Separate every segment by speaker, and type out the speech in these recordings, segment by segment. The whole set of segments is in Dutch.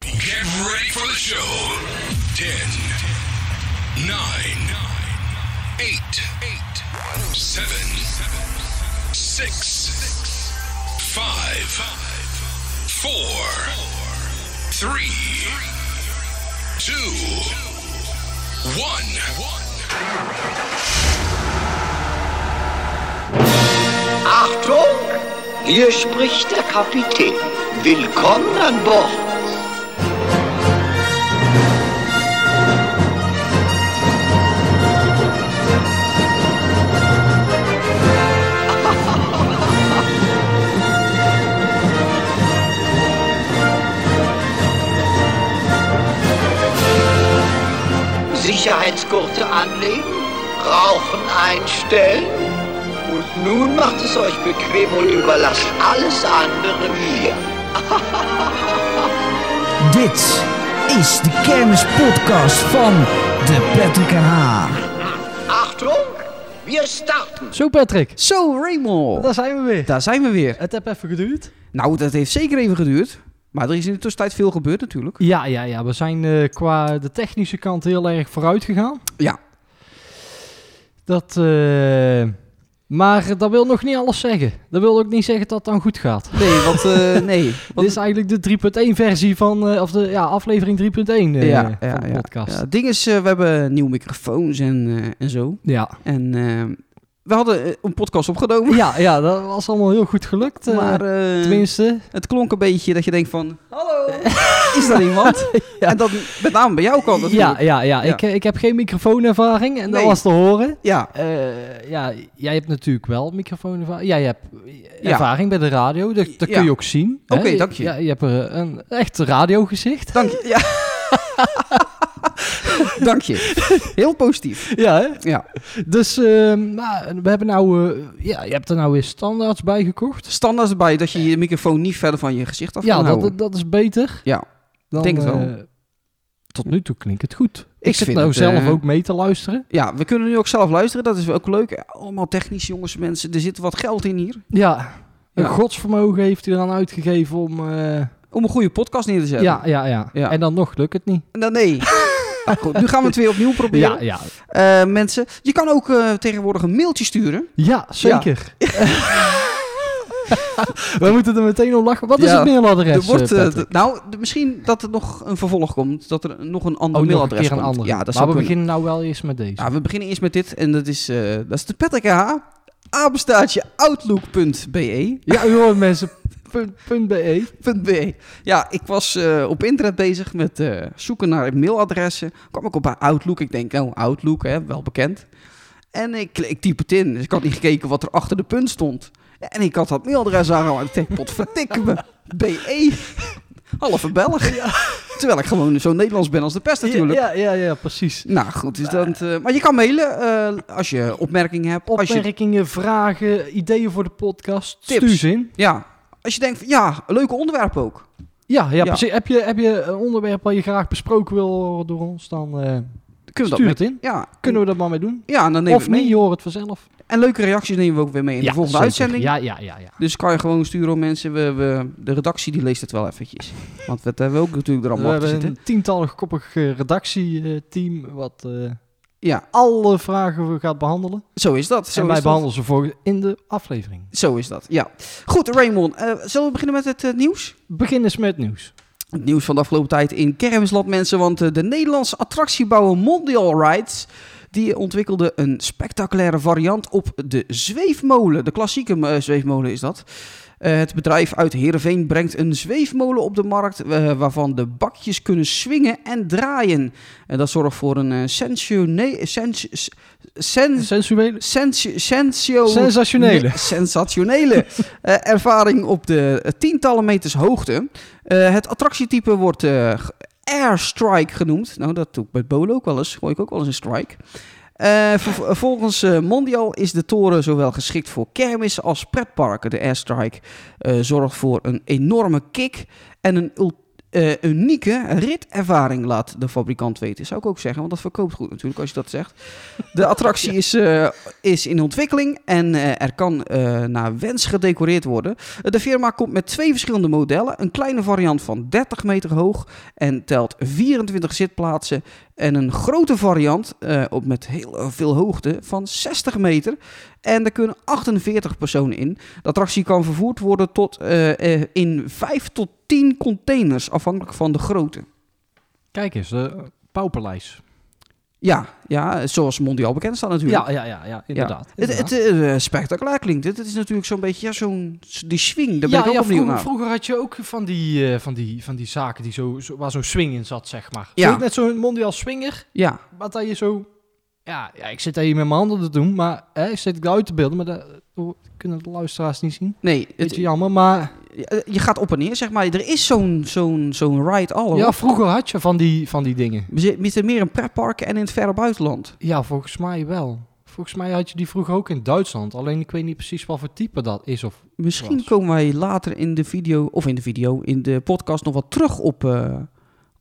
Speaker 1: Get ready for the show. 10, 9, 8, 7, 6, 5, 4, 3, 2, 1.
Speaker 2: Achtung! Hier spricht der Kapitän. Willkommen an Bord. Sicherheitsgurte anlegen, Rauchen einstellen. Und nun macht es euch bequem und überlasst alles andere mir.
Speaker 3: Dit is de kermispodcast van de Patrick en Haar.
Speaker 2: Achtung, wir starten.
Speaker 4: Zo Patrick,
Speaker 3: Zo, Raymond.
Speaker 4: daar zijn we weer.
Speaker 3: Daar zijn we weer.
Speaker 4: Het heeft even geduurd.
Speaker 3: Nou, dat heeft zeker even geduurd. Maar er is in de tussentijd veel gebeurd natuurlijk.
Speaker 4: Ja, ja, ja. We zijn eh, qua de technische kant heel erg vooruit gegaan.
Speaker 3: Ja.
Speaker 4: Dat, eh, maar dat wil nog niet alles zeggen. Dat wil ook niet zeggen dat het dan goed gaat.
Speaker 3: Nee, want... eh, nee.
Speaker 4: Dit
Speaker 3: Want,
Speaker 4: is eigenlijk de 3.1 versie van, eh, of de ja, aflevering 3.1 eh,
Speaker 3: ja, ja,
Speaker 4: van de
Speaker 3: ja,
Speaker 4: podcast.
Speaker 3: ja.
Speaker 4: Ja,
Speaker 3: Het ding is, eh, we hebben nieuwe microfoons en, eh, en zo.
Speaker 4: ja.
Speaker 3: En eh, we hadden eh, een podcast opgenomen.
Speaker 4: ja, dat was allemaal heel goed gelukt. eh,
Speaker 3: Maar eh,
Speaker 4: tenminste,
Speaker 3: het klonk een beetje dat je denkt van... Hallo, is daar iemand?
Speaker 4: Ja.
Speaker 3: En dat met name bij jou kan natuurlijk.
Speaker 4: ja, ja, ja.
Speaker 3: Ja.
Speaker 4: Ik, eh, ik heb geen microfoonervaring en dat
Speaker 3: Nee.
Speaker 4: was te horen.
Speaker 3: ja.
Speaker 4: Eh, ja, jij hebt natuurlijk wel microfoonervaring. Jij hebt
Speaker 3: Ja.
Speaker 4: ervaring bij de radio, dat, dat
Speaker 3: Ja.
Speaker 4: kun je ook zien. hè.
Speaker 3: Oké, dank je.
Speaker 4: Ja, je hebt er eh, een echt radiogezicht.
Speaker 3: Dank je. Ja. Dank je. Heel positief.
Speaker 4: Ja, hè?
Speaker 3: Ja.
Speaker 4: Dus ehm, maar we hebben nou, eh, ja, je hebt er nou weer standaards bij gekocht.
Speaker 3: Standaard erbij dat je je microfoon niet verder van je gezicht af
Speaker 4: ja,
Speaker 3: kan
Speaker 4: dat,
Speaker 3: houden.
Speaker 4: dat- dat is beter.
Speaker 3: Ja,
Speaker 4: dan,
Speaker 3: denk het wel.
Speaker 4: eh, tot nu toe klinkt het goed. Ik, zit
Speaker 3: vind
Speaker 4: nou
Speaker 3: het,
Speaker 4: zelf
Speaker 3: eh,
Speaker 4: ook mee te luisteren.
Speaker 3: Ja, we kunnen nu ook zelf luisteren. Dat is ook leuk. Allemaal technisch, jongens, mensen. Er zit wat geld in hier.
Speaker 4: Ja.
Speaker 3: Ja.
Speaker 4: Een godsvermogen heeft hij dan uitgegeven om... eh,
Speaker 3: Om een goede podcast neer te zetten.
Speaker 4: ja, ja, ja,
Speaker 3: Ja.
Speaker 4: En dan nog lukt het niet.
Speaker 3: Nou, nee. Nou, goed, nu gaan we het weer opnieuw proberen.
Speaker 4: Ja, ja.
Speaker 3: Eh, mensen, je kan ook eh, tegenwoordig een mailtje sturen.
Speaker 4: Ja, zeker. We moeten er meteen om lachen. Wat is
Speaker 3: Ja,
Speaker 4: het mailadres?
Speaker 3: Er wordt,
Speaker 4: eh,
Speaker 3: eh,
Speaker 4: Patrick?
Speaker 3: d- nou, d- misschien dat er nog een vervolg komt. Dat er nog een ander
Speaker 4: oh, nog een
Speaker 3: mailadres
Speaker 4: keer een
Speaker 3: komt.
Speaker 4: andere.
Speaker 3: Ja, dat zou
Speaker 4: maar we
Speaker 3: kunnen.
Speaker 4: beginnen nou wel eerst met deze.
Speaker 3: Ja, we beginnen eerst met dit en dat is, eh, dat is de Patrick H. Apenstaartje outlook.be.
Speaker 4: Ja, u hoort mensen. Punt, punt E. .be.
Speaker 3: .be. Ja, ik was eh, op internet bezig met eh, zoeken naar mailadressen. Kwam ik op bij Outlook. Ik denk, nou, Outlook, hè, wel bekend. En ik, ik typ het in. Dus ik had niet gekeken wat er achter de punt stond. Ja, En ik had dat mailadres aangehouden. Ik denk, potverdikke me. BE. Halve Belg. Terwijl ik gewoon zo Nederlands ben als de pest natuurlijk.
Speaker 4: Ja, ja, ja, precies.
Speaker 3: Nou goed, dus dat, eh, maar je kan mailen eh, als je opmerkingen hebt. Als je
Speaker 4: Opmerkingen, vragen, ideeën voor de podcast.
Speaker 3: Tips.
Speaker 4: Stuur ze in.
Speaker 3: Ja, als je denkt van ja, leuke onderwerp ook.
Speaker 4: Ja, ja,
Speaker 3: Ja.
Speaker 4: precies. Heb je, heb je een onderwerp waar je graag besproken wil horen door ons, dan eh,
Speaker 3: Kunnen we
Speaker 4: stuur
Speaker 3: dat
Speaker 4: het in.
Speaker 3: mee? Ja,
Speaker 4: Kunnen we dat maar mee doen.
Speaker 3: ja en dan nemen we
Speaker 4: of
Speaker 3: het mee.
Speaker 4: niet, je hoort het vanzelf.
Speaker 3: En leuke reacties nemen we ook weer mee in de
Speaker 4: Ja,
Speaker 3: volgende
Speaker 4: zeker.
Speaker 3: uitzending.
Speaker 4: Ja, ja, ja, ja.
Speaker 3: Dus kan je gewoon sturen op mensen. We, we, de redactie die leest het wel eventjes. Want dat hebben we ook natuurlijk er
Speaker 4: We
Speaker 3: allemaal achter
Speaker 4: hebben
Speaker 3: zitten.
Speaker 4: een tientallig koppig eh, redactieteam wat eh,
Speaker 3: Ja,
Speaker 4: alle vragen we gaat behandelen.
Speaker 3: zo is dat. Zo
Speaker 4: en
Speaker 3: is
Speaker 4: wij
Speaker 3: dat.
Speaker 4: behandelen ze voor in de aflevering.
Speaker 3: Zo is dat, ja. Goed, Raymond. eh, zullen we beginnen met het eh, nieuws?
Speaker 4: Begin eens met nieuws.
Speaker 3: Het nieuws van de afgelopen tijd in Kermisland, mensen. Want eh, de Nederlandse attractiebouwer Mondial Rides... die ontwikkelde een spectaculaire variant op de zweefmolen. De klassieke eh, zweefmolen is dat. Eh, het bedrijf uit Heerenveen brengt een zweefmolen op de markt... eh, waarvan de bakjes kunnen swingen en draaien. En dat zorgt voor een eh, sensuele... Sens, sens,
Speaker 4: Sensuele.
Speaker 3: sensu- sensio-
Speaker 4: Sensationele.
Speaker 3: Nee, sensationele eh, ervaring op de eh, tientallen meters hoogte. Eh, het attractietype wordt eh, g- airstrike genoemd. Nou, dat doe ik bij Bolo ook wel eens. Gooi ik ook wel eens een strike. Eh, ver- volgens eh, Mondial is de toren zowel geschikt voor kermis als pretparken. De airstrike eh, zorgt voor een enorme kick en een ul- eh, unieke ritervaring, laat de fabrikant weten. Zou ik ook zeggen, want dat verkoopt goed natuurlijk als je dat zegt. De attractie is, eh, is in ontwikkeling en eh, er kan eh, naar wens gedecoreerd worden. Eh, De firma komt met twee verschillende modellen. Een kleine variant van 30 meter hoog en telt 24 zitplaatsen. En een grote variant eh, op met heel eh, veel hoogte van 60 meter. En daar kunnen 48 personen in. De attractie kan vervoerd worden tot, eh, eh, in 5 tot 10 containers, afhankelijk van de grootte.
Speaker 4: Kijk eens, eh, de pauperlijs.
Speaker 3: Ja, ja, zoals mondiaal bekend staat natuurlijk.
Speaker 4: Ja, ja, ja, ja,
Speaker 3: Ja.
Speaker 4: inderdaad.
Speaker 3: Het,
Speaker 4: inderdaad.
Speaker 3: het, eh, spectaculair klinkt het. Het is natuurlijk zo'n beetje ja, zo'n, die swing. Daar ben
Speaker 4: ja,
Speaker 3: ik ook
Speaker 4: ja,
Speaker 3: opnieuw
Speaker 4: vroeger,
Speaker 3: naar.
Speaker 4: vroeger had je ook van die, eh, van die, van die zaken die zo, zo- waar zo'n swing in zat, zeg maar.
Speaker 3: Ja.
Speaker 4: Zo, net zo'n mondiaal swinger,
Speaker 3: Ja,
Speaker 4: wat dat je zo... Ja, ja, ik zit hier met mijn handen te doen, maar hè, ik zit het uit te beelden, maar dat oh, kunnen de luisteraars niet zien.
Speaker 3: nee. Het,
Speaker 4: Beetje jammer, maar
Speaker 3: je- je gaat op en neer, zeg maar. Er is zo'n, zo'n, zo'n ride al.
Speaker 4: ja,
Speaker 3: hoor.
Speaker 4: vroeger had je van die, van die dingen.
Speaker 3: We zitten meer in pretparken en in het verre buitenland.
Speaker 4: Ja, volgens mij wel. Volgens mij had je die vroeger ook in Duitsland. Alleen ik weet niet precies wat voor type dat is. Of...
Speaker 3: Misschien
Speaker 4: Was.
Speaker 3: komen wij later in de video, of in de video, in de podcast nog wat terug op, eh,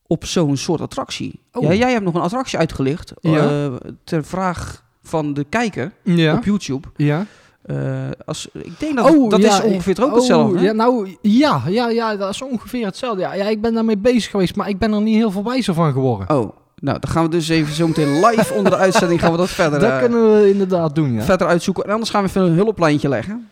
Speaker 3: op zo'n soort attractie.
Speaker 4: Oh.
Speaker 3: Ja, jij hebt nog een attractie uitgelicht
Speaker 4: Ja.
Speaker 3: eh, ter vraag van de kijker
Speaker 4: Ja.
Speaker 3: op YouTube.
Speaker 4: Ja.
Speaker 3: Eh, als, ik denk
Speaker 4: Nou,
Speaker 3: dat dat is ongeveer toch ook
Speaker 4: oh,
Speaker 3: hetzelfde. hè?
Speaker 4: Ja, nou, ja, ja, ja, dat is ongeveer hetzelfde. Ja, ja, ik ben daarmee bezig geweest, maar ik ben er niet heel veel wijzer van geworden.
Speaker 3: Oh, nou, dan gaan we dus even zo meteen live onder de uitzending gaan we dat verder,
Speaker 4: dat
Speaker 3: eh,
Speaker 4: kunnen we inderdaad doen, ja.
Speaker 3: verder uitzoeken. En anders gaan we even een hulplijntje leggen.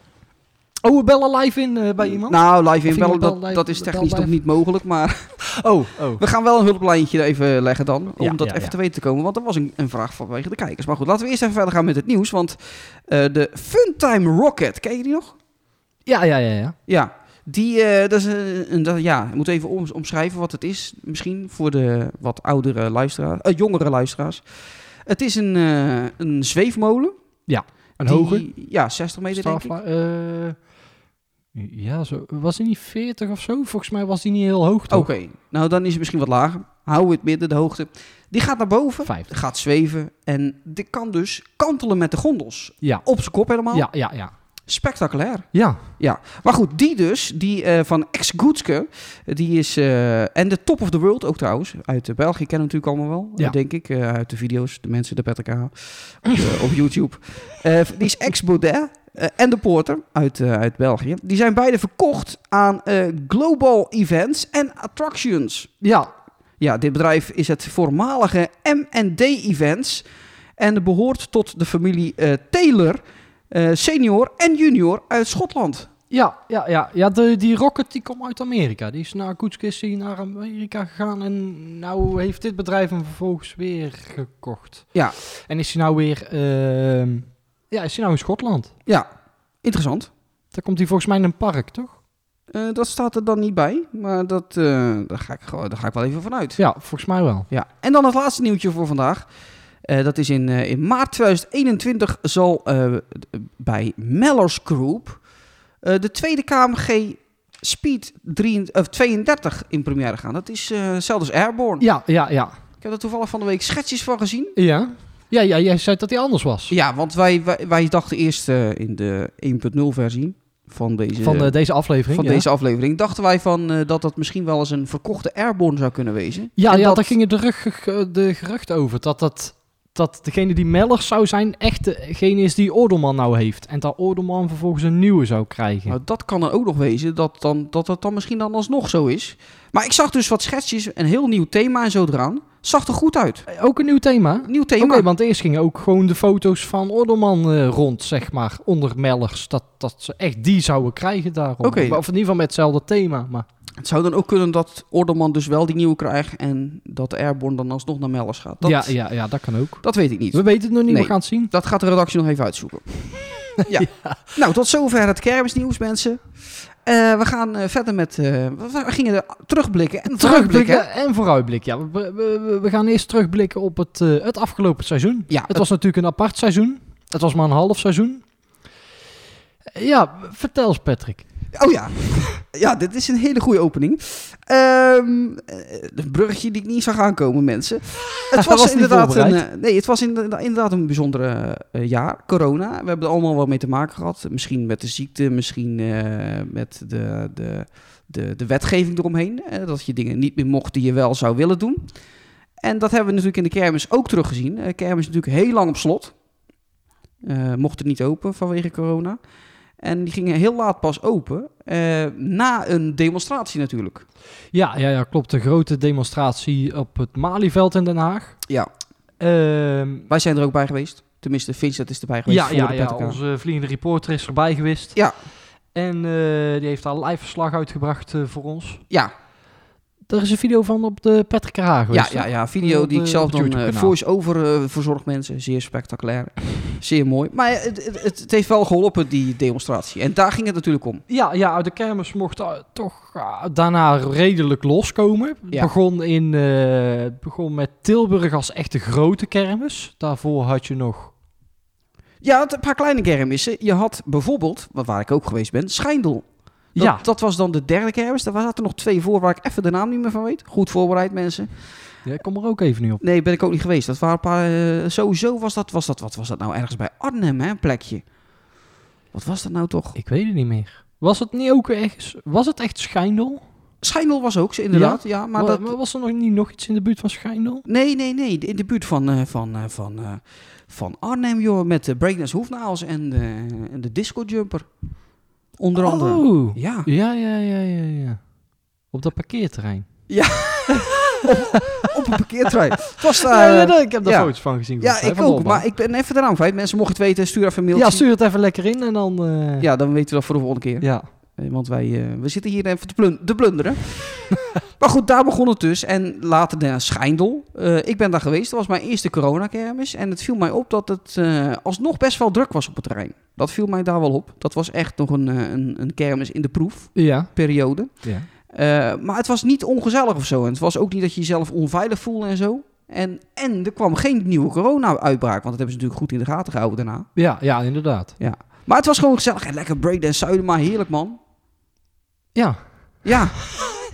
Speaker 4: Oh, we bellen live in eh, bij iemand?
Speaker 3: Nou, live
Speaker 4: Of
Speaker 3: inbellen,
Speaker 4: iemand
Speaker 3: dat,
Speaker 4: bel live-
Speaker 3: dat is
Speaker 4: bel
Speaker 3: technisch nog
Speaker 4: live.
Speaker 3: niet mogelijk, maar...
Speaker 4: Oh, oh.
Speaker 3: We gaan wel een hulplijntje even leggen dan, om
Speaker 4: Ja,
Speaker 3: dat
Speaker 4: ja,
Speaker 3: even
Speaker 4: ja.
Speaker 3: te weten te komen. Want dat was een, een vraag vanwege de kijkers. Maar goed, laten we eerst even verder gaan met het nieuws. Want eh, de Funtime Rocket, ken je die nog?
Speaker 4: Ja, ja, ja, ja.
Speaker 3: Ja, die, eh, dat is een, een- dat, ja, ik moet even om- omschrijven wat het is. Misschien voor de wat oudere luisteraars, eh, jongere luisteraars. Het is een, eh, een zweefmolen.
Speaker 4: Een
Speaker 3: die-
Speaker 4: hoge
Speaker 3: Ja, 60 meter denk ik.
Speaker 4: strafla- eh, ja, zo. Was hij niet 40 of zo? Volgens mij was hij niet heel hoog,
Speaker 3: Oké,
Speaker 4: toch?
Speaker 3: nou dan is het misschien wat lager. Hou het midden, de hoogte. Die gaat naar boven,
Speaker 4: 50.
Speaker 3: gaat zweven en die kan dus kantelen met de gondels.
Speaker 4: Ja.
Speaker 3: Op zijn kop helemaal.
Speaker 4: Ja, ja, ja.
Speaker 3: Spectaculair.
Speaker 4: Ja.
Speaker 3: Maar goed, die dus, die eh, van Ex Goedske, die is... eh, en de Top of the World ook trouwens, uit eh, België kennen we natuurlijk allemaal wel,
Speaker 4: Ja.
Speaker 3: eh, denk ik. eh, uit de video's, de mensen, de Patrick H. op, eh, op YouTube. Eh, die is Ex Baudet eh, en de Porter uit, eh, uit België. Die zijn beide verkocht aan eh, Global Events en Attractions.
Speaker 4: Ja.
Speaker 3: Ja, dit bedrijf is het voormalige M&D Events en behoort tot de familie eh, Taylor, eh, senior en junior uit Schotland.
Speaker 4: Ja, ja, ja. ja de, die Rocket die komt uit Amerika. Die is naar Koetskissie naar Amerika gegaan. En nou heeft dit bedrijf hem vervolgens weer gekocht.
Speaker 3: Ja.
Speaker 4: En is hij nou weer... ehm, ja, is hij nou in Schotland?
Speaker 3: Ja, interessant.
Speaker 4: Daar komt hij volgens mij in een park, toch?
Speaker 3: Eh, dat staat er dan niet bij, maar dat, eh, daar, ga ik, gewoon- daar ga ik wel even vanuit.
Speaker 4: Ja, volgens mij wel.
Speaker 3: Ja, en dan het laatste nieuwtje voor vandaag. Eh, dat is in, eh, in maart 2021 zal eh, d- bij Mellors Group eh, de tweede KMG Speed 3, of 32 in première gaan. Dat is eh, hetzelfde als Airborne.
Speaker 4: Ja, ja, ja.
Speaker 3: Ik heb er toevallig van de week schetsjes van gezien.
Speaker 4: Ja? Ja, ja jij zei dat hij anders was.
Speaker 3: Ja, want wij, wij, wij dachten eerst eh, in de 1.0 versie van deze,
Speaker 4: Van eh, deze aflevering.
Speaker 3: van
Speaker 4: ja.
Speaker 3: deze aflevering, dachten wij van, eh, dat dat misschien wel eens een verkochte Airborne zou kunnen wezen.
Speaker 4: Ja,
Speaker 3: En
Speaker 4: ja
Speaker 3: dat-
Speaker 4: daar gingen de, rug, eh, de geruchten over. Dat, dat, dat degene die Meller zou zijn, echt degene is die Ordelman nou heeft. En dat Ordelman vervolgens een nieuwe zou krijgen.
Speaker 3: Nou, dat kan er ook nog wezen, dat, dan, dat dat dan misschien dan alsnog zo is. Maar ik zag dus wat schetsjes, een heel nieuw thema en zo eraan. Zag er goed uit.
Speaker 4: Eh, Ook een nieuw thema?
Speaker 3: Nieuw
Speaker 4: Oké,
Speaker 3: thema.
Speaker 4: want eerst gingen ook gewoon de foto's van Ordelman eh, rond, zeg maar, onder Mellers. Dat, dat ze echt die zouden krijgen daarom.
Speaker 3: Oké.
Speaker 4: Of in ieder geval met hetzelfde thema. Maar
Speaker 3: Het zou dan ook kunnen dat Orderman dus wel die nieuwe krijgt en dat de Airborne dan alsnog naar Mellers gaat. Dat,
Speaker 4: ja, ja, ja, dat kan ook.
Speaker 3: dat weet ik niet.
Speaker 4: We weten het nog niet,
Speaker 3: Nee.
Speaker 4: we gaan het zien.
Speaker 3: Dat gaat de redactie nog even uitzoeken. ja. Nou, tot zover het kermisnieuws, mensen. Eh, we gaan eh, verder met... eh, we we gingen er terugblikken en vooruitblikken.
Speaker 4: Terugblikken en vooruitblikken. Ja, we, we, we- we gaan eerst terugblikken op het, eh, het afgelopen seizoen.
Speaker 3: Ja,
Speaker 4: Het was natuurlijk een apart seizoen. Het was maar een half seizoen. Ja, vertel eens Patrick.
Speaker 3: Oh ja. Ja, dit is een hele goede opening. Ehm eh, een bruggetje die ik niet zag aankomen, mensen. Het was,
Speaker 4: Was niet
Speaker 3: inderdaad een,
Speaker 4: voorbereid.
Speaker 3: eh, nee, het was inderdaad, inderdaad een bijzonder eh, eh, jaar. Corona. We hebben er allemaal wel mee te maken gehad. Misschien met de ziekte, misschien eh, met de, de, de, de wetgeving eromheen. Eh, dat je dingen niet meer mocht die je wel zou willen doen. En dat hebben we natuurlijk in de kermis ook teruggezien. Eh kermis is natuurlijk heel lang op slot. Eh mocht het niet open vanwege corona. En die gingen heel laat pas open. eh, na een demonstratie natuurlijk.
Speaker 4: Ja, ja, ja, klopt. De grote demonstratie op het Malieveld in Den Haag.
Speaker 3: Ja.
Speaker 4: Ehm,
Speaker 3: Wij zijn er ook bij geweest. Tenminste, Vincent is erbij geweest
Speaker 4: ja,
Speaker 3: voor
Speaker 4: ja,
Speaker 3: de
Speaker 4: ja,
Speaker 3: PTK.
Speaker 4: onze vliegende reporter is erbij geweest.
Speaker 3: Ja.
Speaker 4: En eh, die heeft daar live verslag uitgebracht eh, voor ons.
Speaker 3: Ja,
Speaker 4: Er is een video van op de Patrick Haag
Speaker 3: ja,
Speaker 4: geweest.
Speaker 3: ja,
Speaker 4: hè?
Speaker 3: ja, video
Speaker 4: Op
Speaker 3: die
Speaker 4: de-
Speaker 3: ik zelf
Speaker 4: op het
Speaker 3: dan eh,
Speaker 4: YouTube-kanaal.
Speaker 3: voice-over eh, verzorg mensen. Zeer spectaculair. Zeer mooi. Maar eh, het, het, het- het heeft wel geholpen, die demonstratie. En daar ging het natuurlijk om.
Speaker 4: Ja, ja, de kermis mocht eh, toch ah, daarna redelijk loskomen. Het
Speaker 3: Ja.
Speaker 4: Begon, in, eh, het begon met Tilburg als echte grote kermis. Daarvoor had je nog...
Speaker 3: Ja, het- een paar kleine kermissen. Je had bijvoorbeeld, wa- waar ik ook geweest ben, Schijndel. Dat,
Speaker 4: ja,
Speaker 3: dat was dan de derde kermis. Daar zaten nog twee voor waar ik even de naam niet meer van weet. Goed voorbereid, mensen.
Speaker 4: Oh, ja, ik kom er ook even niet op.
Speaker 3: Nee, ben ik ook niet geweest. Dat waren een paar. eh, sowieso was dat, was dat. Wat was dat nou? Ergens bij Arnhem, hè? Een plekje. Wat was dat nou toch?
Speaker 4: Ik weet het niet meer. Was het niet ook ergens... Was het echt Schijndel?
Speaker 3: Schijndel was ook, ze- inderdaad. Ja, maar,
Speaker 4: Maar,
Speaker 3: dat.
Speaker 4: maar was er nog niet nog iets in de buurt van Schijndel?
Speaker 3: Nee, nee, nee. In de buurt van, eh, van, eh, van, eh, van Arnhem, joh. Met de breakdance hoefnaals en, de en de disco jumper. Onder andere.
Speaker 4: Oh.
Speaker 3: Ja.
Speaker 4: Ja, ja, ja, ja, ja. Op dat parkeerterrein.
Speaker 3: Op een parkeertrein. Het was daar.
Speaker 4: Ja,
Speaker 3: eh,
Speaker 4: ja, dat- ik heb daar
Speaker 3: ja.
Speaker 4: foto's van gezien.
Speaker 3: Ja,
Speaker 4: volgens mij,
Speaker 3: ik
Speaker 4: van
Speaker 3: ook.
Speaker 4: Lolbaan.
Speaker 3: Maar ik ben even de naam kwijt. Mensen, mocht je het weten, stuur even een mailtje.
Speaker 4: Ja, stuur het even lekker in en dan... eh,
Speaker 3: Ja, dan weten we dat voor de volgende keer.
Speaker 4: ja.
Speaker 3: Eh, Want wij eh, we zitten hier even te, plun te plunderen. maar goed, daar begon het dus. En later naar Schijndel. Eh, ik ben daar geweest. Dat was mijn eerste coronakermis. En het viel mij op dat het eh, alsnog best wel druk was op het terrein. Dat viel mij daar wel op. Dat was echt nog een, eh, een, een kermis in de
Speaker 4: Ja.
Speaker 3: proefperiode.
Speaker 4: ja.
Speaker 3: Eh, maar het was niet ongezellig of zo. En het was ook niet dat je jezelf onveilig voelde en zo. En, en er kwam geen nieuwe corona-uitbraak. Want dat hebben ze natuurlijk goed in de gaten gehouden daarna.
Speaker 4: Ja, ja, inderdaad.
Speaker 3: Maar het was gewoon gezellig. En lekker breakdance, zuiden, maar heerlijk man.
Speaker 4: Ja.
Speaker 3: Ja,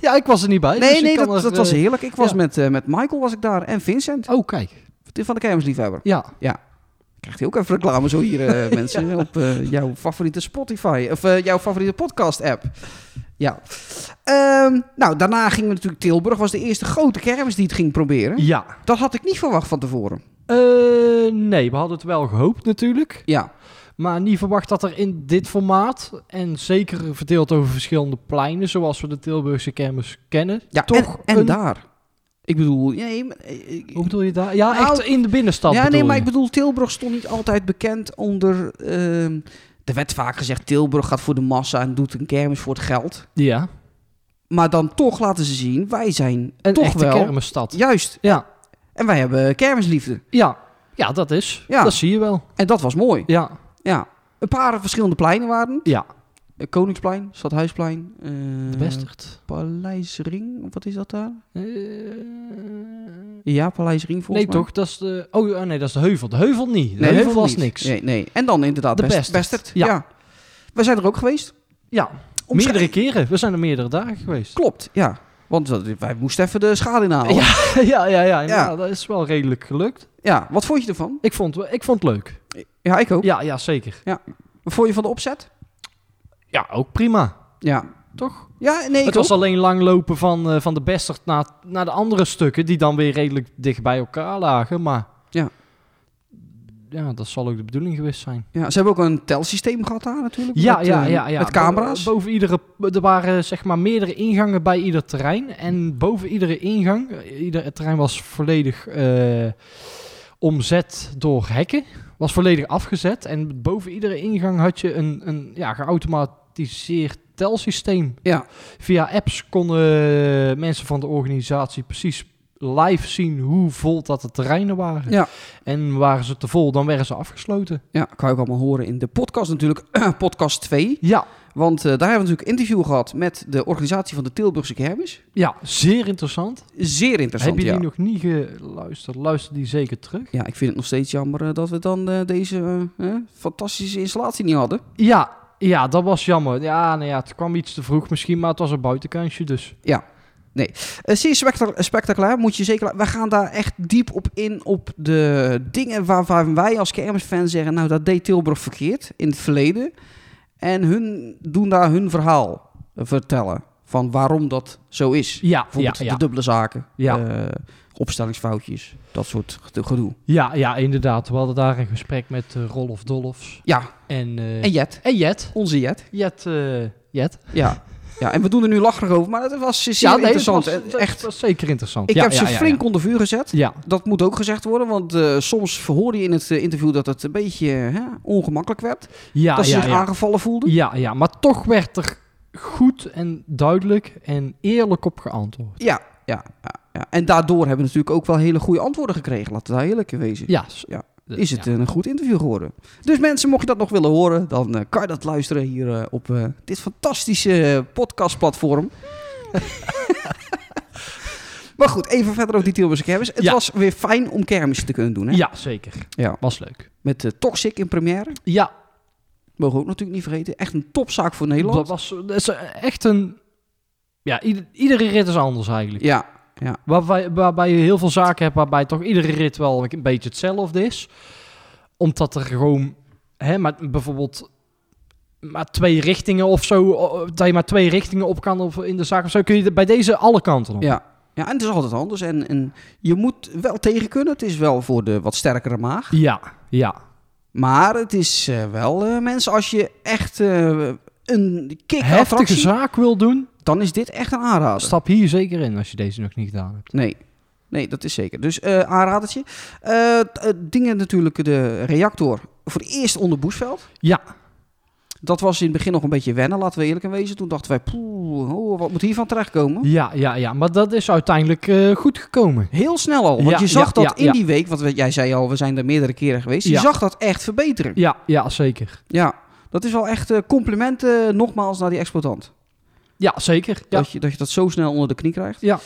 Speaker 4: Ja, ik was er niet bij. dus
Speaker 3: nee,
Speaker 4: ik
Speaker 3: nee,
Speaker 4: kan
Speaker 3: dat,
Speaker 4: er,
Speaker 3: dat was
Speaker 4: eh,
Speaker 3: heerlijk. Ik was
Speaker 4: ja.
Speaker 3: met, eh, met Michael was ik daar en Vincent
Speaker 4: Oh, kijk.
Speaker 3: van de Kermisliefhebber.
Speaker 4: Ja.
Speaker 3: Krijgt hij ook even reclame zo hier, eh, mensen, op eh, jouw favoriete Spotify of eh, jouw favoriete podcast-app. Ja. Ehm, nou, daarna gingen we natuurlijk Tilburg. Was de eerste grote kermis die het ging proberen.
Speaker 4: Ja.
Speaker 3: Dat had ik niet verwacht van tevoren.
Speaker 4: Eh, nee, we hadden het wel gehoopt natuurlijk.
Speaker 3: Ja,
Speaker 4: Maar niet verwacht dat er in dit formaat, en zeker verdeeld over verschillende pleinen, zoals we de Tilburgse kermis kennen,
Speaker 3: ja
Speaker 4: toch
Speaker 3: en, en
Speaker 4: een-
Speaker 3: daar. Ik bedoel, nee, maar, eh, ik-
Speaker 4: Hoe bedoel je daar? Ja,
Speaker 3: Nou,
Speaker 4: echt in de binnenstad
Speaker 3: ja,
Speaker 4: bedoel
Speaker 3: nee, maar
Speaker 4: je.
Speaker 3: ik bedoel, Tilburg stond niet altijd bekend onder. ehm er werd vaak gezegd: Tilburg gaat voor de massa en doet een kermis voor het geld.
Speaker 4: Ja,
Speaker 3: Maar dan toch laten ze zien: wij zijn
Speaker 4: een
Speaker 3: toch
Speaker 4: echte
Speaker 3: wel.
Speaker 4: kermisstad.
Speaker 3: Juist.
Speaker 4: Ja,
Speaker 3: En wij hebben kermisliefde.
Speaker 4: ja, ja, dat is.
Speaker 3: Ja.
Speaker 4: Dat zie je wel.
Speaker 3: En dat was mooi.
Speaker 4: Ja,
Speaker 3: Ja. Een paar verschillende pleinen waren. het.
Speaker 4: ja.
Speaker 3: Eh, Koningsplein, Stadhuisplein. eh,
Speaker 4: De Westert.
Speaker 3: Paleisring, of wat is dat daar? Ja, Paleisring volgens
Speaker 4: Eh, nee,
Speaker 3: mij.
Speaker 4: toch? Dat is de... Oh, ja, nee, dat is de heuvel. De heuvel niet. De
Speaker 3: Nee,
Speaker 4: heuvel,
Speaker 3: dat
Speaker 4: was
Speaker 3: niet.
Speaker 4: niks.
Speaker 3: Nee, nee. En dan inderdaad
Speaker 4: De
Speaker 3: Best-
Speaker 4: Bestert.
Speaker 3: Ja.
Speaker 4: Ja.
Speaker 3: We zijn er ook geweest.
Speaker 4: Ja,
Speaker 3: Om
Speaker 4: meerdere keren. We zijn er meerdere dagen geweest.
Speaker 3: Klopt, ja. Want we- wij moesten even de schade inhalen. Ja.
Speaker 4: ja, ja, ja, ja. Dat is wel redelijk gelukt.
Speaker 3: wat vond je ervan?
Speaker 4: Ik vond, ik vond het leuk.
Speaker 3: Ja, ik ook.
Speaker 4: Ja, ja, zeker.
Speaker 3: Wat vond je van de opzet?
Speaker 4: Ja, ook prima.
Speaker 3: Ja.
Speaker 4: Toch?
Speaker 3: Ja, nee, ik
Speaker 4: het was
Speaker 3: ook.
Speaker 4: alleen lang lopen van, eh, van de Bestert naar, naar de andere stukken, die dan weer redelijk dicht bij elkaar lagen. Maar
Speaker 3: Ja.
Speaker 4: ja dat zal ook de bedoeling geweest zijn.
Speaker 3: Ja, ze hebben ook een telsysteem gehad daar natuurlijk.
Speaker 4: Ja,
Speaker 3: met,
Speaker 4: ja,
Speaker 3: eh,
Speaker 4: ja, ja.
Speaker 3: Met camera's.
Speaker 4: Bo- Boven iedere, er waren zeg maar meerdere ingangen bij ieder terrein. En boven iedere ingang, eh, ieder het terrein was volledig eh, omzet door hekken. Was volledig afgezet. En boven iedere ingang had je een, een ja, geautomatiseerd telsysteem.
Speaker 3: Ja.
Speaker 4: Via apps konden eh, mensen van de organisatie precies live zien hoe vol dat de terreinen waren.
Speaker 3: Ja.
Speaker 4: En waren ze te vol, dan werden ze afgesloten.
Speaker 3: Ja, kan je ook allemaal horen in de podcast natuurlijk. podcast 2.
Speaker 4: Ja,
Speaker 3: Want eh, daar hebben we natuurlijk een interview gehad met de organisatie van de Tilburgse kermis.
Speaker 4: ja zeer interessant.
Speaker 3: Zeer interessant,
Speaker 4: Heb je
Speaker 3: ja.
Speaker 4: die nog niet geluisterd? Luister die zeker terug.
Speaker 3: Ja, ik vind het nog steeds jammer eh, dat we dan eh, deze eh, eh, fantastische installatie niet hadden.
Speaker 4: Ja, Ja, dat was jammer. Ja, nou ja, het kwam iets te vroeg misschien, maar het was een buitenkantje, dus...
Speaker 3: Eh, Zeer spectac- spectaculair, moet je zeker... We gaan daar echt diep op in op de dingen waarvan wij als kermisfan zeggen... nou, dat deed Tilburg verkeerd in het verleden. En hun doen daar hun verhaal eh, vertellen van waarom dat zo is.
Speaker 4: Ja, ja,
Speaker 3: Bijvoorbeeld
Speaker 4: ja.
Speaker 3: de dubbele zaken,
Speaker 4: Ja.
Speaker 3: eh, opstellingsfoutjes, dat soort ge- gedoe.
Speaker 4: ja, ja, inderdaad. We hadden daar een gesprek met eh, Rolf Dolfs
Speaker 3: Ja,
Speaker 4: en, eh
Speaker 3: en Jet,
Speaker 4: en Jet.
Speaker 3: onze Jet.
Speaker 4: Jet, eh, Jet.
Speaker 3: Ja. ja, en we doen er nu lacherig over, maar dat was zeer
Speaker 4: nee, dat
Speaker 3: interessant.
Speaker 4: was-
Speaker 3: En
Speaker 4: dat
Speaker 3: echt,
Speaker 4: was zeker interessant.
Speaker 3: ik
Speaker 4: Ja,
Speaker 3: heb
Speaker 4: ja,
Speaker 3: ze
Speaker 4: ja,
Speaker 3: flink onder vuur gezet.
Speaker 4: Ja,
Speaker 3: Dat moet ook gezegd worden, want eh, soms verhoorde je in het eh, interview dat het een beetje hè, ongemakkelijk werd.
Speaker 4: ja,
Speaker 3: dat ze
Speaker 4: ja,
Speaker 3: zich
Speaker 4: ja.
Speaker 3: aangevallen voelden.
Speaker 4: Ja, ja, maar toch werd er goed en duidelijk en eerlijk op geantwoord.
Speaker 3: Ja, ja, ja, ja. En daardoor hebben we natuurlijk ook wel hele goede antwoorden gekregen. Laten we daar eerlijk in wezen.
Speaker 4: Ja. eh, s-
Speaker 3: Ja.
Speaker 4: de-
Speaker 3: Is het
Speaker 4: ja.
Speaker 3: een goed interview geworden? Dus mensen, mocht je dat nog willen horen, dan eh, kan je dat luisteren hier eh, op eh, dit fantastische eh, podcastplatform. maar goed, even verder over die Tilburgse kermis. Het
Speaker 4: Ja.
Speaker 3: was weer fijn om kermis te kunnen doen. Hè?
Speaker 4: Ja, zeker.
Speaker 3: Ja.
Speaker 4: Was leuk.
Speaker 3: Met eh, Toxic in première.
Speaker 4: Ja,
Speaker 3: Mogen we ook natuurlijk niet vergeten. Echt een topzaak voor Nederland.
Speaker 4: dat was dat is echt een... Ja, ieder- iedere rit is anders eigenlijk.
Speaker 3: Ja,
Speaker 4: Waarbij, waarbij je heel veel zaken hebt waarbij toch iedere rit wel een beetje hetzelfde is. Omdat er gewoon... Hè, maar bijvoorbeeld maar twee richtingen of zo... o- Dat je maar twee richtingen op kan of in de zaak of zo. Kun je bij deze alle kanten op.
Speaker 3: Ja. ja, en het is altijd anders. En, en je moet wel tegen kunnen. Het is wel voor de wat sterkere maag.
Speaker 4: ja. ja.
Speaker 3: Maar het is eh, wel, eh, mensen, als je echt eh, een kick
Speaker 4: heftige
Speaker 3: attractie,
Speaker 4: zaak wil doen,
Speaker 3: dan is dit echt een aanrader.
Speaker 4: stap hier zeker in als je deze nog niet gedaan hebt.
Speaker 3: Nee. Nee, dat is zeker. Dus eh aanradertje. Eh, t- eh, dingen natuurlijk, de reactor. Voor het eerst onder Boesveld.
Speaker 4: Ja.
Speaker 3: Dat was in het begin nog een beetje wennen, laten we eerlijk in wezen. Toen dachten wij, poeh, oh, wat moet hiervan terechtkomen?
Speaker 4: Ja, ja, ja. Maar dat is uiteindelijk eh, goed gekomen.
Speaker 3: Heel snel al. Want
Speaker 4: Ja,
Speaker 3: je zag
Speaker 4: ja,
Speaker 3: dat
Speaker 4: ja,
Speaker 3: in
Speaker 4: ja.
Speaker 3: die week, want we- jij zei al, we zijn er meerdere keren geweest. Je
Speaker 4: Ja.
Speaker 3: zag dat echt verbeteren.
Speaker 4: Ja, ja, zeker.
Speaker 3: Ja, dat is wel echt eh, complimenten nogmaals naar die exploitant.
Speaker 4: Ja, zeker. Ja,
Speaker 3: Dat, je, dat je dat zo snel onder de knie krijgt.
Speaker 4: Ja.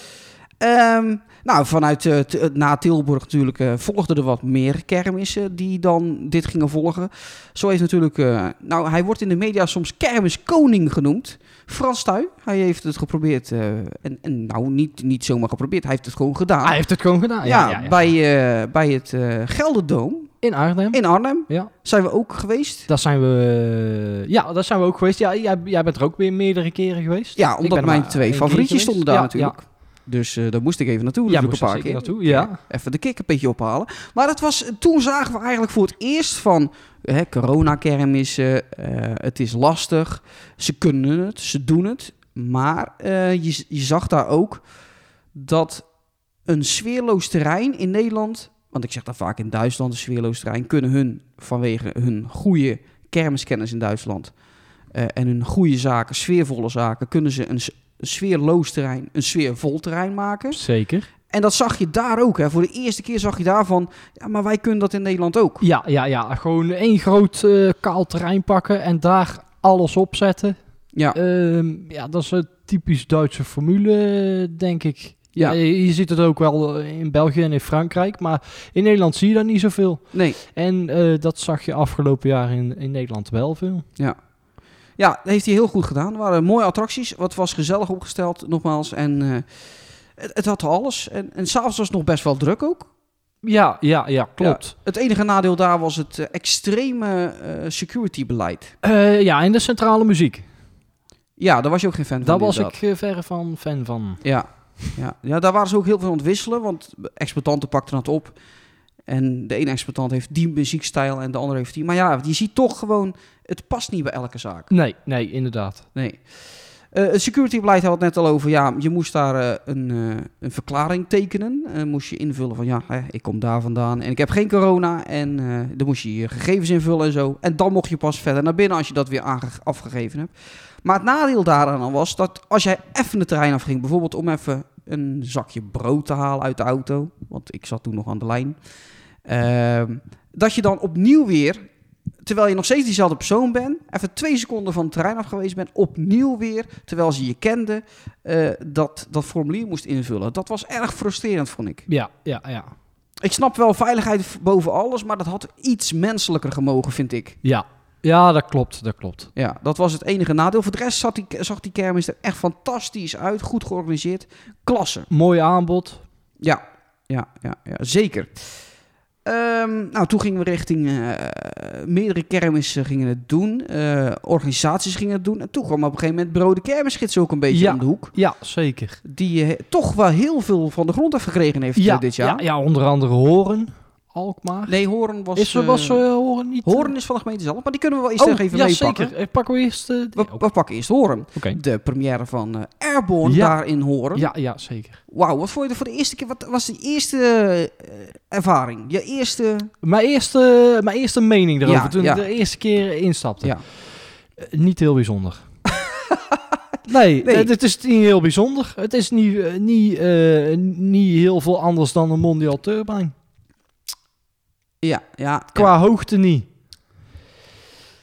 Speaker 3: Ehm, nou, vanuit eh, T- eh, na Tilburg natuurlijk eh volgden er wat meer kermissen die dan dit gingen volgen. Zo heeft natuurlijk, eh, nou hij wordt in de media soms kermiskoning genoemd. Frans Tuy, hij heeft het geprobeerd eh, en, en nou niet, niet zomaar geprobeerd, hij heeft het gewoon gedaan.
Speaker 4: hij heeft het gewoon gedaan.
Speaker 3: Ah. ja,
Speaker 4: Ah, Ja, ja, ja.
Speaker 3: Bij, eh, bij het eh, Gelderdoom
Speaker 4: In Arnhem.
Speaker 3: in Arnhem
Speaker 4: Ja,
Speaker 3: zijn we ook geweest.
Speaker 4: daar zijn we, ja, daar zijn we ook geweest. Ja, jij, jij bent er ook weer meerdere keren geweest.
Speaker 3: Ja,
Speaker 4: Ik ben
Speaker 3: omdat
Speaker 4: er
Speaker 3: mijn
Speaker 4: maar
Speaker 3: twee
Speaker 4: één keer
Speaker 3: favorietjes
Speaker 4: geweest.
Speaker 3: stonden daar
Speaker 4: Ja,
Speaker 3: natuurlijk. Dus eh, daar moest ik even naartoe.
Speaker 4: Ja,
Speaker 3: natuurlijk
Speaker 4: moest
Speaker 3: een
Speaker 4: daar
Speaker 3: paar
Speaker 4: zeker
Speaker 3: keer.
Speaker 4: naartoe. Ja.
Speaker 3: Even de kick een beetje ophalen. Maar dat was, toen zagen we eigenlijk voor het eerst van hè, coronakermissen. eh het is lastig. Ze kunnen het, ze doen het. Maar eh, je, je zag daar ook dat een sfeerloos terrein in Nederland. Want ik zeg dat vaak in Duitsland, een sfeerloos terrein. kunnen hun vanwege hun goede kermiskennis in Duitsland. eh, en hun goede zaken, sfeervolle zaken. kunnen ze een s- een sfeerloos terrein, een sfeervol terrein maken.
Speaker 4: Zeker.
Speaker 3: En dat zag je daar ook. Hè. Voor de eerste keer zag je daarvan. Ja, maar wij kunnen dat in Nederland ook.
Speaker 4: Ja, ja, ja. Gewoon één groot eh, kaal terrein pakken en daar alles op zetten.
Speaker 3: Ja,
Speaker 4: Ehm, ja, dat is een typisch Duitse formule, denk ik.
Speaker 3: Ja.
Speaker 4: Ja. Je je ziet het ook wel in België en in Frankrijk, maar in Nederland zie je dat niet zoveel.
Speaker 3: nee.
Speaker 4: En eh, dat zag je afgelopen jaar in, in Nederland wel veel.
Speaker 3: Ja, dat heeft hij heel goed gedaan. Er waren mooie attracties. Wat was gezellig opgesteld, nogmaals. En eh, het, het had alles. En, en s'avonds was het nog best wel druk ook.
Speaker 4: Ja, ja, ja,
Speaker 3: klopt. Het enige nadeel daar was het eh, extreme eh, security-beleid.
Speaker 4: Ja, Eh, ja en de centrale muziek.
Speaker 3: Ja, daar was je ook geen fan van.
Speaker 4: Daar was
Speaker 3: inderdaad.
Speaker 4: ik eh, verre van fan van.
Speaker 3: Ja. Ja. ja, daar waren ze ook heel veel aan het wisselen. Want exploitanten pakten het op. En de ene exploitant heeft die muziekstijl en de andere heeft die. Maar ja, je ziet toch gewoon... Het past niet bij elke zaak.
Speaker 4: Nee, nee, inderdaad.
Speaker 3: Nee. Eh het securitybeleid hadden we het net al over. Ja, je moest daar eh, een, eh, een verklaring tekenen. Eh, moest je invullen van ja, hè, ik kom daar vandaan en ik heb geen corona. En eh, dan moest je je gegevens invullen en zo. En dan mocht je pas verder naar binnen als je dat weer aange- afgegeven hebt. Maar het nadeel daaraan al was dat als jij even de terrein afging, bijvoorbeeld om even een zakje brood te halen uit de auto, want ik zat toen nog aan de lijn, ehm, dat je dan opnieuw weer terwijl je nog steeds diezelfde persoon bent, even twee seconden van het terrein af geweest bent, opnieuw weer, terwijl ze je kenden, eh, dat, dat formulier moest invullen. Dat was erg frustrerend, vond ik.
Speaker 4: Ja, ja, ja.
Speaker 3: Ik snap wel veiligheid boven alles, maar dat had iets menselijker gemogen, vind ik.
Speaker 4: Ja, Ja, dat klopt, dat klopt.
Speaker 3: Ja, dat was het enige nadeel. Voor de rest zat die, zag die kermis er echt fantastisch uit. Goed georganiseerd. Klasse.
Speaker 4: Mooi aanbod.
Speaker 3: Ja, ja, ja, ja zeker. Ehm, nou, toen gingen we richting eh, meerdere kermissen gingen het doen. Eh, organisaties gingen het doen. En toen kwam op een gegeven moment Brode Kermisgids ook een beetje
Speaker 4: Ja.
Speaker 3: om de hoek.
Speaker 4: Ja, zeker.
Speaker 3: Die eh, toch wel heel veel van de grond af gekregen heeft
Speaker 4: ja,
Speaker 3: eh, dit jaar.
Speaker 4: Ja, ja, onder andere Horen, Alkmaar.
Speaker 3: Nee, Hoorn was...
Speaker 4: is er
Speaker 3: eh,
Speaker 4: was eh, Horen niet?
Speaker 3: Hoorn is van de gemeente zelf, maar die kunnen we wel eerst
Speaker 4: oh,
Speaker 3: nog even
Speaker 4: ja,
Speaker 3: meepakken.
Speaker 4: zeker. Eh, Pakken we eerst... eh, die-
Speaker 3: We,
Speaker 4: Oké.
Speaker 3: we pakken eerst Hoorn. De première van eh, Airborne
Speaker 4: Ja.
Speaker 3: daar in Hoorn.
Speaker 4: Ja, ja, zeker.
Speaker 3: Wauw, wat vond je er voor de eerste keer? Wat was de eerste eh, ervaring? Je eerste...
Speaker 4: Mijn eerste, mijn eerste mening erover,
Speaker 3: Ja,
Speaker 4: toen
Speaker 3: ja.
Speaker 4: ik de eerste keer instapte.
Speaker 3: Ja.
Speaker 4: Eh, niet heel bijzonder. nee,
Speaker 3: Nee.
Speaker 4: eh, het is niet heel bijzonder. Het is niet, eh, niet, eh, niet heel veel anders dan een mondial turbine.
Speaker 3: Ja, ja.
Speaker 4: Qua hoogte niet.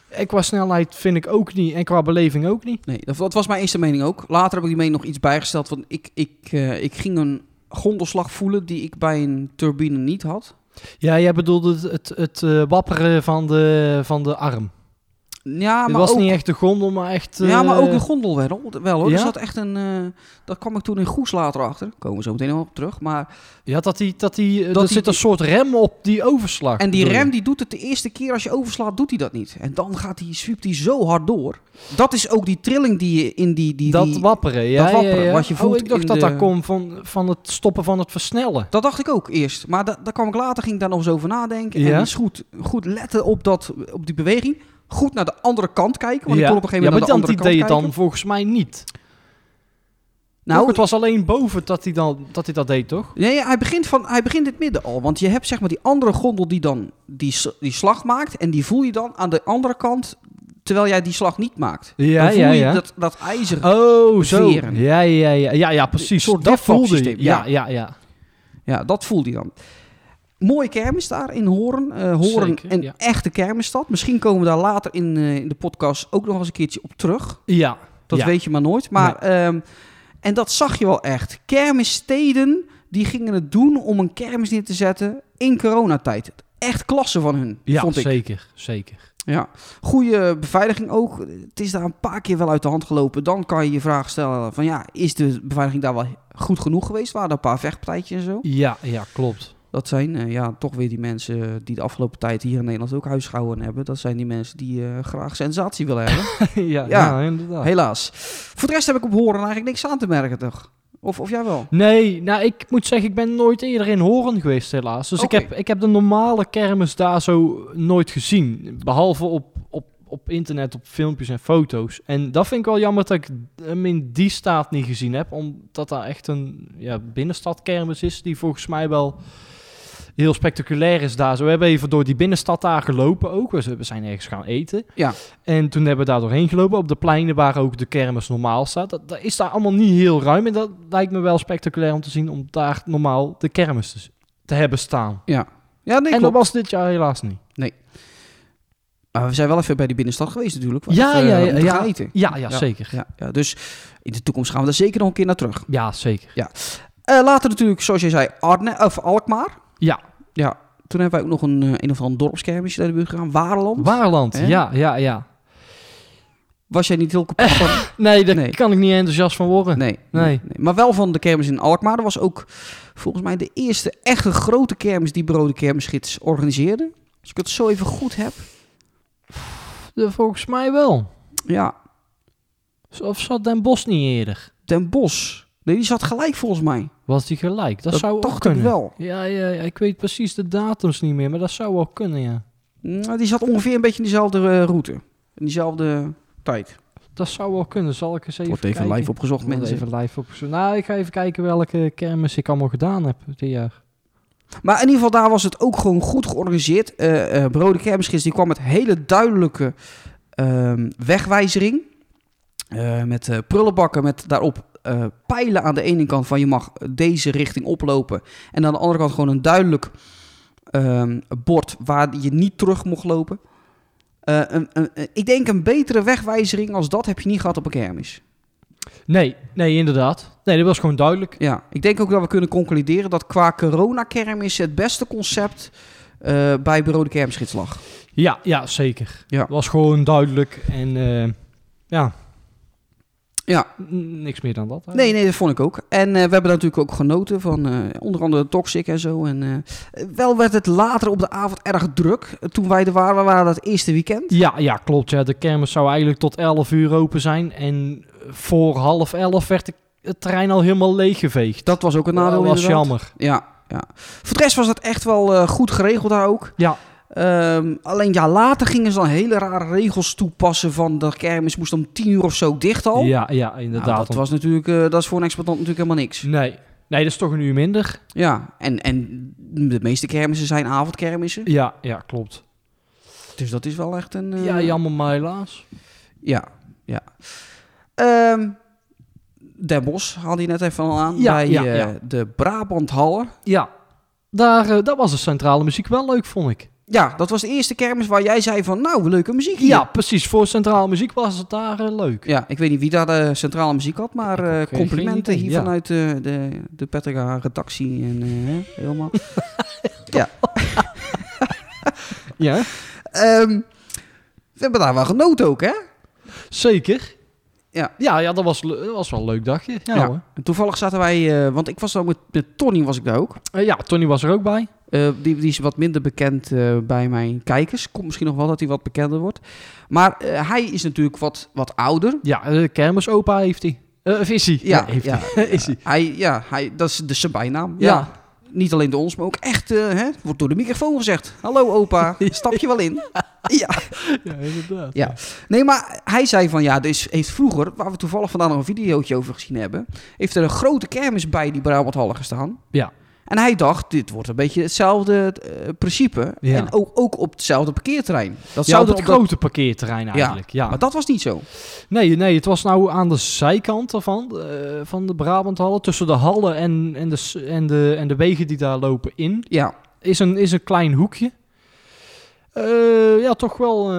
Speaker 4: En qua snelheid vind ik ook niet. En qua beleving ook niet.
Speaker 3: Nee, dat, dat was mijn eerste mening ook. Later heb ik die mening nog iets bijgesteld. Want ik, ik, eh, ik ging een gondelslag voelen die ik bij een turbine niet had.
Speaker 4: Ja, jij bedoelde het, het, het eh, wapperen van de, van de arm.
Speaker 3: Ja,
Speaker 4: het
Speaker 3: maar,
Speaker 4: was
Speaker 3: ook,
Speaker 4: niet echt de gondel, maar echt...
Speaker 3: ja, maar ook
Speaker 4: eh,
Speaker 3: de gondel wel, wel hoor.
Speaker 4: Ja?
Speaker 3: Er zat echt een, eh, daar kwam ik toen in Goes later achter. Komen we zo meteen nog op terug. Maar,
Speaker 4: Ja, dat die... Dat die dat
Speaker 3: Dat
Speaker 4: er
Speaker 3: die-
Speaker 4: zit een soort rem op die overslag.
Speaker 3: en die
Speaker 4: bedoel je?
Speaker 3: rem die doet het de eerste keer als je overslaat, doet hij dat niet. En dan gaat die, zwiept hij zo hard door. Dat is ook die trilling die je in die... die,
Speaker 4: dat
Speaker 3: die-
Speaker 4: wapperen, ja.
Speaker 3: dat wapperen,
Speaker 4: ja, ja.
Speaker 3: wat je voelt
Speaker 4: oh, ik dacht
Speaker 3: in
Speaker 4: dat
Speaker 3: de-
Speaker 4: dat komt van, van het stoppen van het versnellen.
Speaker 3: Dat dacht ik ook eerst. Maar da daar kwam ik later, ging ik daar nog eens over nadenken. En
Speaker 4: Ja.
Speaker 3: eens goed, goed letten op, dat, op die beweging. Goed naar de andere kant kijken. Want ik kon op een gegeven
Speaker 4: ja,
Speaker 3: moment
Speaker 4: maar
Speaker 3: naar de
Speaker 4: dat
Speaker 3: andere
Speaker 4: deed je
Speaker 3: kant
Speaker 4: dan volgens mij niet.
Speaker 3: kijken.
Speaker 4: Nou,
Speaker 3: Nou,
Speaker 4: het was alleen boven dat hij, dan, dat, hij dat deed, toch?
Speaker 3: nee, hij, begint van, hij begint in het midden al. Want je hebt zeg maar die andere gondel die dan die, s- die slag maakt. En die voel je dan aan de andere kant, terwijl jij die slag niet maakt.
Speaker 4: Ja,
Speaker 3: dan voel
Speaker 4: ja,
Speaker 3: je
Speaker 4: ja.
Speaker 3: dat, dat ijzer.
Speaker 4: Oh,
Speaker 3: zo.
Speaker 4: Ja, ja, ja, ja, ja precies.
Speaker 3: Een soort
Speaker 4: dat
Speaker 3: wipwap
Speaker 4: voelde je.
Speaker 3: systeem,
Speaker 4: Ja, ja, ja.
Speaker 3: Ja, dat voelde hij dan. Mooie kermis daar in Hoorn. Eh Hoorn,
Speaker 4: Zeker,
Speaker 3: een
Speaker 4: ja.
Speaker 3: echte kermisstad. Misschien komen we daar later in, eh, in de podcast ook nog eens een keertje op terug.
Speaker 4: Ja,
Speaker 3: Dat
Speaker 4: ja.
Speaker 3: weet je maar nooit. Maar, ehm, en dat zag je wel echt. Kermissteden die gingen het doen om een kermis neer te zetten in coronatijd. Echt klasse van hun,
Speaker 4: ja,
Speaker 3: vond ik.
Speaker 4: zeker, zeker.
Speaker 3: Ja. Goede beveiliging ook. Het is daar een paar keer wel uit de hand gelopen. Dan kan je je vraag stellen van ja, is de beveiliging daar wel goed genoeg geweest? Waren er een paar vechtpartijtjes en zo?
Speaker 4: Ja, ja, klopt.
Speaker 3: Dat zijn eh, ja, toch weer die mensen die de afgelopen tijd hier in Nederland ook huisgehouden hebben. Dat zijn die mensen die eh, graag sensatie willen hebben.
Speaker 4: ja,
Speaker 3: Ja.
Speaker 4: ja, inderdaad.
Speaker 3: Helaas. Voor de rest heb ik op horen eigenlijk niks aan te merken, toch? Of, of jij wel?
Speaker 4: Nee, nou ik moet zeggen, ik ben nooit eerder in Horen geweest helaas. Dus
Speaker 3: Oké.
Speaker 4: ik, heb, ik heb de normale kermis daar zo nooit gezien. Behalve op, op, op internet, op filmpjes en foto's. En dat vind ik wel jammer dat ik hem in die staat niet gezien heb. Omdat daar echt een ja, binnenstadkermis is die volgens mij wel heel spectaculair is daar. Zo, we hebben even door die binnenstad daar gelopen ook. We z- we zijn ergens gaan eten.
Speaker 3: Ja.
Speaker 4: En toen hebben we daar doorheen gelopen. Op de pleinen waar ook de kermis normaal staat. Dat, dat is daar allemaal niet heel ruim. En dat lijkt me wel spectaculair om te zien om daar normaal de kermis te, s- te hebben staan.
Speaker 3: Ja. Ja, nee,
Speaker 4: en dat
Speaker 3: klopt.
Speaker 4: was dit jaar helaas niet.
Speaker 3: Maar we zijn wel even bij die binnenstad geweest natuurlijk. want,
Speaker 4: Ja,
Speaker 3: eh,
Speaker 4: ja,
Speaker 3: om
Speaker 4: ja,
Speaker 3: te
Speaker 4: ja.
Speaker 3: gaan eten.
Speaker 4: Ja, ja,
Speaker 3: Ja.
Speaker 4: zeker.
Speaker 3: Ja, ja, dus in de toekomst gaan we daar zeker nog een keer naar terug.
Speaker 4: Ja, zeker.
Speaker 3: Eh, later natuurlijk, zoals jij zei, Arne, of Alkmaar.
Speaker 4: Ja.
Speaker 3: Ja, toen hebben wij ook nog een, eh, een of ander dorpskermisje naar de buurt gegaan. Waarland.
Speaker 4: Waarland.
Speaker 3: Hè?
Speaker 4: Ja, ja, ja.
Speaker 3: Was jij niet heel kapot van?
Speaker 4: Nee, daar
Speaker 3: Nee.
Speaker 4: kan ik niet enthousiast van worden.
Speaker 3: Nee,
Speaker 4: Nee.
Speaker 3: Maar wel van de kermis in Alkmaar. Dat was ook volgens mij de eerste echte grote kermis die Brode Kermisgids organiseerde. Als ik het zo even goed heb.
Speaker 4: Eh, Volgens mij wel.
Speaker 3: Ja,
Speaker 4: Of zat Den Bos niet eerder?
Speaker 3: Den Bos. Nee, die zat gelijk volgens mij.
Speaker 4: Was die gelijk? Dat,
Speaker 3: Dat
Speaker 4: zou ook
Speaker 3: dacht ik
Speaker 4: kunnen.
Speaker 3: wel.
Speaker 4: Ja, ja, ja, ik weet precies de datums niet meer, maar dat zou wel kunnen, ja.
Speaker 3: Nou, die zat ongeveer een beetje in diezelfde eh, route. In diezelfde tijd.
Speaker 4: Dat zou wel kunnen. Zal ik eens even
Speaker 3: Wordt even
Speaker 4: kijken?
Speaker 3: live opgezocht,
Speaker 4: Wordt
Speaker 3: mensen.
Speaker 4: even live op. Nou, ik ga even kijken welke kermis ik allemaal gedaan heb dit jaar.
Speaker 3: Maar in ieder geval, daar was het ook gewoon goed georganiseerd. Eh eh Brode Kermisgids die kwam met hele duidelijke ehm, wegwijzering. Eh, met eh, prullenbakken met daarop eh, pijlen aan de ene kant van je mag deze richting oplopen. En aan de andere kant gewoon een duidelijk ehm, bord waar je niet terug mocht lopen. Eh, een, een- een- ik denk een betere wegwijzering als dat heb je niet gehad op een kermis.
Speaker 4: Nee, nee, inderdaad. Nee, dat was gewoon duidelijk.
Speaker 3: Ja, ik denk ook dat we kunnen concluderen dat qua coronakermis het beste concept eh, eh, bij Bureau de Kermschitslag.
Speaker 4: Ja, ja zeker.
Speaker 3: Ja.
Speaker 4: Was gewoon duidelijk en eh, ja.
Speaker 3: Ja.
Speaker 4: N- niks meer dan dat.
Speaker 3: Nee, nee, dat vond ik ook. En eh, we hebben daar natuurlijk ook genoten van eh, onder andere Toxic en zo. En, eh, wel werd het later op de avond erg druk. Eh, toen wij er waren, we waren dat eerste weekend.
Speaker 4: Ja, ja, klopt. Ja. De kermis zou eigenlijk tot 11 uur open zijn. En voor half 11 werd de- het terrein al helemaal leeggeveegd.
Speaker 3: Dat was ook een nadeel
Speaker 4: Dat was
Speaker 3: inderdaad.
Speaker 4: jammer.
Speaker 3: Ja, ja. Voor de rest was dat echt wel eh, goed geregeld daar ook.
Speaker 4: Ja.
Speaker 3: Ehm, alleen ja, later gingen ze dan hele rare regels toepassen van de kermis moest om tien uur of zo dicht al.
Speaker 4: Ja, ja,
Speaker 3: Nou,
Speaker 4: inderdaad.
Speaker 3: dat, was natuurlijk, eh, dat is voor een exploitant natuurlijk helemaal niks.
Speaker 4: Nee. nee, dat is toch een uur minder.
Speaker 3: Ja, en, en de meeste kermissen zijn avondkermissen.
Speaker 4: Ja, ja klopt.
Speaker 3: Dus dat is wel echt een... eh,
Speaker 4: Ja, jammer maar helaas.
Speaker 3: Ja, ja. Ehm Den Bosch haalde je net even al aan.
Speaker 4: Ja,
Speaker 3: bij
Speaker 4: ja,
Speaker 3: eh,
Speaker 4: ja.
Speaker 3: de Brabant Hallen.
Speaker 4: Ja, daar, eh, dat was de centrale muziek wel leuk, vond ik.
Speaker 3: Ja, dat was de eerste kermis waar jij zei van, nou, leuke muziek hier.
Speaker 4: Ja, precies. Voor centrale muziek was het daar eh, leuk.
Speaker 3: Ja, ik weet niet wie daar de centrale muziek had, maar eh,
Speaker 4: ook geen-
Speaker 3: complimenten
Speaker 4: geen idee,
Speaker 3: hier
Speaker 4: ja.
Speaker 3: vanuit eh, de, de Pettega redactie en eh, hè, helemaal.
Speaker 4: Ja,
Speaker 3: Ehm, we hebben daar wel genoten ook, hè?
Speaker 4: zeker.
Speaker 3: Ja.
Speaker 4: Ja, ja dat, was, le- dat was wel een leuk dagje. Ja, hoor.
Speaker 3: En toevallig zaten wij, eh, want ik was dan met, met Tony, was ik daar ook.
Speaker 4: Eh, ja, Tony was er ook bij.
Speaker 3: Eh, die, die is wat minder bekend eh, bij mijn kijkers. Komt misschien nog wel dat hij wat bekender wordt. Maar eh, hij is natuurlijk wat, wat ouder.
Speaker 4: Ja, eh, kermisopa heeft hij. Eh, of is hij?
Speaker 3: Ja,
Speaker 4: heeft
Speaker 3: ja,
Speaker 4: hij. is hij.
Speaker 3: Hij, ja, hij, dat is dus zijn bijnaam.
Speaker 4: Ja.
Speaker 3: Niet alleen door ons, maar ook echt, eh, hè, wordt door de microfoon gezegd. Hallo opa, stap je wel in? Ja.
Speaker 4: Ja, inderdaad.
Speaker 3: Ja. Nee, maar hij zei van ja, dus heeft vroeger, waar we toevallig vandaag nog een videootje over gezien hebben, heeft er een grote kermis bij die Brabanthallen gestaan.
Speaker 4: Ja.
Speaker 3: En hij dacht, dit wordt een beetje hetzelfde eh, principe.
Speaker 4: Ja.
Speaker 3: En ook, ook op hetzelfde parkeerterrein. Dat
Speaker 4: Ja,
Speaker 3: zou
Speaker 4: op
Speaker 3: dan
Speaker 4: het
Speaker 3: op dat-
Speaker 4: grote parkeerterrein eigenlijk. Ja.
Speaker 3: Maar dat was niet zo.
Speaker 4: Nee, nee, het was nou aan de zijkant ervan, eh, van de Brabanthallen. Tussen de hallen en, en, de, s- en, de, en de wegen die daar lopen in.
Speaker 3: Ja,
Speaker 4: is een, is een klein hoekje. Eh, ja, toch wel eh,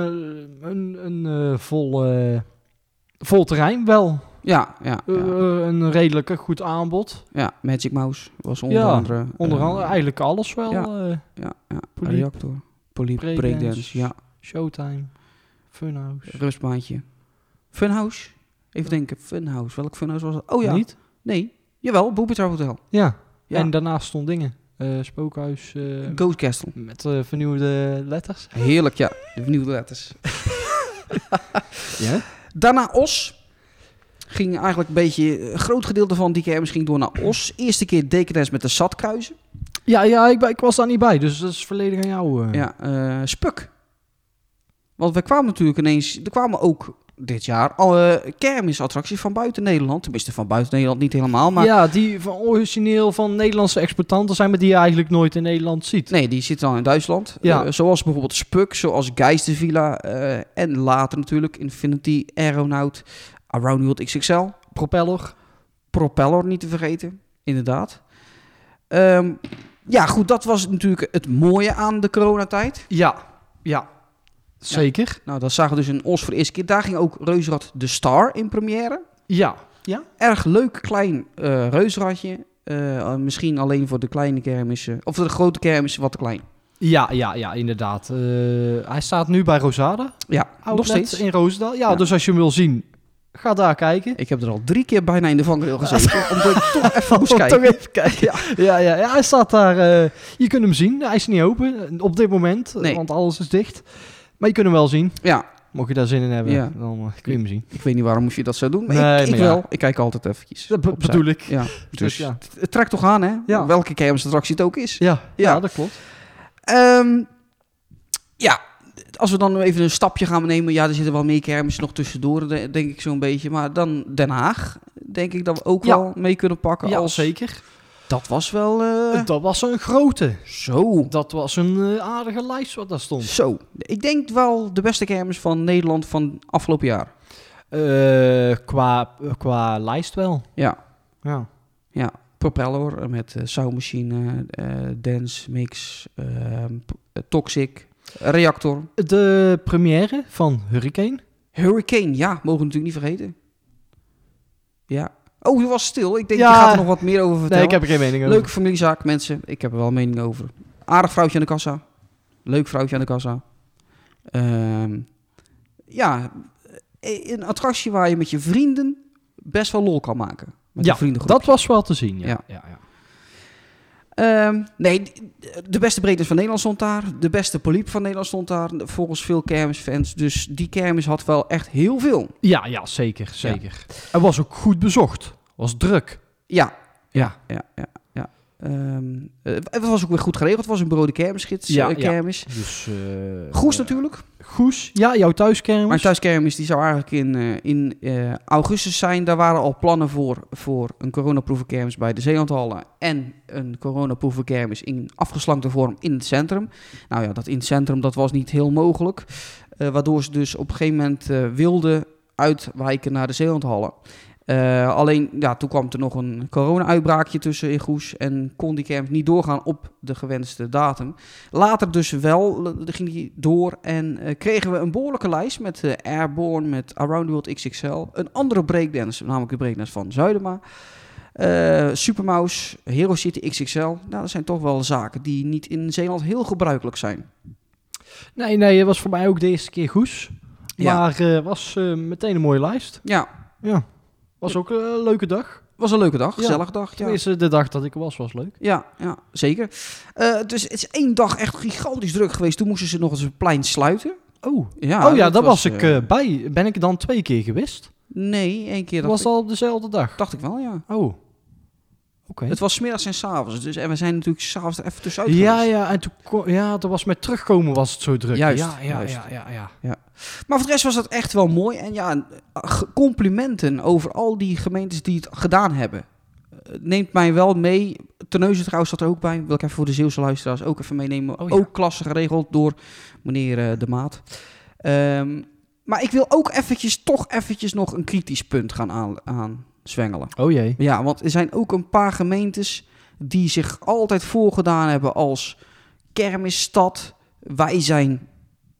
Speaker 4: een, een eh, vol, eh, vol terrein. Wel
Speaker 3: ja, ja.
Speaker 4: Eh,
Speaker 3: ja,
Speaker 4: een redelijk goed aanbod.
Speaker 3: ja. Magic Mouse was onder
Speaker 4: Ja,
Speaker 3: andere.
Speaker 4: Onder
Speaker 3: eh,
Speaker 4: andere eigenlijk alles wel.
Speaker 3: ja.
Speaker 4: eh,
Speaker 3: Ja, ja.
Speaker 4: Polyp.
Speaker 3: Reactor. Polyp,
Speaker 4: Breakdance.
Speaker 3: breakdance. ja.
Speaker 4: Showtime, Funhouse.
Speaker 3: Rustbaantje. Funhouse? Even denken, Funhouse. Welk Funhouse was dat? Oh ja,
Speaker 4: Niet?
Speaker 3: nee. Jawel, Boebetar Hotel.
Speaker 4: Ja.
Speaker 3: Ja.
Speaker 4: En daarnaast stond dingen. Eh, spookhuis eh,
Speaker 3: Ghost Castle.
Speaker 4: met eh, vernieuwde letters.
Speaker 3: Heerlijk, ja. De vernieuwde letters.
Speaker 4: Ja?
Speaker 3: Daarna Os. Ging eigenlijk een beetje... Een groot gedeelte van die kermis ging door naar Os. Eerste keer Dekens met de zatkruizen.
Speaker 4: Ja, ja ik, ben- ik was daar niet bij, dus dat is volledig aan jou. eh.
Speaker 3: Ja, eh, Spuk. Want we kwamen natuurlijk ineens... Er kwamen ook dit jaar al eh, kermisattracties van buiten Nederland. Tenminste, van buiten Nederland niet helemaal, maar...
Speaker 4: ja, die van origineel van Nederlandse exportanten zijn, maar die je eigenlijk nooit in Nederland ziet.
Speaker 3: Nee, die zit dan in Duitsland.
Speaker 4: Ja.
Speaker 3: Eh, zoals bijvoorbeeld Spuk, zoals Geistervilla. eh en later natuurlijk Infinity, Aeronaut, Around the World XXL.
Speaker 4: Propeller.
Speaker 3: Propeller niet te vergeten, inderdaad. Ehm, ja, goed, dat was natuurlijk het mooie aan de coronatijd.
Speaker 4: Ja, ja. Zeker.
Speaker 3: Nou, dat zagen we dus in Os voor de eerste keer. Daar ging ook Reuzenrad de Star in première.
Speaker 4: Ja.
Speaker 3: Erg leuk klein eh reuzenradje. Eh, misschien alleen voor de kleine kermissen. Of de grote kermissen wat te klein.
Speaker 4: Ja, ja, ja, inderdaad. Eh, hij staat nu bij Rosada.
Speaker 3: Ja, nog
Speaker 4: Outlet
Speaker 3: steeds.
Speaker 4: In Roosendaal. Oh, Ja,
Speaker 3: Ja.
Speaker 4: dus als je hem wil zien, ga daar kijken.
Speaker 3: Ik heb er al drie keer bijna in de vangrail gezeten. omdat ik toch even moest
Speaker 4: Om toch
Speaker 3: kijken.
Speaker 4: even kijken. Ja. Ja, ja, hij staat daar. eh, je kunt hem zien. Hij is niet open eh, op dit moment, eh,
Speaker 3: Nee.
Speaker 4: want alles is dicht. Maar je kunt hem wel zien.
Speaker 3: Ja,
Speaker 4: Mocht je daar zin in hebben,
Speaker 3: Ja.
Speaker 4: dan eh, kun je hem zien.
Speaker 3: ik weet niet waarom moest je dat zo doen. Maar
Speaker 4: Nee,
Speaker 3: ik, ik
Speaker 4: maar ja.
Speaker 3: wel. Ik kijk altijd eventjes.
Speaker 4: Dat be-
Speaker 3: opzij.
Speaker 4: bedoel ik.
Speaker 3: Ja, dus
Speaker 4: ja.
Speaker 3: het- het trekt toch aan, hè?
Speaker 4: Ja.
Speaker 3: Welke kermisattractie het ook is.
Speaker 4: Ja, ja.
Speaker 3: Ja.
Speaker 4: dat klopt.
Speaker 3: Ehm, ja, als we dan even een stapje gaan nemen. Ja, er zitten wel meer kermissen nog tussendoor, de- denk ik zo'n beetje. Maar dan Den Haag, denk ik dat we ook
Speaker 4: Ja.
Speaker 3: wel mee kunnen pakken.
Speaker 4: Ja,
Speaker 3: als,
Speaker 4: zeker.
Speaker 3: Dat was wel eh,
Speaker 4: Dat was een grote.
Speaker 3: zo.
Speaker 4: Dat was een eh, aardige lijst wat daar stond.
Speaker 3: Zo. Ik denk wel de beste kermis van Nederland van afgelopen jaar.
Speaker 4: Eh, qua, qua lijst wel.
Speaker 3: Ja,
Speaker 4: Ja.
Speaker 3: ja. Propeller eh, met eh, soundmachine, eh, dance mix, eh, p- eh, toxic, reactor.
Speaker 4: De première van Hurricane.
Speaker 3: Hurricane, ja, mogen we natuurlijk niet vergeten. Ja. Oh, je was stil. Ik denk,
Speaker 4: Ja.
Speaker 3: je gaat er nog wat meer over vertellen.
Speaker 4: er geen mening
Speaker 3: Leuke familiezaak, mensen. Ik heb er wel een mening over. Aardig vrouwtje aan de kassa. Leuk vrouwtje aan de kassa. Ehm, ja, e- een attractie waar je met je vrienden best wel lol kan maken. Met
Speaker 4: ja,
Speaker 3: een vriendengroep.
Speaker 4: dat was wel te zien. Ja.
Speaker 3: Ja.
Speaker 4: Ja. Ja, ja.
Speaker 3: Ehm, nee, d- de beste breedtes van Nederland stond daar. De beste poliep van Nederland stond daar. Volgens veel kermisfans. Dus die kermis had wel echt heel veel.
Speaker 4: ja, zeker. zeker. Het was ook goed bezocht. was druk.
Speaker 3: Ja.
Speaker 4: Ja.
Speaker 3: ja, ja, ja. Ehm, eh, het was ook weer goed geregeld. Het was een brode kermisgids. Ja,
Speaker 4: Ja, ja.
Speaker 3: kermis.
Speaker 4: Dus, eh,
Speaker 3: Goes
Speaker 4: eh,
Speaker 3: natuurlijk.
Speaker 4: Goes. Ja, jouw thuiskermis.
Speaker 3: Mijn thuiskermis die zou eigenlijk in, eh, in eh, augustus zijn. Daar waren al plannen voor, voor een coronaproeven kermis bij de Zeelandhallen. En een coronaproeven kermis in afgeslankte vorm in het centrum. Nou ja, dat in het centrum dat was niet heel mogelijk. eh, waardoor ze dus op een gegeven moment eh, wilden uitwijken naar de Zeelandhallen. Eh, alleen ja, toen kwam er nog een corona-uitbraakje tussen in Goes en kon die kermis niet doorgaan op de gewenste datum. Later dus wel, eh, ging die door en eh, kregen we een behoorlijke lijst met eh, Airborne, met Around the World XXL. Een andere breakdance, namelijk de breakdance van Zuidema. eh Supermouse, Hero City XXL. Nou, dat zijn toch wel zaken die niet in Zeeland heel gebruikelijk zijn.
Speaker 4: Nee, nee, het was voor mij ook de eerste keer Goes.
Speaker 3: Ja.
Speaker 4: Maar eh, was eh, meteen een mooie lijst.
Speaker 3: Ja,
Speaker 4: Ja. Was ook een eh, leuke dag.
Speaker 3: was een leuke dag,
Speaker 4: Ja.
Speaker 3: gezellig dag. Ja.
Speaker 4: Tenminste, de dag dat ik er was, was leuk.
Speaker 3: Ja, ja zeker. Eh, dus het is één dag echt gigantisch druk geweest. Toen moesten ze nog eens een plein sluiten.
Speaker 4: Oh,
Speaker 3: Ja,
Speaker 4: oh ja, daar was, ik
Speaker 3: eh,
Speaker 4: eh, bij. Ben ik er dan twee keer geweest?
Speaker 3: nee, één keer.
Speaker 4: Dat
Speaker 3: Dat
Speaker 4: was al op dezelfde dag.
Speaker 3: Dacht ik wel, ja.
Speaker 4: Oh, oké.
Speaker 3: Het was 's middags en 's avonds. Dus, en we zijn natuurlijk s'avonds er even tussenuit
Speaker 4: Ja,
Speaker 3: geweest.
Speaker 4: ja, en toen ko- ja, dat was met terugkomen was het zo druk.
Speaker 3: Juist,
Speaker 4: ja, ja,
Speaker 3: juist.
Speaker 4: ja, ja, ja.
Speaker 3: Maar voor de rest was dat echt wel mooi. En ja, ge- complimenten over al die gemeentes die het gedaan hebben. Het Neemt mij wel mee. Terneuzen trouwens zat er ook bij. Wil ik even voor de Zeeuwse luisteraars ook even meenemen.
Speaker 4: Oh ja.
Speaker 3: Ook klassen geregeld door meneer eh, De Maat. Ehm, maar ik wil ook eventjes, toch eventjes nog een kritisch punt gaan aan, aanzwengelen.
Speaker 4: Oh jee.
Speaker 3: Ja, want er zijn ook een paar gemeentes die zich altijd voorgedaan hebben als kermisstad. Wij zijn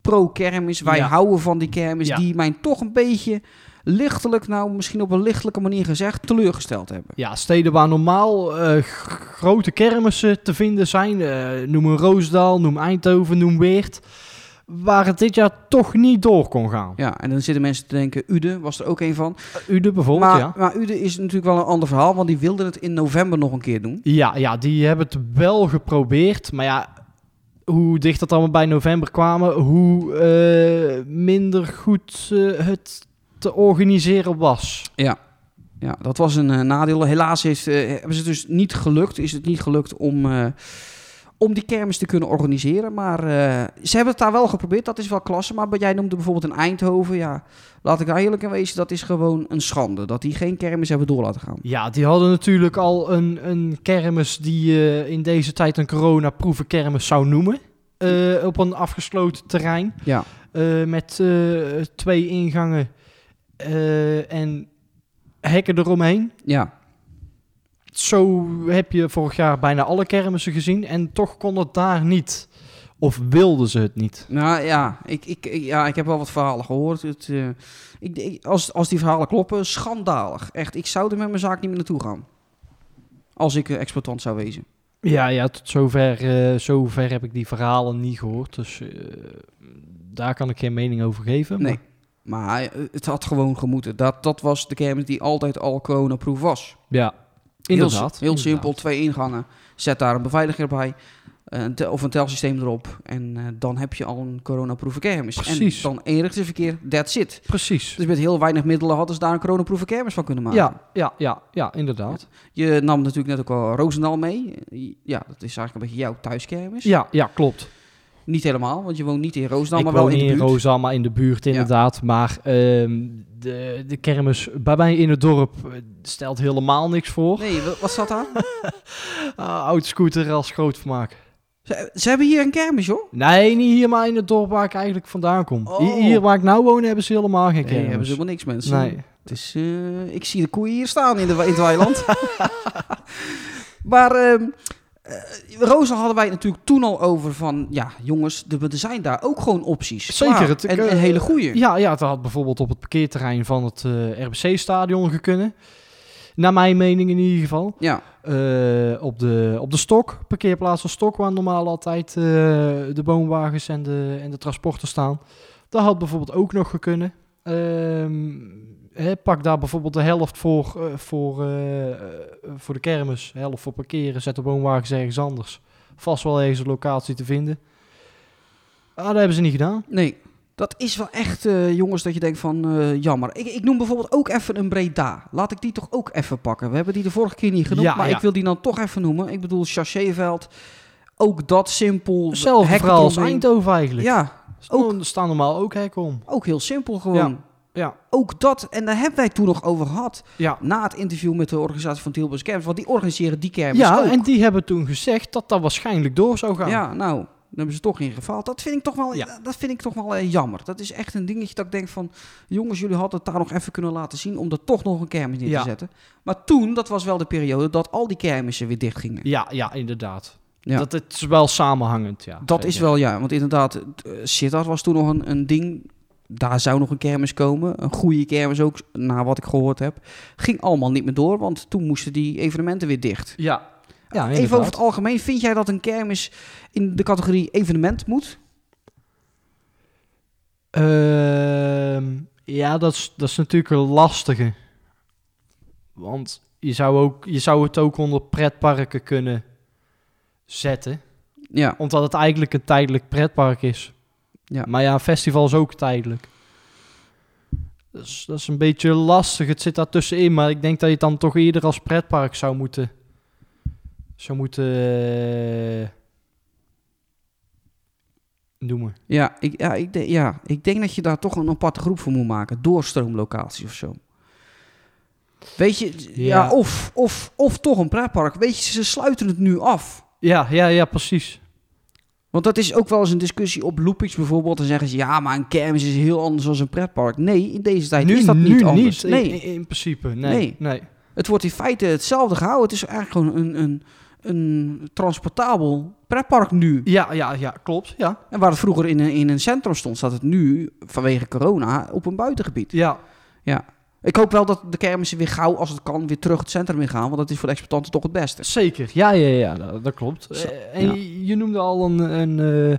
Speaker 3: pro-kermis, wij
Speaker 4: Ja.
Speaker 3: houden van die kermis.
Speaker 4: Ja.
Speaker 3: Die mij toch een beetje lichtelijk, nou misschien op een lichtelijke manier gezegd, teleurgesteld hebben.
Speaker 4: Ja, steden waar normaal eh, g- grote kermissen te vinden zijn, eh, noem een Roosdal, noem Eindhoven, noem Weert, waar het dit jaar toch niet door kon gaan.
Speaker 3: Ja, en dan zitten mensen te denken, Ude was er ook een van.
Speaker 4: Ude bijvoorbeeld,
Speaker 3: Maar,
Speaker 4: ja.
Speaker 3: maar Ude is natuurlijk wel een ander verhaal, want die wilden het in november nog een keer doen.
Speaker 4: Ja, ja, die hebben het wel geprobeerd. Maar ja, hoe dicht dat allemaal bij november kwamen, hoe eh, minder goed eh, het te organiseren was.
Speaker 3: Ja, dat was een eh, nadeel. Helaas heeft, eh, hebben ze het dus niet gelukt. Is het niet gelukt om, eh, om die kermis te kunnen organiseren. Maar eh, ze hebben het daar wel geprobeerd. Dat is wel klasse. Maar jij noemde bijvoorbeeld een Eindhoven. Ja, laat ik daar eerlijk in wezen. Dat is gewoon een schande. Dat die geen kermis hebben door laten gaan.
Speaker 4: Ja, die hadden natuurlijk al een, een kermis die je in deze tijd een coronaproeven kermis zou noemen. eh, op een afgesloten terrein.
Speaker 3: Ja,
Speaker 4: eh, met eh, twee ingangen eh, en hekken eromheen.
Speaker 3: ja.
Speaker 4: zo heb je vorig jaar bijna alle kermissen gezien en toch kon het daar niet. Of wilden ze het niet.
Speaker 3: Nou ja, ik, ik, ik- ja, ik heb wel wat verhalen gehoord. Het, eh, ik, ik- als, als die verhalen kloppen, schandalig. Echt, ik zou er met mijn zaak niet meer naartoe gaan. Als ik eh, exploitant zou wezen.
Speaker 4: Ja, ja tot zover, eh, zover heb ik die verhalen niet gehoord. Dus eh, daar kan ik geen mening over geven. maar-
Speaker 3: Nee. Maar eh, het had gewoon gemoeten. Dat, dat was de kermis die altijd al coronaproof was.
Speaker 4: ja,
Speaker 3: Heel
Speaker 4: inderdaad.
Speaker 3: si- Heel,
Speaker 4: inderdaad.
Speaker 3: simpel, twee ingangen. Zet daar een beveiliger bij. eh, een tel- of een telsysteem erop. En eh, dan heb je al een coronaproeve kermis.
Speaker 4: Precies.
Speaker 3: En dan één verkeer, that's it.
Speaker 4: Precies.
Speaker 3: Dus met heel weinig middelen hadden ze daar een coronaproeve kermis van kunnen maken.
Speaker 4: Ja, ja, ja, ja, inderdaad.
Speaker 3: Je nam natuurlijk net ook al Roosendaal mee. Ja, dat is eigenlijk een beetje jouw thuiskermis.
Speaker 4: Ja, ja klopt.
Speaker 3: Niet helemaal, want je woont niet in Roosendaal,
Speaker 4: ik
Speaker 3: maar
Speaker 4: woon
Speaker 3: wel in
Speaker 4: niet
Speaker 3: de
Speaker 4: in
Speaker 3: buurt.
Speaker 4: Rosa, maar in de buurt inderdaad. Maar ehm, de, de kermis bij mij in het dorp eh, stelt helemaal niks voor.
Speaker 3: Nee, wa- wat staat daar?
Speaker 4: Ah, oud scooter als groot vermaak.
Speaker 3: ze, ze hebben hier een kermis, joh.
Speaker 4: Nee, niet hier, maar in het dorp waar ik eigenlijk vandaan kom.
Speaker 3: Oh.
Speaker 4: Hi- Hier waar ik nou woon hebben ze helemaal geen
Speaker 3: Nee,
Speaker 4: kermis.
Speaker 3: hebben ze helemaal niks, mensen.
Speaker 4: Nee.
Speaker 3: Het is, eh, ik zie de koeien hier staan in, de, in het weiland. maar ehm eh, Rosa hadden wij het natuurlijk toen al over van... Ja, jongens, er, er zijn daar ook gewoon opties.
Speaker 4: Zeker,
Speaker 3: Klaar.
Speaker 4: het-
Speaker 3: en,
Speaker 4: eh,
Speaker 3: en hele goeie.
Speaker 4: eh, Ja, ja, het had bijvoorbeeld op het parkeerterrein van het RBC-stadion gekunnen. Naar mijn mening in ieder geval.
Speaker 3: Ja,
Speaker 4: Eh, op, de, op de stok, parkeerplaats van stok, waar normaal altijd eh, de boomwagens en de, en de transporten staan. Dat had bijvoorbeeld ook nog gekunnen. Ehm, hè, pak daar bijvoorbeeld de helft voor, eh, voor, eh, eh, voor de kermis, de helft voor parkeren, zet de boomwagens ergens anders. Vast wel ergens een locatie te vinden. Ah, dat hebben ze niet gedaan.
Speaker 3: nee. Dat is wel echt, eh, jongens, dat je denkt van eh, jammer. Ik, ik noem bijvoorbeeld ook even een Breda. Laat ik die toch ook even pakken. We hebben die de vorige keer niet genoemd,
Speaker 4: Ja,
Speaker 3: maar
Speaker 4: ja.
Speaker 3: ik wil die dan toch even noemen. Ik bedoel, Chasseveld. Ook dat simpel.
Speaker 4: Hetzelfde
Speaker 3: Hekken
Speaker 4: verhaal als
Speaker 3: eromheen.
Speaker 4: Eindhoven eigenlijk.
Speaker 3: Ja, ook.
Speaker 4: ook. staan normaal ook hek om.
Speaker 3: ook heel simpel gewoon.
Speaker 4: Ja, ja.
Speaker 3: Ook dat, en daar hebben wij het toen nog over gehad.
Speaker 4: Ja,
Speaker 3: Na het interview met de organisatie van Tilburgs Kermis. Want die organiseren die kermis
Speaker 4: ja
Speaker 3: ook.
Speaker 4: en die hebben toen gezegd dat dat waarschijnlijk door zou gaan.
Speaker 3: Ja, nou, daar hebben ze toch in gefaald. Dat vind ik toch wel,
Speaker 4: Ja.
Speaker 3: dat vind ik toch wel eh, jammer. Dat is echt een dingetje dat ik denk van... Jongens, jullie hadden het daar nog even kunnen laten zien... om er toch nog een kermis neer
Speaker 4: Ja.
Speaker 3: te zetten. Maar toen, dat was wel de periode dat al die kermissen weer dicht gingen.
Speaker 4: Ja, ja, inderdaad.
Speaker 3: Ja.
Speaker 4: Dat het is wel samenhangend, ja.
Speaker 3: Dat is
Speaker 4: zeker.
Speaker 3: wel, ja. Want inderdaad, eh, Sittard was toen nog een, een ding. Daar zou nog een kermis komen. Een goede kermis ook, naar wat ik gehoord heb. Ging allemaal niet meer door, want toen moesten die evenementen weer dicht.
Speaker 4: Ja. Ja, inderdaad.
Speaker 3: Even over het algemeen, vind jij dat een kermis in de categorie evenement moet?
Speaker 4: Ehm, ja, dat is, dat is natuurlijk een lastige. Want je zou, ook, je zou het ook onder pretparken kunnen zetten.
Speaker 3: Ja,
Speaker 4: Omdat het eigenlijk een tijdelijk pretpark is.
Speaker 3: Ja.
Speaker 4: Maar ja, een festival is ook tijdelijk. Dus dat is een beetje lastig. Het zit daar tussenin. Maar ik denk dat je het dan toch eerder als pretpark zou moeten... Zou moeten... eh, noemen.
Speaker 3: ja, ik, ja, ik denk- ja, ik denk dat je daar toch een aparte groep voor moet maken. Doorstroomlocatie of zo. Weet je, ja,
Speaker 4: Ja.
Speaker 3: of, of, of toch een pretpark. Weet je, ze sluiten het nu af.
Speaker 4: Ja, ja, ja, precies.
Speaker 3: Want dat is ook wel eens een discussie op Loopings bijvoorbeeld. Dan zeggen ze, ja, maar een kermis is heel anders dan een pretpark. Nee, in deze tijd is dat niet anders.
Speaker 4: In-
Speaker 3: Nee,
Speaker 4: In, in principe, nee.
Speaker 3: Nee.
Speaker 4: nee.
Speaker 3: het wordt in feite hetzelfde gehouden. Het is eigenlijk gewoon een, een, een transportabel pretpark nu.
Speaker 4: Ja, ja, ja, klopt. Ja,
Speaker 3: En waar het vroeger in een, in een centrum stond, staat het nu, vanwege corona, op een buitengebied.
Speaker 4: ja,
Speaker 3: Ik hoop wel dat de kermissen weer gauw, als het kan, weer terug het centrum in gaan. Want dat is voor de exploitanten toch het beste.
Speaker 4: zeker. Ja, ja, ja, dat, dat klopt.
Speaker 3: Zo,
Speaker 4: Eh, en
Speaker 3: ja.
Speaker 4: je, je noemde al een, een, eh,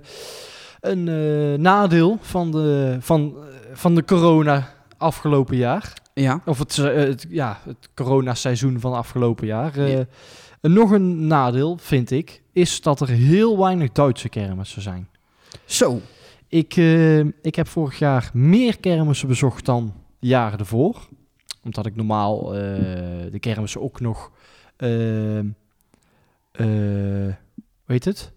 Speaker 4: een eh, nadeel van de, van, eh, van de corona afgelopen jaar.
Speaker 3: Ja,
Speaker 4: Of het, eh, het, ja, het coronaseizoen van afgelopen jaar. Eh,
Speaker 3: Ja.
Speaker 4: en Nog een nadeel, vind ik, is dat er heel weinig Duitse kermissen zijn.
Speaker 3: zo.
Speaker 4: Ik, eh, ik heb vorig jaar meer kermissen bezocht dan de jaren ervoor. Omdat ik normaal eh, de kermissen ook nog... eh, eh, hoe heet het?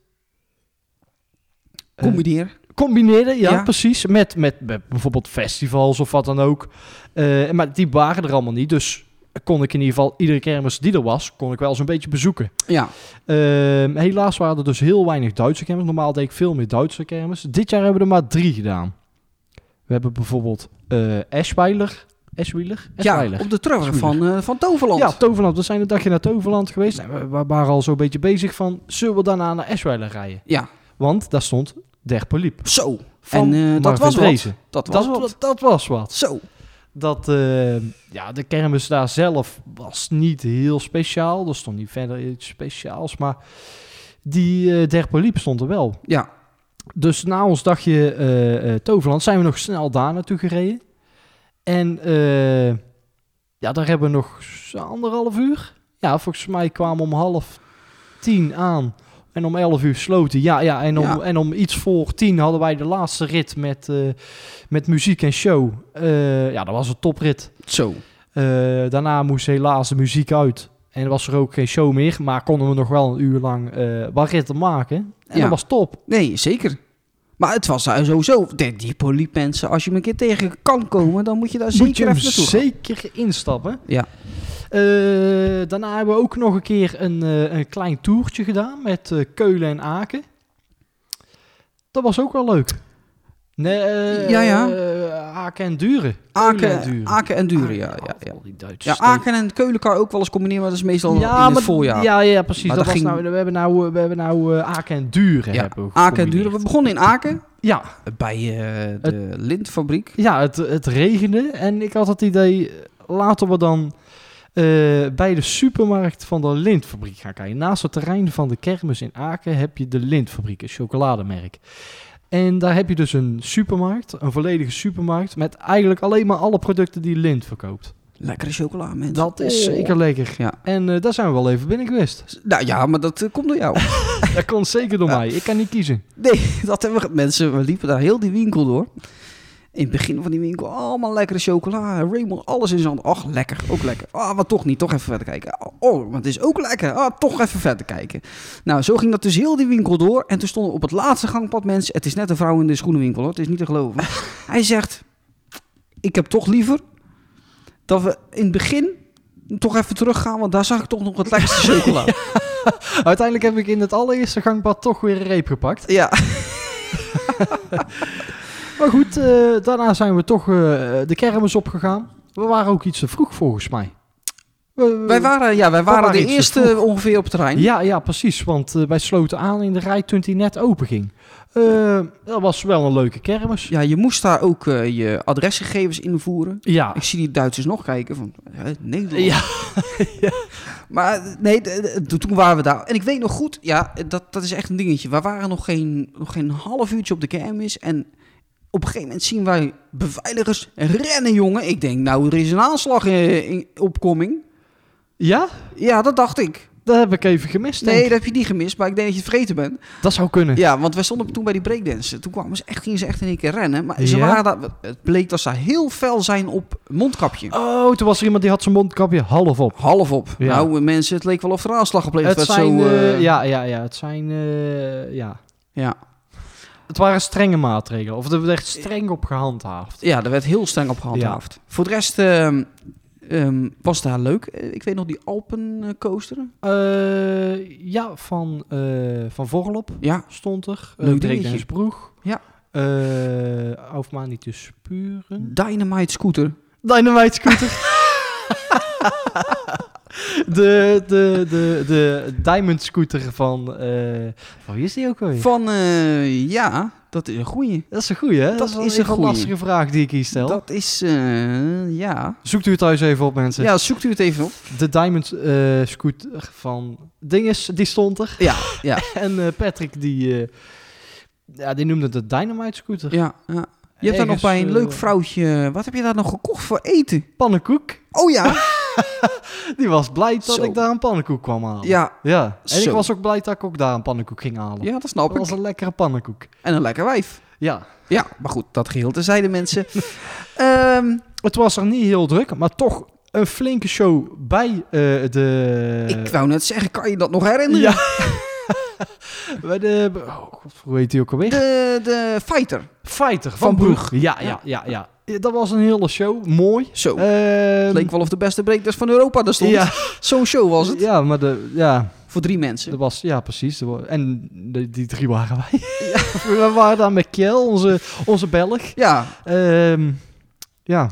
Speaker 4: Eh,
Speaker 3: Combineer.
Speaker 4: combineerde, ja,
Speaker 3: Ja.
Speaker 4: precies. Met, met, met bijvoorbeeld festivals of wat dan ook. Eh, maar die waren er allemaal niet. Dus kon ik in ieder geval iedere kermis die er was, kon ik wel zo'n beetje bezoeken.
Speaker 3: Ja,
Speaker 4: Ehm, helaas waren er dus heel weinig Duitse kermis. Normaal deed ik veel meer Duitse kermis. Dit jaar hebben we er maar drie gedaan. We hebben bijvoorbeeld eh Eschweiler. Eschweiler?
Speaker 3: ja op de terug van, eh, van Toverland.
Speaker 4: Ja, Toverland. We zijn een dagje naar Toverland geweest. En we, we waren al zo'n beetje bezig van... Zullen we daarna naar Eschweiler rijden?
Speaker 3: Ja.
Speaker 4: Want daar stond Der Poliep.
Speaker 3: Zo.
Speaker 4: Van
Speaker 3: en eh, dat
Speaker 4: Marvin
Speaker 3: was wat.
Speaker 4: Dreesen.
Speaker 3: Dat was
Speaker 4: Dat,
Speaker 3: wat.
Speaker 4: wa- dat was wat.
Speaker 3: Zo.
Speaker 4: Dat, eh, ja, de kermis daar zelf was niet heel speciaal. Er stond niet verder iets speciaals. Maar die eh Der Poliep stond er wel.
Speaker 3: Ja.
Speaker 4: Dus na ons dagje eh, eh, Toverland zijn we nog snel daar naartoe gereden. En eh, ja, daar hebben we nog zo'n anderhalf uur. Ja, volgens mij kwamen om half tien aan. En om elf uur sloten. Ja, ja, en om,
Speaker 3: Ja.
Speaker 4: En om iets voor tien hadden wij de laatste rit met, eh, met muziek en show. Eh, ja, dat was een toprit.
Speaker 3: Zo.
Speaker 4: Eh, daarna moest helaas de muziek uit. En was er ook geen show meer. Maar konden we nog wel een uur lang eh wat ritten maken. En
Speaker 3: Ja.
Speaker 4: dat was top.
Speaker 3: Nee, zeker. Maar het was daar sowieso. De, die poliep mensen, als je hem een keer tegen kan komen, dan moet je daar
Speaker 4: Moet je
Speaker 3: zeker
Speaker 4: hem
Speaker 3: even naartoe. gaan.
Speaker 4: zeker instappen.
Speaker 3: Ja.
Speaker 4: Eh, daarna hebben we ook nog een keer een, eh, een klein toertje gedaan met eh, Keulen en Aken. Dat was ook wel leuk. Nee, eh,
Speaker 3: Ja, ja.
Speaker 4: eh, Aken en Duren. Keulen en
Speaker 3: Aken,
Speaker 4: Duren.
Speaker 3: Aken en Duren, ja. Ja, ja.
Speaker 4: Al die Duitse
Speaker 3: ja
Speaker 4: steden.
Speaker 3: Aken en Keulen kan ook wel eens combineren, maar dat is meestal in het
Speaker 4: maar-
Speaker 3: voorjaar.
Speaker 4: Ja, ja, precies.
Speaker 3: Maar
Speaker 4: dat
Speaker 3: dat
Speaker 4: was
Speaker 3: ging-
Speaker 4: nou, we hebben nou, eh, we hebben nou eh, Aken en Duren.
Speaker 3: Ja,
Speaker 4: hebben we
Speaker 3: Aken en
Speaker 4: gecombineerd.
Speaker 3: Duren. We begonnen in Aken,
Speaker 4: Ja,
Speaker 3: bij eh, de lintfabriek.
Speaker 4: ja het, het regende. En ik had het idee, eh, laten we dan eh, bij de supermarkt van de Lintfabriek gaan kijken. Naast het terrein van de kermis in Aken heb je de Lintfabriek, een chocolademerk. En daar heb je dus een supermarkt, een volledige supermarkt, met eigenlijk alleen maar alle producten die Lint verkoopt.
Speaker 3: Lekkere chocola, mensen.
Speaker 4: Dat is
Speaker 3: Oh.
Speaker 4: zeker lekker.
Speaker 3: Ja.
Speaker 4: En eh, daar zijn we wel even binnen geweest.
Speaker 3: Nou ja, maar dat eh, komt door jou.
Speaker 4: Dat komt zeker door
Speaker 3: Ja.
Speaker 4: mij. Ik kan niet kiezen.
Speaker 3: Nee, dat hebben we. ge- Mensen, we liepen daar heel die winkel door. In het begin van die winkel, allemaal lekkere chocola. Raymond, alles in zijn hand. Ach, lekker, ook lekker. Ah, wat toch niet, toch even verder kijken. Oh, maar het is ook lekker. Ah, toch even verder kijken. Nou, zo ging dat dus heel die winkel door. En toen stonden op het laatste gangpad mensen. Het is net een vrouw in de schoenenwinkel, hoor. Het is niet te geloven. Hij zegt, ik heb toch liever dat we in het begin toch even teruggaan. Want daar zag ik toch nog het lekkerste chocola.
Speaker 4: Uiteindelijk heb ik in het allereerste gangpad toch weer een reep gepakt.
Speaker 3: ja.
Speaker 4: Maar goed, eh, daarna zijn we toch eh, de kermis opgegaan. We waren ook iets te vroeg volgens mij. We-
Speaker 3: Wij waren, ja, wij waren
Speaker 4: waren
Speaker 3: de
Speaker 4: iets te
Speaker 3: eerste ongeveer op het terrein.
Speaker 4: Ja, ja, precies. Want eh, wij sloten aan in de rij toen die net open ging. Eh, dat was wel een leuke kermis.
Speaker 3: Ja, je moest daar ook eh, je adresgegevens invoeren.
Speaker 4: Ja.
Speaker 3: Ik zie die Duitsers nog kijken van, hè, Nederland.
Speaker 4: Ja.
Speaker 3: Maar nee, de- de- toen waren we daar. En ik weet nog goed, ja, dat, dat is echt een dingetje. We waren nog geen, nog geen half uurtje op de kermis. En op een gegeven moment zien wij beveiligers rennen, jongen. Ik denk, nou, er is een aanslag eh, in opkoming.
Speaker 4: ja,
Speaker 3: Ja, dat dacht ik.
Speaker 4: dat heb ik even gemist.
Speaker 3: Nee,
Speaker 4: Nee,
Speaker 3: dat heb je niet gemist, maar ik denk dat je het vergeten bent.
Speaker 4: dat zou kunnen.
Speaker 3: Ja, want wij stonden toen bij die breakdance. Toen kwamen ze echt, gingen ze echt in één keer rennen. Maar ze
Speaker 4: Ja?
Speaker 3: waren daar, het bleek dat ze heel fel zijn op mondkapje.
Speaker 4: Oh, toen was er iemand die had zijn mondkapje half op.
Speaker 3: Half op.
Speaker 4: Ja.
Speaker 3: Nou, mensen, het leek wel of er aanslag gepleegd
Speaker 4: Het
Speaker 3: werd.
Speaker 4: zijn,
Speaker 3: zo,
Speaker 4: eh,
Speaker 3: eh,
Speaker 4: ja, ja, ja, het zijn, eh, ja.
Speaker 3: ja.
Speaker 4: Het waren strenge maatregelen. Of er werd echt streng op gehandhaafd.
Speaker 3: Ja, daar werd heel streng op gehandhaafd. Voor de rest ehm, ehm, was daar leuk. Eh, Ik weet nog die Alpencoaster.
Speaker 4: Eh, ja, van, eh van Vorlop
Speaker 3: Ja,
Speaker 4: stond er.
Speaker 3: Leuk
Speaker 4: Uh, Breakdance
Speaker 3: dingetje.
Speaker 4: Broeg.
Speaker 3: Ja.
Speaker 4: Uh, niet te spuren.
Speaker 3: Dynamite Scooter.
Speaker 4: Dynamite Scooter. de, de, de, de Diamond Scooter van... eh van wie is die ook alweer?
Speaker 3: Van, eh, ja, dat is een goeie.
Speaker 4: dat is een goeie, hè?
Speaker 3: Dat
Speaker 4: wel
Speaker 3: is
Speaker 4: even
Speaker 3: een goeie.
Speaker 4: lastige vraag die ik hier stel.
Speaker 3: Dat is, eh, ja.
Speaker 4: Zoekt u het thuis even op, mensen.
Speaker 3: Ja, zoekt u het even op.
Speaker 4: De Diamond eh, Scooter van Dinges, die stond er.
Speaker 3: Ja, ja.
Speaker 4: En eh, Patrick, die... eh, ja, die noemde het de Dynamite Scooter.
Speaker 3: Ja, ja. Je hebt daar nog
Speaker 4: Ergens,
Speaker 3: bij een
Speaker 4: eh,
Speaker 3: leuk vrouwtje. Wat heb je daar nog gekocht voor eten?
Speaker 4: Pannenkoek.
Speaker 3: Oh ja.
Speaker 4: Die was blij dat
Speaker 3: Zo.
Speaker 4: ik daar een pannenkoek kwam halen.
Speaker 3: ja.
Speaker 4: Ja. En
Speaker 3: Zo.
Speaker 4: ik was ook blij dat ik ook daar een pannenkoek ging halen.
Speaker 3: Ja, dat
Speaker 4: Dat
Speaker 3: snap
Speaker 4: was
Speaker 3: ik.
Speaker 4: een lekkere pannenkoek.
Speaker 3: En een lekker wijf.
Speaker 4: Ja.
Speaker 3: Ja, maar goed, dat geheel terzijde, mensen. Ehm,
Speaker 4: Het was er niet heel druk, maar toch een flinke show bij eh, de...
Speaker 3: ik wou net zeggen, kan je dat nog herinneren?
Speaker 4: Eh. Ja. bij de... Oh, god, hoe heet die ook alweer?
Speaker 3: De, de fighter.
Speaker 4: Fighter
Speaker 3: Van Broeg.
Speaker 4: Ja, ja, ja, ja. Ja, Dat was een hele show. Mooi.
Speaker 3: Zo.
Speaker 4: Ehm,
Speaker 3: het leek wel of de beste breakdance van Europa daar stond.
Speaker 4: Ja,
Speaker 3: Zo'n show was het.
Speaker 4: ja, maar de... Ja,
Speaker 3: Voor drie mensen.
Speaker 4: er was... Ja, precies. Er wa- en de- die drie waren wij. We waren daar met Kjell, onze, onze Belg.
Speaker 3: Ja.
Speaker 4: Ehm, ja.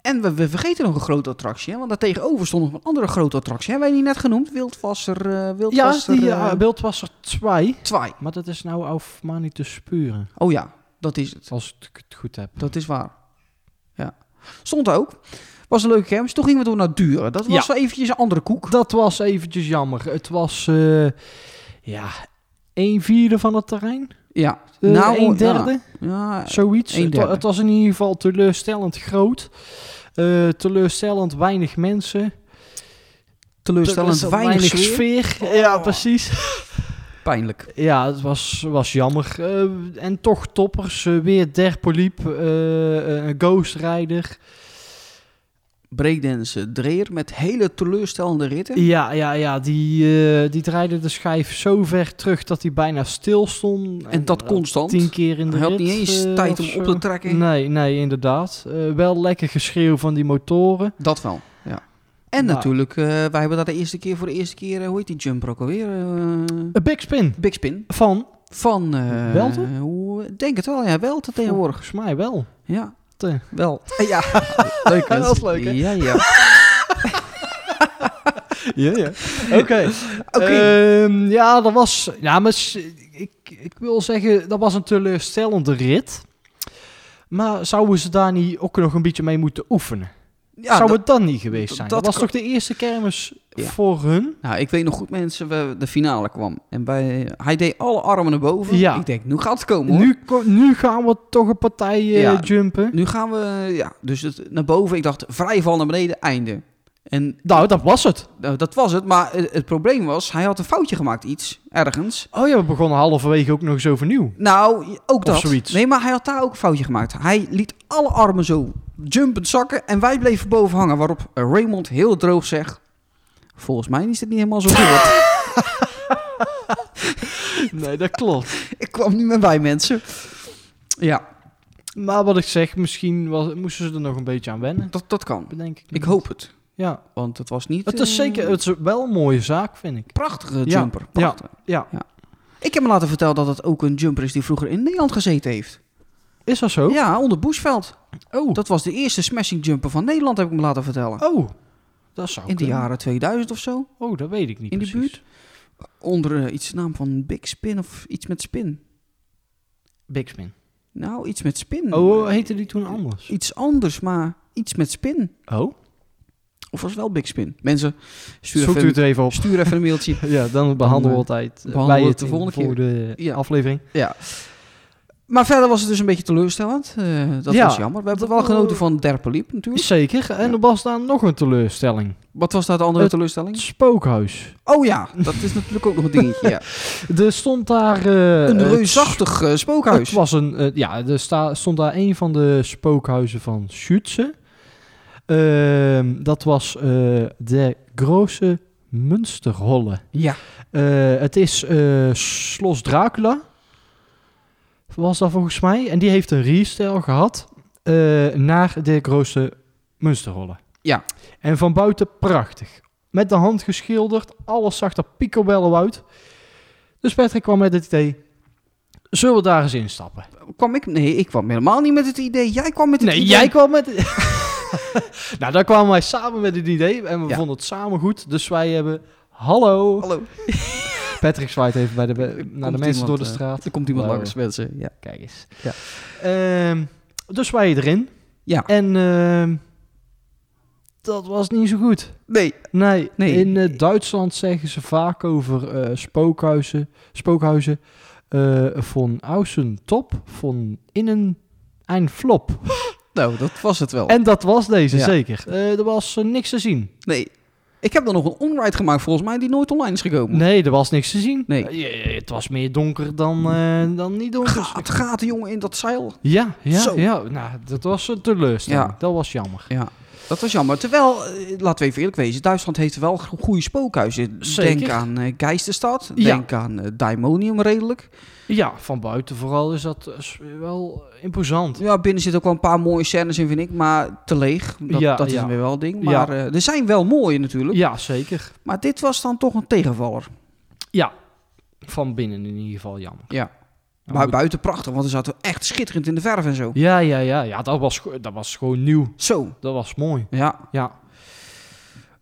Speaker 3: En we, we vergeten nog een grote attractie. Hè? Want daar tegenover stond nog een andere grote attractie. Hebben wij die net genoemd? Wildwasser. eh
Speaker 4: Ja,
Speaker 3: Wildwasser.
Speaker 4: die
Speaker 3: eh,
Speaker 4: eh, beeld was er twee.
Speaker 3: Twaai.
Speaker 4: Maar dat is nou af maar niet te spuren.
Speaker 3: Oh ja, dat is het.
Speaker 4: Als ik het goed heb.
Speaker 3: Dat is waar. Ja. Stond er ook. Was een leuke kermis. Toen gingen we door naar Duren. Dat was
Speaker 4: Ja.
Speaker 3: wel eventjes een andere koek.
Speaker 4: Dat was eventjes jammer. Het was, eh, ja, een vierde van het terrein.
Speaker 3: Ja.
Speaker 4: Eh, een
Speaker 3: Nou, ja.
Speaker 4: derde,
Speaker 3: Ja.
Speaker 4: zoiets.
Speaker 3: een
Speaker 4: Het wa-
Speaker 3: derde.
Speaker 4: Het was in ieder geval teleurstellend groot. Eh, teleurstellend weinig mensen.
Speaker 3: teleurstellend. Weinig sfeer.
Speaker 4: Ja,
Speaker 3: Oh.
Speaker 4: precies.
Speaker 3: Pijnlijk.
Speaker 4: Ja, het was, was jammer. Eh, en toch toppers. Eh, weer Derpoliep, eh eh, Ghost Rider.
Speaker 3: Breakdance Dreer met hele teleurstellende ritten.
Speaker 4: Ja, ja, ja. Die, eh, die draaide de schijf zo ver terug dat hij bijna stil stond.
Speaker 3: en dat
Speaker 4: eh,
Speaker 3: constant.
Speaker 4: Tien keer in de
Speaker 3: Hij had
Speaker 4: rit,
Speaker 3: niet eens
Speaker 4: eh,
Speaker 3: tijd
Speaker 4: of
Speaker 3: om op
Speaker 4: zo.
Speaker 3: te trekken.
Speaker 4: Nee, nee, inderdaad. Eh, wel lekker geschreeuw van die motoren.
Speaker 3: Dat wel, ja. En
Speaker 4: Maar-
Speaker 3: natuurlijk, eh, wij hebben daar de eerste keer voor de eerste keer, eh, hoe heet die jumper ook alweer? Eh,
Speaker 4: Een big spin
Speaker 3: Big Spin.
Speaker 4: van,
Speaker 3: Van... eh,
Speaker 4: Welten?
Speaker 3: hoe- Denk het wel, ja. Welten tegenwoordig.
Speaker 4: volgens mij wel.
Speaker 3: Ja.
Speaker 4: Te-
Speaker 3: Wel. Ja. leuk, hè?
Speaker 4: Dat is leuk, hè?
Speaker 3: Ja, ja.
Speaker 4: Ja, ja. Oké.
Speaker 3: Eh,
Speaker 4: Ehm, ja, dat was... Ja, maar s- ik, ik wil zeggen, dat was een teleurstellende rit. Maar zouden ze daar niet ook nog een beetje mee moeten oefenen?
Speaker 3: Ja,
Speaker 4: Zou
Speaker 3: dat-
Speaker 4: het dan niet geweest zijn?
Speaker 3: dat
Speaker 4: Dat was
Speaker 3: kan-
Speaker 4: toch de eerste kermis
Speaker 3: Ja.
Speaker 4: voor hun?
Speaker 3: Nou, ik weet nog goed, mensen, we, de finale kwam. En bij, hij deed alle armen naar boven.
Speaker 4: Ja.
Speaker 3: Ik denk, nu gaat het komen, hoor.
Speaker 4: Nu, ko- nu gaan we toch een partij eh,
Speaker 3: Ja.
Speaker 4: jumpen.
Speaker 3: Nu gaan we, ja, dus het, naar boven. Ik dacht, vrij val naar beneden, einde. En
Speaker 4: Nou, dat was het.
Speaker 3: nou, dat was het. Maar eh, het probleem was, hij had een foutje gemaakt, iets, ergens.
Speaker 4: Oh ja, we begonnen halverwege ook nog eens overnieuw.
Speaker 3: Nou, ook dat.
Speaker 4: zoiets.
Speaker 3: Nee, maar hij had daar ook een foutje gemaakt. Hij liet alle armen zo jumpend zakken en wij bleven boven hangen. Waarop Raymond heel droog zegt, volgens mij is dit niet helemaal zo goed.
Speaker 4: Nee, dat klopt.
Speaker 3: ik kwam niet meer bij, mensen. Ja,
Speaker 4: maar wat ik zeg, misschien was, moesten ze er nog een beetje aan wennen.
Speaker 3: dat, dat kan.
Speaker 4: Bedenk ik.
Speaker 3: Ik hoop het.
Speaker 4: Ja,
Speaker 3: Want het was niet...
Speaker 4: het is
Speaker 3: eh,
Speaker 4: zeker het is wel een mooie zaak, vind ik.
Speaker 3: prachtige
Speaker 4: Ja,
Speaker 3: jumper.
Speaker 4: ja.
Speaker 3: Prachtig.
Speaker 4: Ja,
Speaker 3: Ik heb me laten vertellen dat het ook een jumper is die vroeger in Nederland gezeten heeft.
Speaker 4: is dat zo?
Speaker 3: Ja, onder Boesveld.
Speaker 4: Oh.
Speaker 3: Dat was de eerste smashing jumper van Nederland, heb ik me laten vertellen.
Speaker 4: oh, dat zou
Speaker 3: in de
Speaker 4: kunnen.
Speaker 3: jaren 2000 of zo.
Speaker 4: Oh, dat weet ik niet
Speaker 3: In de
Speaker 4: precies.
Speaker 3: buurt? Onder eh, iets de naam van Big Spin of iets met spin.
Speaker 4: Big Spin.
Speaker 3: Nou, iets met spin.
Speaker 4: Oh, heette die toen anders?
Speaker 3: Iets anders, maar iets met spin.
Speaker 4: Oh,
Speaker 3: Of was het wel Big Spin. Mensen, stuur
Speaker 4: zoekt
Speaker 3: even,
Speaker 4: u het even op.
Speaker 3: stuur even een mailtje.
Speaker 4: Ja, dan behandelen we
Speaker 3: eh,
Speaker 4: altijd eh,
Speaker 3: behandelen
Speaker 4: bij
Speaker 3: we
Speaker 4: het
Speaker 3: het de
Speaker 4: in-
Speaker 3: volgende keer.
Speaker 4: voor de
Speaker 3: Ja.
Speaker 4: aflevering.
Speaker 3: Ja. Maar verder was het dus een beetje teleurstellend. Eh, dat
Speaker 4: Ja.
Speaker 3: was jammer. We hebben wel genoten van Derpeliep natuurlijk.
Speaker 4: Zeker. En
Speaker 3: Ja.
Speaker 4: er was daar nog een teleurstelling.
Speaker 3: Wat was daar de andere
Speaker 4: Het- Het
Speaker 3: teleurstelling?
Speaker 4: spookhuis.
Speaker 3: Oh ja, dat is natuurlijk ook nog een dingetje. Ja.
Speaker 4: Er stond daar... eh,
Speaker 3: Een
Speaker 4: het
Speaker 3: reusachtig eh, spookhuis.
Speaker 4: Het was een, eh, ja, er sta, stond daar een van de spookhuizen van Schütze. Ehm, dat was eh, de Grote Münsterholle.
Speaker 3: Ja.
Speaker 4: Eh, het is eh Slos Dracula. Was dat volgens mij. En die heeft een restel gehad eh, naar de Grote Münsterholle.
Speaker 3: Ja.
Speaker 4: En van buiten prachtig. Met de hand geschilderd. Alles zag er picobello uit. Dus Patrick kwam met het idee. Zullen we daar eens instappen?
Speaker 3: Kwam ik? Nee, ik kwam helemaal niet met het idee. Jij kwam met het
Speaker 4: Nee,
Speaker 3: idee.
Speaker 4: jij kwam met. nou, daar kwamen wij samen met het idee en we
Speaker 3: Ja.
Speaker 4: vonden het samen goed. Dus wij hebben. Hallo.
Speaker 3: Hallo.
Speaker 4: Patrick zwaait even bij de, be-
Speaker 3: Er
Speaker 4: naar de
Speaker 3: komt
Speaker 4: mensen
Speaker 3: iemand,
Speaker 4: door de
Speaker 3: eh,
Speaker 4: straat.
Speaker 3: Er komt iemand
Speaker 4: Hallo.
Speaker 3: langs, mensen. Ja.
Speaker 4: Kijk eens.
Speaker 3: Ja.
Speaker 4: Ehm, dus wij erin.
Speaker 3: Ja.
Speaker 4: En ehm, dat was niet zo goed.
Speaker 3: Nee.
Speaker 4: Nee,
Speaker 3: Nee.
Speaker 4: in eh, Duitsland zeggen ze vaak over eh, spookhuizen. Spookhuizen. eh, van außen top, van innen ein flop.
Speaker 3: Nou, dat was het wel.
Speaker 4: En dat was deze,
Speaker 3: Ja.
Speaker 4: zeker. Eh, er was eh, niks te zien.
Speaker 3: Nee. Ik heb er nog een onride gemaakt volgens mij die nooit online is gekomen.
Speaker 4: Nee, er was niks te zien.
Speaker 3: Nee.
Speaker 4: Eh, je- je- het was meer donker dan, eh, dan niet donker.
Speaker 3: Gaat, gaat de jongen in dat zeil?
Speaker 4: Ja, ja,
Speaker 3: Zo.
Speaker 4: ja. Nou, dat was een teleurstelling.
Speaker 3: Ja.
Speaker 4: Dat was jammer.
Speaker 3: Ja. Dat was jammer. Terwijl, eh, laten we even eerlijk wezen, Duitsland heeft wel go- goede spookhuizen.
Speaker 4: Zeker.
Speaker 3: Denk aan eh Geisterstad,
Speaker 4: Ja.
Speaker 3: denk aan eh, Daimonium redelijk.
Speaker 4: Ja, van buiten vooral is dat eh, s- wel eh, imposant.
Speaker 3: Ja, binnen zitten ook wel een paar mooie scènes in, vind ik. Maar te leeg. Dat,
Speaker 4: Ja,
Speaker 3: dat is
Speaker 4: ja.
Speaker 3: weer wel een ding.
Speaker 4: Ja.
Speaker 3: Maar eh, er zijn wel mooie natuurlijk.
Speaker 4: Ja, zeker.
Speaker 3: Maar dit was dan toch een tegenvaller.
Speaker 4: Ja, van binnen in ieder geval jammer.
Speaker 3: Ja.
Speaker 4: Ja,
Speaker 3: maar
Speaker 4: moet-
Speaker 3: buiten prachtig, want er zaten echt schitterend in de verf en zo.
Speaker 4: Ja, ja, ja. ja dat, was, go- dat was gewoon nieuw.
Speaker 3: Zo.
Speaker 4: Dat was mooi.
Speaker 3: Ja.
Speaker 4: Ja.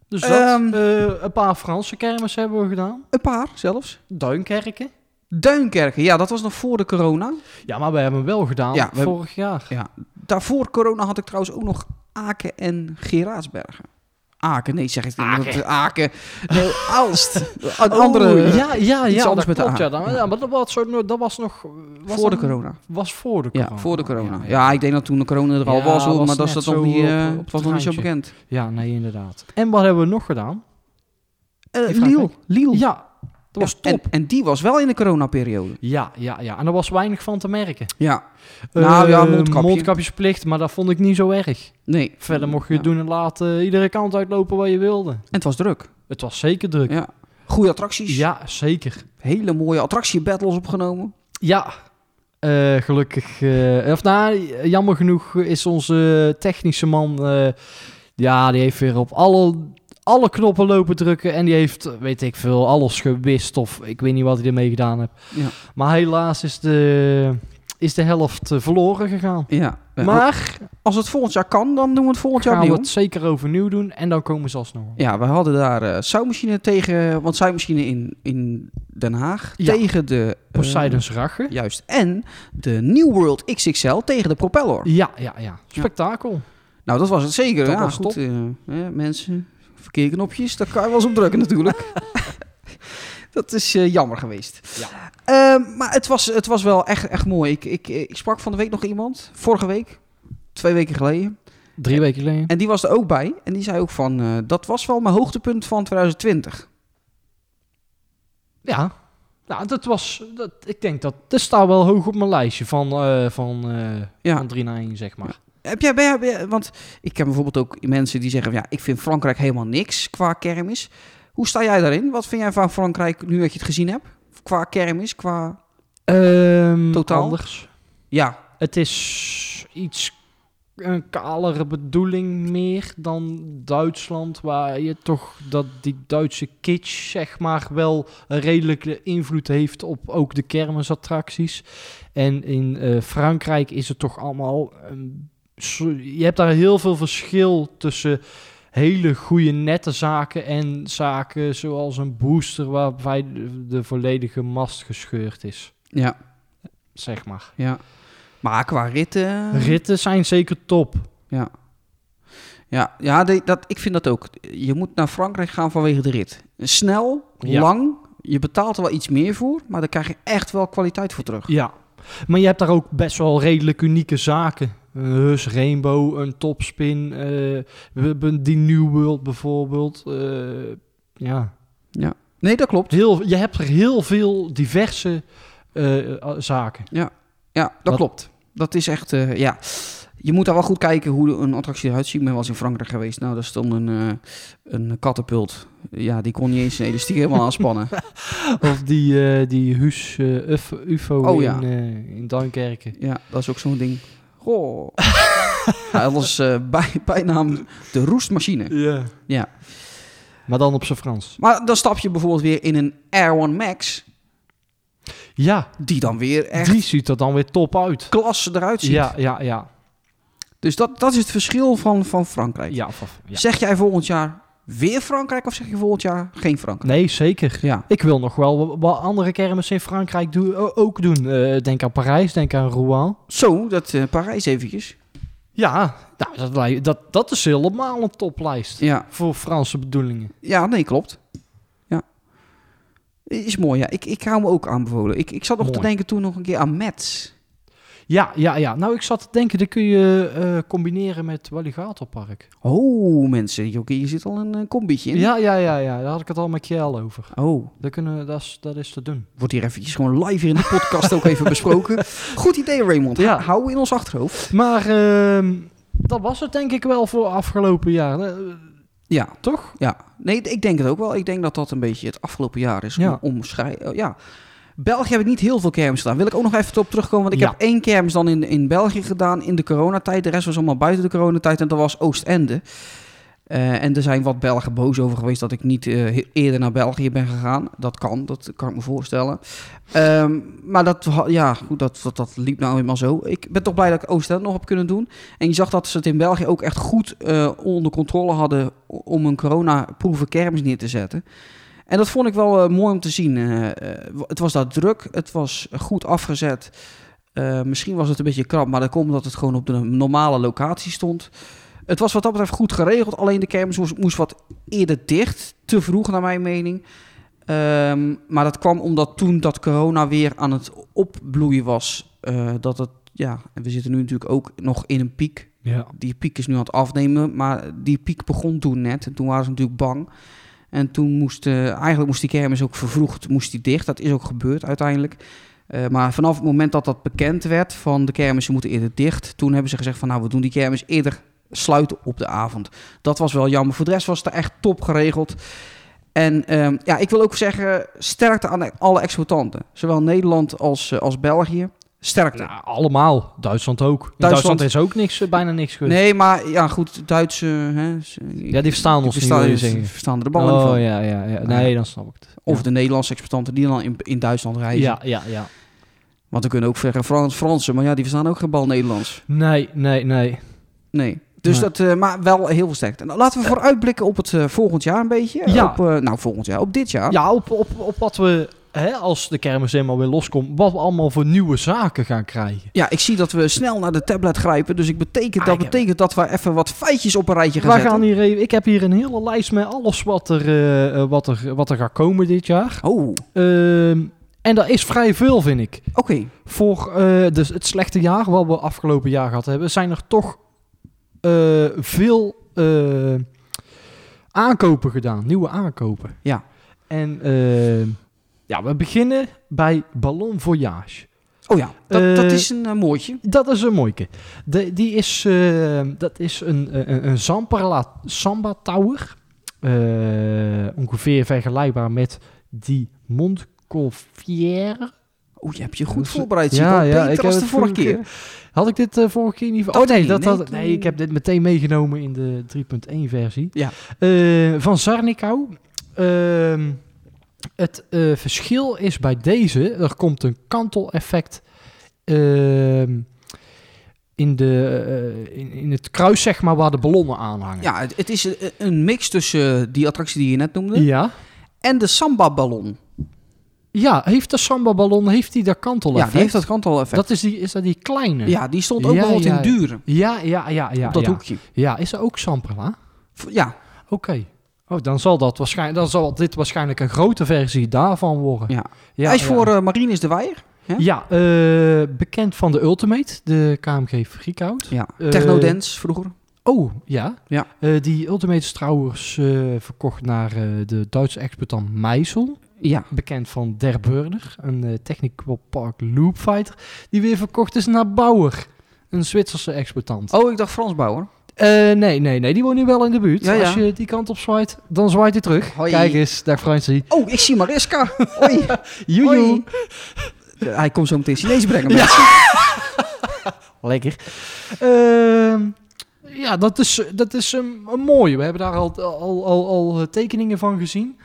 Speaker 4: Dus dat,
Speaker 3: Ehm.
Speaker 4: eh, een paar Franse kermis hebben we gedaan.
Speaker 3: Een paar zelfs.
Speaker 4: Duinkerken.
Speaker 3: Duinkerken. Ja, dat was nog voor de corona.
Speaker 4: Ja, maar we hebben hem wel gedaan
Speaker 3: Ja, we-
Speaker 4: vorig jaar.
Speaker 3: Ja. Daarvoor corona had ik trouwens ook nog Aken en Geraatsbergen. Aken, nee, zeg eens niet.
Speaker 4: Aken.
Speaker 3: want Aken. Nee, Aalst. Een andere.
Speaker 4: Oh, ja, ja,
Speaker 3: iets anders
Speaker 4: ja. dat
Speaker 3: met de
Speaker 4: klopt,
Speaker 3: A.
Speaker 4: ja, dan- ja, maar dat was, zo- dat was nog... was
Speaker 3: Voor de
Speaker 4: dat-
Speaker 3: corona.
Speaker 4: Was voor de corona.
Speaker 3: Ja, voor de corona. Ja, ik denk dat toen de corona er al
Speaker 4: Ja,
Speaker 3: was, hoor,
Speaker 4: was
Speaker 3: maar dat
Speaker 4: net
Speaker 3: is dat
Speaker 4: zo
Speaker 3: nog niet, eh,
Speaker 4: op- op
Speaker 3: het
Speaker 4: het
Speaker 3: was nog niet zo
Speaker 4: randje.
Speaker 3: bekend.
Speaker 4: Ja, nee, inderdaad. En wat hebben we nog gedaan?
Speaker 3: Eh,
Speaker 4: vraag
Speaker 3: Liel.
Speaker 4: ik.
Speaker 3: Liel.
Speaker 4: Ja, dat was
Speaker 3: Ja,
Speaker 4: top.
Speaker 3: En, en die was wel in de coronaperiode.
Speaker 4: Ja, ja, ja. En er was weinig van te merken.
Speaker 3: Ja. Nou ja,
Speaker 4: Eh,
Speaker 3: mondkapje.
Speaker 4: Mondkapjesplicht, maar dat vond ik niet zo erg.
Speaker 3: Nee.
Speaker 4: Verder mocht je
Speaker 3: Ja.
Speaker 4: doen en laten eh, iedere kant uitlopen waar je wilde.
Speaker 3: En het was druk.
Speaker 4: Het was zeker druk.
Speaker 3: Ja. Goede attracties.
Speaker 4: Ja, zeker.
Speaker 3: Hele mooie attractiebattles opgenomen.
Speaker 4: Ja, eh, gelukkig. eh, of nou, jammer genoeg is onze technische man. eh, ja, die heeft weer op alle, alle knoppen lopen drukken. En die heeft, weet ik veel, alles gewist. Of ik weet niet wat hij ermee gedaan heeft.
Speaker 3: Ja.
Speaker 4: Maar helaas is de, is de helft eh, verloren gegaan.
Speaker 3: Ja. Maar
Speaker 4: Maar
Speaker 3: als het volgend jaar kan, dan doen we het volgend jaar
Speaker 4: gaan we
Speaker 3: opnieuw.
Speaker 4: het zeker overnieuw doen. En dan komen ze alsnog.
Speaker 3: Ja, we hadden daar eh zuimachine tegen, want zuimachine in, in Den Haag
Speaker 4: Ja.
Speaker 3: tegen de... eh,
Speaker 4: Poseidons Rachen.
Speaker 3: juist. En de New World XXL tegen de Propeller.
Speaker 4: Ja, ja, ja. Spektakel.
Speaker 3: Nou, dat was het zeker.
Speaker 4: Dat
Speaker 3: ja,
Speaker 4: was
Speaker 3: goed,
Speaker 4: top.
Speaker 3: eh, hè, mensen, verkeerknopjes, daar kan je wel eens op drukken natuurlijk. dat is eh, jammer geweest.
Speaker 4: Ja.
Speaker 3: Ehm, maar het was, het was wel echt, echt mooi. Ik, ik, ik sprak van de week nog iemand, vorige week, twee weken geleden.
Speaker 4: Drie weken geleden.
Speaker 3: En die was er ook bij. En die zei ook van, eh, dat was wel mijn hoogtepunt van 2020.
Speaker 4: Ja. Nou, dat was... Dat, ik denk dat... Dat staat wel hoog op mijn lijstje van, eh, van, eh,
Speaker 3: Ja.
Speaker 4: van 3 naar 1, zeg maar.
Speaker 3: Heb jij, ben jij- ben jij- want ik ken bijvoorbeeld ook mensen die zeggen, van, ja, ik vind Frankrijk helemaal niks qua kermis. Hoe sta jij daarin? Wat vind jij van Frankrijk nu dat je het gezien hebt? Qua kermis, qua...
Speaker 4: Ehm,
Speaker 3: Totaal?
Speaker 4: Anders.
Speaker 3: Ja,
Speaker 4: Het is iets... Een kalere bedoeling meer dan Duitsland, waar je toch dat die Duitse kitsch, zeg maar, wel een redelijke invloed heeft op ook de kermisattracties. En in eh, Frankrijk is het toch allemaal. een so- je hebt daar heel veel verschil tussen hele goede nette zaken en zaken zoals een booster waarbij de, de volledige mast gescheurd is,
Speaker 3: ja.
Speaker 4: zeg maar.
Speaker 3: Ja. Maar qua ritten...
Speaker 4: Ritten zijn zeker top.
Speaker 3: Ja. Ja, ja de- dat, ik vind dat ook. Je moet naar Frankrijk gaan vanwege de rit. Snel,
Speaker 4: Ja.
Speaker 3: lang. Je betaalt er wel iets meer voor, maar daar krijg je echt wel kwaliteit voor terug.
Speaker 4: Ja, maar je hebt daar ook best wel redelijk unieke zaken. Een Hus, Rainbow, een Topspin, eh, we hebben die New World bijvoorbeeld. eh, ja,
Speaker 3: Nee, dat klopt.
Speaker 4: heel, je hebt er heel veel diverse eh, eh, zaken.
Speaker 3: Ja, dat,
Speaker 4: Dat-
Speaker 3: klopt. Dat is echt, eh, ja. Je moet daar wel goed kijken hoe de- een attractie eruit ziet. Ik ben wel eens in Frankrijk geweest. Nou, daar stond een, eh een katapult. Ja, die kon niet eens een elastiek helemaal aanspannen.
Speaker 4: Of die, eh, die Hus eh, Uf- UFO
Speaker 3: Oh,
Speaker 4: in,
Speaker 3: ja.
Speaker 4: eh, in Duinkerken.
Speaker 3: Ja, dat is ook zo'n ding. Goh. Hij was eh, bij, bijnaam de roestmachine.
Speaker 4: Ja.
Speaker 3: Ja.
Speaker 4: Maar dan op zijn Frans.
Speaker 3: Maar dan stap je bijvoorbeeld weer in een Air One Max,
Speaker 4: Ja,
Speaker 3: die dan weer echt
Speaker 4: die ziet er dan weer top uit.
Speaker 3: klasse eruit ziet.
Speaker 4: Ja, ja, ja.
Speaker 3: Dus dat, dat is het verschil van, van Frankrijk.
Speaker 4: ja, of- ja.
Speaker 3: Zeg jij volgend jaar weer Frankrijk of zeg je volgend jaar geen Frankrijk?
Speaker 4: Nee, zeker.
Speaker 3: Ja,
Speaker 4: Ik wil nog wel wa- wat andere kermissen in Frankrijk doe- o- ook doen. Eh, denk aan Parijs, denk aan Rouen.
Speaker 3: zo, dat eh, Parijs eventjes.
Speaker 4: Ja, nou, dat, lij- dat, dat is helemaal een toplijst.
Speaker 3: Ja,
Speaker 4: Voor Franse bedoelingen.
Speaker 3: ja nee, klopt. Ja. Is mooi, ja. Ik, ik hou me ook aanbevolen. Ik, ik zat nog te
Speaker 4: Mooi.
Speaker 3: denken toen nog een keer aan Metz.
Speaker 4: Ja, ja, ja. Nou, ik zat te denken, dat kun je eh, combineren met Walligatorpark.
Speaker 3: Oh, mensen, jokie, hier zit al een eh, combietje in.
Speaker 4: Ja, ja, ja, ja. Daar had ik het al met Kjell over.
Speaker 3: Oh,
Speaker 4: Dat, kunnen, we- dat, is, dat is te doen.
Speaker 3: wordt hier eventjes gewoon live hier in de podcast ook even besproken. Goed idee, Raymond.
Speaker 4: Ja.
Speaker 3: Hou in ons achterhoofd.
Speaker 4: Maar ehm, dat was het denk ik wel voor afgelopen jaar. Eh,
Speaker 3: Ja,
Speaker 4: toch?
Speaker 3: Ja, nee, ik denk het ook wel. Ik denk dat dat een beetje het afgelopen jaar is.
Speaker 4: Ja.
Speaker 3: Ja. Om, omschrij- eh, ja. België heb ik niet heel veel kermis gedaan. Wil ik ook nog even op terugkomen. Want ik
Speaker 4: Ja.
Speaker 3: heb één kermis dan in, in België gedaan in de coronatijd. De rest was allemaal buiten de coronatijd. En dat was Oostende. Eh, en er zijn wat Belgen boos over geweest dat ik niet eh, he- eerder naar België ben gegaan. Dat kan, dat kan ik me voorstellen. Ehm, maar dat, ha- ja, goed, dat, dat, dat liep nou eenmaal zo. Ik ben toch blij dat ik Oostende nog heb kunnen doen. En je zag dat ze het in België ook echt goed eh, onder controle hadden om een coronaproeven kermis neer te zetten. En dat vond ik wel eh, mooi om te zien. Eh, eh, w- het was daar druk, het was goed afgezet. Eh, misschien was het een beetje krap, maar dat komt omdat het gewoon op de normale locatie stond. Het was wat dat betreft goed geregeld, alleen de kermis moest, moest wat eerder dicht. Te vroeg naar mijn mening. Ehm, maar dat kwam omdat toen dat corona weer aan het opbloeien was, eh, dat het ja, en we zitten nu natuurlijk ook nog in een piek.
Speaker 4: Ja.
Speaker 3: Die piek is nu aan het afnemen, maar die piek begon toen net. En toen waren ze natuurlijk bang. En toen moest, eh, eigenlijk moest die kermis ook vervroegd moest die dicht. Dat is ook gebeurd uiteindelijk. Eh, maar vanaf het moment dat dat bekend werd van de kermissen moeten eerder dicht, toen hebben ze gezegd van nou we doen die kermis eerder sluiten op de avond. Dat was wel jammer. Voor de rest was het er echt top geregeld. En ehm, ja, ik wil ook zeggen sterkte aan alle exploitanten. Zowel Nederland als, eh, als België. Sterkte.
Speaker 4: Nou, allemaal. Duitsland ook. In
Speaker 3: Duitsland-
Speaker 4: Duitsland, is ook niks, eh, bijna niks geweest.
Speaker 3: Nee, maar ja, goed, Duitse. Hè, ze-
Speaker 4: Ja, die verstaan ons niet, wil je
Speaker 3: verstaan,
Speaker 4: zeggen.
Speaker 3: verstaan er de ballen niet van.
Speaker 4: Oh ja, ja, ja. Nee, dan snap ik het.
Speaker 3: Of de Nederlandse exploitanten die dan in, in Duitsland reizen.
Speaker 4: ja, ja, ja.
Speaker 3: Want we kunnen ook zeggen Frans, Fransen, maar ja, die verstaan ook geen bal Nederlands.
Speaker 4: Nee, nee, nee.
Speaker 3: Nee. Dus
Speaker 4: Nee.
Speaker 3: dat, eh, maar wel heel veel sterkte. En laten we vooruitblikken op het eh, volgend jaar een beetje.
Speaker 4: Ja.
Speaker 3: Op, eh, nou, volgend jaar, op dit jaar.
Speaker 4: Ja, op, op, op wat we hè, als de kermis helemaal weer loskomt, wat we allemaal voor nieuwe zaken gaan krijgen.
Speaker 3: Ja, ik zie dat we snel naar de tablet grijpen. Dus ik betekent,
Speaker 4: Ah,
Speaker 3: dat
Speaker 4: ik heb-
Speaker 3: betekent dat we even wat feitjes op een rijtje gaan
Speaker 4: We
Speaker 3: zetten.
Speaker 4: gaan hier even, ik heb hier een hele lijst met alles wat er, eh, eh, wat er, wat er gaat komen dit jaar.
Speaker 3: Oh, oké.
Speaker 4: Ehm, en dat is vrij veel, vind ik. Voor eh, dus het slechte jaar wat we afgelopen jaar gehad hebben, zijn er toch eh, veel eh, aankopen gedaan. Nieuwe aankopen.
Speaker 3: Ja.
Speaker 4: En eh, ja, we beginnen bij Ballon Voyage.
Speaker 3: Oh ja, dat, dat
Speaker 4: Eh,
Speaker 3: is een eh, mooitje.
Speaker 4: Dat is een mooike. De, die is, eh, dat is een, eh, een, een Zamperla Samba Tower. Eh, ongeveer vergelijkbaar met die Montcolfier.
Speaker 3: Oh, je hebt je goed
Speaker 4: Dus-
Speaker 3: voorbereid. Ja, ja, beter als de vorige keer.
Speaker 4: Had ik dit de vorige keer niet... ver-
Speaker 3: Oh,
Speaker 4: Oh nee,
Speaker 3: nee,
Speaker 4: dat,
Speaker 3: nee,
Speaker 4: had-
Speaker 3: toen-
Speaker 4: nee, ik heb dit meteen meegenomen in de 3.1 versie.
Speaker 3: Ja.
Speaker 4: Eh, van Sarnikau. Ehm, het eh, verschil is bij deze, er komt een kanteleffect ehm, in, de, eh, in, in het kruis zeg maar, waar de ballonnen aan hangen.
Speaker 3: Ja, het, het is een, een mix tussen eh, die attractie die je net noemde
Speaker 4: Ja.
Speaker 3: en de samba-ballon.
Speaker 4: Ja, heeft de samba-ballon, heeft die dat kanteleffect?
Speaker 3: Ja, die heeft dat kantel-effect.
Speaker 4: Dat is, die, is dat die kleine?
Speaker 3: Ja, die stond ook
Speaker 4: Ja,
Speaker 3: bijvoorbeeld
Speaker 4: ja,
Speaker 3: in Duren,
Speaker 4: ja, ja, ja. ja
Speaker 3: op dat
Speaker 4: ja.
Speaker 3: hoekje.
Speaker 4: Ja, is er ook Samperla?
Speaker 3: V- Ja,
Speaker 4: Oké. Oh, dan zal, dat waarschijnlijk, dan zal dit waarschijnlijk een grote versie daarvan worden.
Speaker 3: ja.
Speaker 4: Ja,
Speaker 3: Hij is
Speaker 4: ja.
Speaker 3: voor eh Marines de Weijer. hè?
Speaker 4: Ja, eh, bekend van de Ultimate, de KMG Freakout.
Speaker 3: Ja,
Speaker 4: Eh,
Speaker 3: Technodance vroeger.
Speaker 4: Oh, ja.
Speaker 3: Ja.
Speaker 4: Eh, die Ultimate is trouwens eh, verkocht naar eh, de Duitse exploitant Meisel.
Speaker 3: Ja,
Speaker 4: Bekend van Der Burner, een eh, Technical Park Loopfighter. Die weer verkocht is naar Bauer, een Zwitserse exploitant.
Speaker 3: Oh, ik dacht Frans Bauer.
Speaker 4: Eh, nee, nee, nee. Die woont nu wel in de buurt.
Speaker 3: Ja, ja.
Speaker 4: Als je die kant op zwaait, dan zwaait hij terug.
Speaker 3: Hoi.
Speaker 4: Kijk eens, dag Fransie.
Speaker 3: Oh, ik zie Mariska. Hoi.
Speaker 4: Joejoe.
Speaker 3: Hoi. Eh, Hij komt zo meteen Chinees brengen.
Speaker 4: Ja.
Speaker 3: mensen.
Speaker 4: Lekker. Ehm, ja, dat is, dat is een, een mooie. We hebben daar al, al, al, al eh, tekeningen van gezien.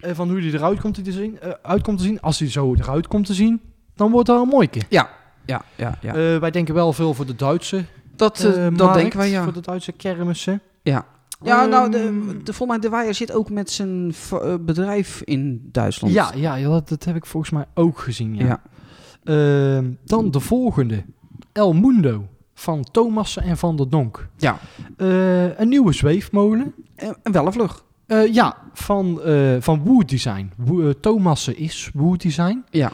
Speaker 4: Eh, van hoe die eruit komt te, zien, eh, uit komt te zien. Als die zo eruit komt te zien, dan wordt dat een mooike.
Speaker 3: ja, ja, ja. ja.
Speaker 4: Eh, wij denken wel veel voor de Duitse
Speaker 3: dat eh,
Speaker 4: eh,
Speaker 3: dat
Speaker 4: markt,
Speaker 3: denken wij, ja.
Speaker 4: Voor de Duitse kermissen.
Speaker 3: Ja. Ja, nou, de,
Speaker 4: Ehm,
Speaker 3: de, volgens mij de Weijer zit ook met zijn v- eh, bedrijf in Duitsland.
Speaker 4: ja, ja, ja, dat, dat heb ik volgens mij ook gezien. Ja.
Speaker 3: Ja.
Speaker 4: Ehm, dan de volgende. El Mundo van Thomassen en Van der Donk.
Speaker 3: Ja.
Speaker 4: Eh, een nieuwe zweefmolen.
Speaker 3: En, en wel een vlug.
Speaker 4: Eh, ja, van, eh van Wood Design. Wo- eh, Thomassen is Wood Design.
Speaker 3: Ja.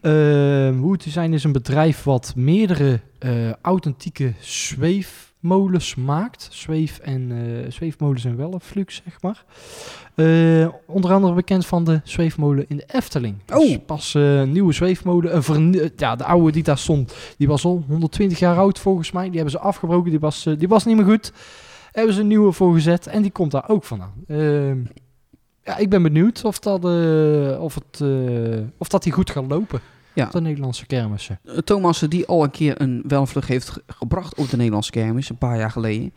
Speaker 4: Eh, Wood Design is een bedrijf wat meerdere eh, authentieke zweefmolens maakt. Zweef en, eh, zweefmolens en wellenflux, zeg maar. Eh, onder andere bekend van de zweefmolen in de Efteling. Dus
Speaker 3: Oh.
Speaker 4: pas eh, een nieuwe zweefmolen. een vernieu- ja, de oude die daar stond, die was al 120 jaar oud volgens mij. Die hebben ze afgebroken, die was, eh, die was niet meer goed. Hebben ze een nieuwe voor gezet en die komt daar ook vandaan. Ehm, ja, ik ben benieuwd of dat, eh, of het, eh, of dat die goed gaat lopen.
Speaker 3: Ja.
Speaker 4: Op de Nederlandse kermissen.
Speaker 3: Eh, Thomas, die al een keer een welvlug heeft ge- gebracht op de Nederlandse kermis, een paar jaar geleden.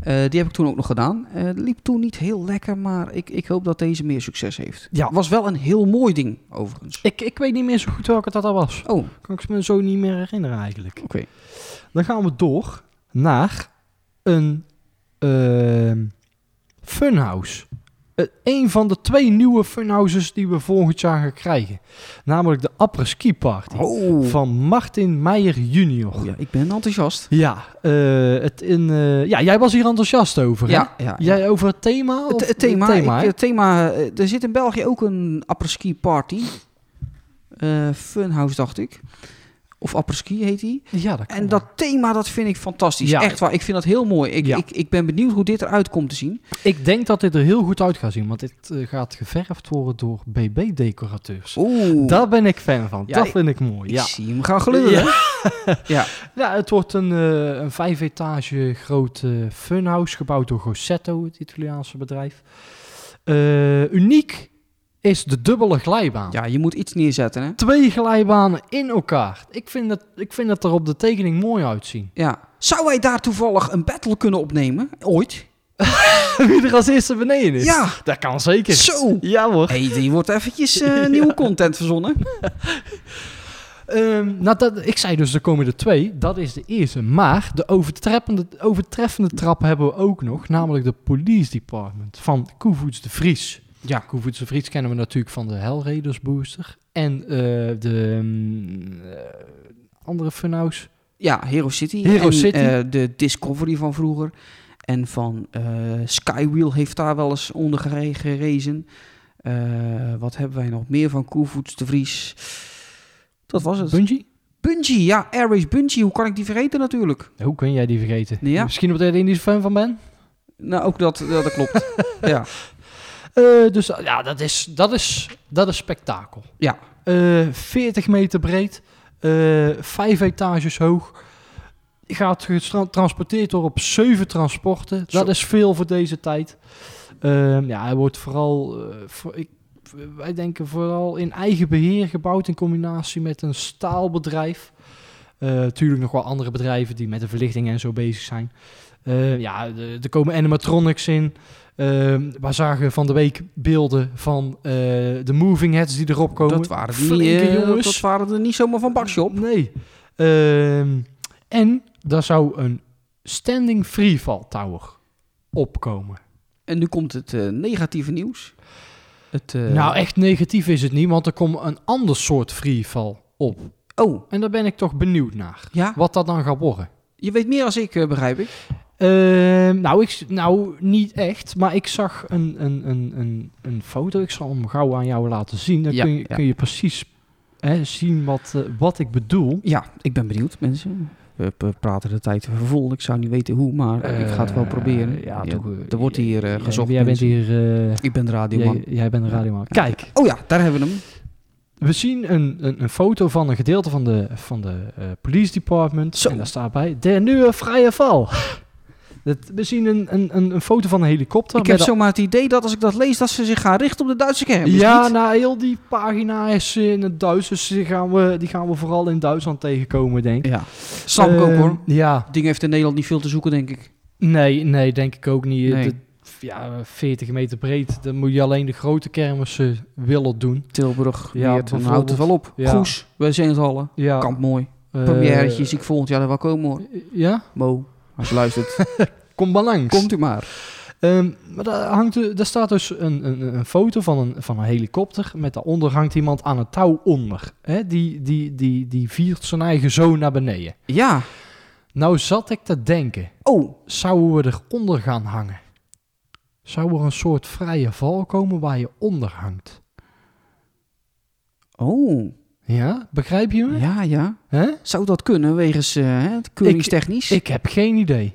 Speaker 3: Eh, die heb ik toen ook nog gedaan. Eh, Het liep toen niet heel lekker, maar ik, ik hoop dat deze meer succes heeft.
Speaker 4: Ja.
Speaker 3: Was wel een heel mooi ding, overigens.
Speaker 4: Ik, ik weet niet meer zo goed welke dat al was.
Speaker 3: Oh, oké.
Speaker 4: Kan ik me zo niet meer herinneren eigenlijk. Dan gaan we door naar een ehm, funhouse. Eh, Een van de twee nieuwe funhouses die we volgend jaar gaan krijgen. Namelijk de Après Ski Party
Speaker 3: Oh.
Speaker 4: van Martin Meijer junior.
Speaker 3: Oh ja, ik ben enthousiast.
Speaker 4: Ja, eh, het in, eh, ja, jij was hier enthousiast over. hè?
Speaker 3: Ja, ja.
Speaker 4: Jij over het thema?
Speaker 3: Het,
Speaker 4: of-
Speaker 3: het thema,
Speaker 4: thema,
Speaker 3: ik-
Speaker 4: hè?
Speaker 3: het thema eh, er zit in België ook een apres-ski party. Eh, Funhouse, dacht ik. Of apres-ski heet die.
Speaker 4: ja, dat kan
Speaker 3: eh, En dat thema, dat vind ik fantastisch.
Speaker 4: Ja.
Speaker 3: Echt waar, ik vind dat heel mooi. Ik,
Speaker 4: Ja.
Speaker 3: ik, ik ben benieuwd hoe dit eruit komt te zien.
Speaker 4: wel. Ik denk dat dit er heel goed uit gaat zien, want dit eh, gaat geverfd worden door BB-decorateurs.
Speaker 3: Oeh,
Speaker 4: Daar ben ik fan van.
Speaker 3: Ja,
Speaker 4: dat
Speaker 3: ik-
Speaker 4: vind ik mooi.
Speaker 3: ik
Speaker 4: Ja.
Speaker 3: zie hem gaan gleuren. Ja.
Speaker 4: Ja, het wordt een, eh, een vijf etage groot eh, funhouse gebouwd door Gossetto, het Italiaanse bedrijf. Eh, uniek is de dubbele glijbaan.
Speaker 3: ja, je moet iets neerzetten, hè?
Speaker 4: Twee glijbanen in elkaar. Ik vind, dat, ik vind dat er op de tekening mooi uitzien.
Speaker 3: Ja. Zou wij daar toevallig een battle kunnen opnemen? Ooit?
Speaker 4: Wie er als eerste beneden is.
Speaker 3: Ja.
Speaker 4: Dat kan zeker.
Speaker 3: Zo!
Speaker 4: Ja hoor.
Speaker 3: Hé, hey, die wordt eventjes eh, nieuwe content verzonnen.
Speaker 4: Ehm, nou, dat, ik zei dus de komende twee, dat is de eerste. Maar de overtreffende, overtreffende trap hebben we ook nog, namelijk de Police Department van Koevoets de Vries. Ja, Koevoets en Friets kennen we natuurlijk van de Hellraiders booster. En eh, de mm, eh, andere funhouse.
Speaker 3: Ja, Hero City.
Speaker 4: Hero
Speaker 3: en,
Speaker 4: City.
Speaker 3: eh, de Discovery van vroeger. En van eh, Skywheel heeft daar wel eens onder gere- gerezen. Eh, wat hebben wij nog meer van Koevoets, De Vries? Dat was het.
Speaker 4: Bungie?
Speaker 3: Bungie, ja, Air Race Bungie. Hoe kan ik die vergeten natuurlijk?
Speaker 4: Hoe kun jij die vergeten?
Speaker 3: Ja.
Speaker 4: Misschien omdat jij er niet fan van bent.
Speaker 3: Nou, ook dat, ja, dat klopt. ja.
Speaker 4: Eh, dus eh, ja, dat is, dat is, dat is spektakel.
Speaker 3: Ja.
Speaker 4: Eh, 40 meter breed, eh vijf etages hoog. Gaat getransporteerd door op zeven transporten. Dat
Speaker 3: Zo.
Speaker 4: is veel voor deze tijd. Ehm, ja, hij wordt vooral, eh, voor, ik, wij denken vooral in eigen beheer gebouwd in combinatie met een staalbedrijf. Natuurlijk tuurlijk nog wel andere bedrijven die met de verlichting en zo bezig zijn. Eh, ja, de- er komen animatronics in. Ehm we zagen van de week beelden van eh, de moving heads die erop komen.
Speaker 3: Dat waren, die,
Speaker 4: Flinke
Speaker 3: eh,
Speaker 4: jongens.
Speaker 3: dat waren er niet zomaar van Bakshop.
Speaker 4: Nee. Ehm, en daar zou een standing freefall tower opkomen.
Speaker 3: En nu komt het eh, negatieve nieuws. Het, eh,
Speaker 4: Nou, echt negatief is het niet, want er komt een ander soort freefall op.
Speaker 3: Oh,
Speaker 4: En daar ben ik toch benieuwd naar.
Speaker 3: ja.
Speaker 4: Wat dat dan gaat worden.
Speaker 3: Je weet meer als ik, eh, begrijp ik.
Speaker 4: Ehm, nou, ik, s- nou, niet echt. Maar ik zag een, een, een, een, een foto. Ik zal hem gauw aan jou laten zien. Dan
Speaker 3: Ja,
Speaker 4: kun, je,
Speaker 3: ja.
Speaker 4: kun je precies hè, zien wat, eh, wat ik bedoel.
Speaker 3: Ja, ik ben benieuwd, mensen. We we praten de tijd vol. Ik zou niet weten hoe, maar eh, ik ga het wel
Speaker 4: Eh,
Speaker 3: proberen.
Speaker 4: ja,
Speaker 3: Je-
Speaker 4: toch, eh,
Speaker 3: er wordt hier eh,
Speaker 4: jij-
Speaker 3: gezocht.
Speaker 4: Jij bent
Speaker 3: mensen.
Speaker 4: hier... eh,
Speaker 3: Ik ben de radioman.
Speaker 4: jij, jij bent een radioman. Kijk,
Speaker 3: Oh ja, daar hebben we hem.
Speaker 4: we zien een, een, een foto van een gedeelte van de, van de eh, police department.
Speaker 3: Zo.
Speaker 4: En daar staat bij, de nieuwe vrije val. Dat, we zien een, een, een, een foto van een helikopter.
Speaker 3: Ik heb
Speaker 4: met
Speaker 3: zomaar het idee dat als ik dat lees, dat ze zich gaan richten op de Duitse kern. Is
Speaker 4: Ja,
Speaker 3: niet?
Speaker 4: na heel die pagina is in het Duits. Dus die gaan, we, die gaan we vooral in Duitsland tegenkomen, denk ik.
Speaker 3: nou- ja. Snap ik ook
Speaker 4: Ehm,
Speaker 3: hoor.
Speaker 4: Ja,
Speaker 3: Ding heeft in Nederland niet veel te zoeken, denk ik.
Speaker 4: nee, nee, denk ik ook niet.
Speaker 3: Nee.
Speaker 4: De- ja, 40 meter breed. Dan moet je alleen de grote kermissen willen doen.
Speaker 3: Tilburg, nou,
Speaker 4: Ja,
Speaker 3: ja, dan houdt het wel op.
Speaker 4: Ja.
Speaker 3: Goes, wij zijn het allen.
Speaker 4: Ja,
Speaker 3: Kamp mooi.
Speaker 4: eh,
Speaker 3: Premieretje zie ik volgend jaar er wel komen hoor.
Speaker 4: Ja,
Speaker 3: Mo, als je luistert,
Speaker 4: kom maar langs.
Speaker 3: komt u maar.
Speaker 4: Ehm, maar daar, hangt, eh, daar staat dus een, een, een foto van een, van een helikopter. Met daaronder hangt iemand aan het touw onder. Hè? Die, die, die, die viert zijn eigen zoon naar beneden.
Speaker 3: Ja.
Speaker 4: Nou zat ik te denken.
Speaker 3: Oh,
Speaker 4: Zouden we eronder gaan hangen? Zou er een soort vrije val komen waar je onder hangt?
Speaker 3: oh.
Speaker 4: Ja, begrijp je me?
Speaker 3: Ja, ja.
Speaker 4: Hè?
Speaker 3: Zou dat kunnen wegens eh, hè, het keuringstechnisch?
Speaker 4: Ik heb geen idee.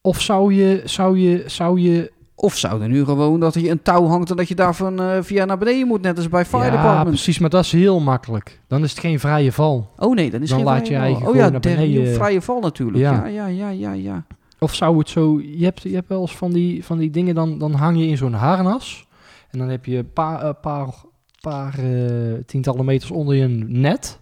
Speaker 4: Of zou je, zou je, zou je...
Speaker 3: of zou er nu gewoon dat hij een touw hangt en dat je daarvan eh, via naar beneden moet, net als bij Fire
Speaker 4: ja,
Speaker 3: Department?
Speaker 4: precies, maar dat is heel makkelijk. Dan is het geen vrije val.
Speaker 3: Oh nee, dan is
Speaker 4: Dan
Speaker 3: geen
Speaker 4: laat
Speaker 3: vrije
Speaker 4: je
Speaker 3: val.
Speaker 4: eigen
Speaker 3: Oh
Speaker 4: gewoon
Speaker 3: ja,
Speaker 4: naar
Speaker 3: de
Speaker 4: beneden.
Speaker 3: vrije val natuurlijk.
Speaker 4: Ja.
Speaker 3: Ja, ja, ja, ja, ja.
Speaker 4: Of zou het zo... Je hebt, je hebt wel eens van die, van die dingen, dan, dan hang je in zo'n harnas. En dan heb je een paar, eh, paar, paar eh, tientallen meters onder je net.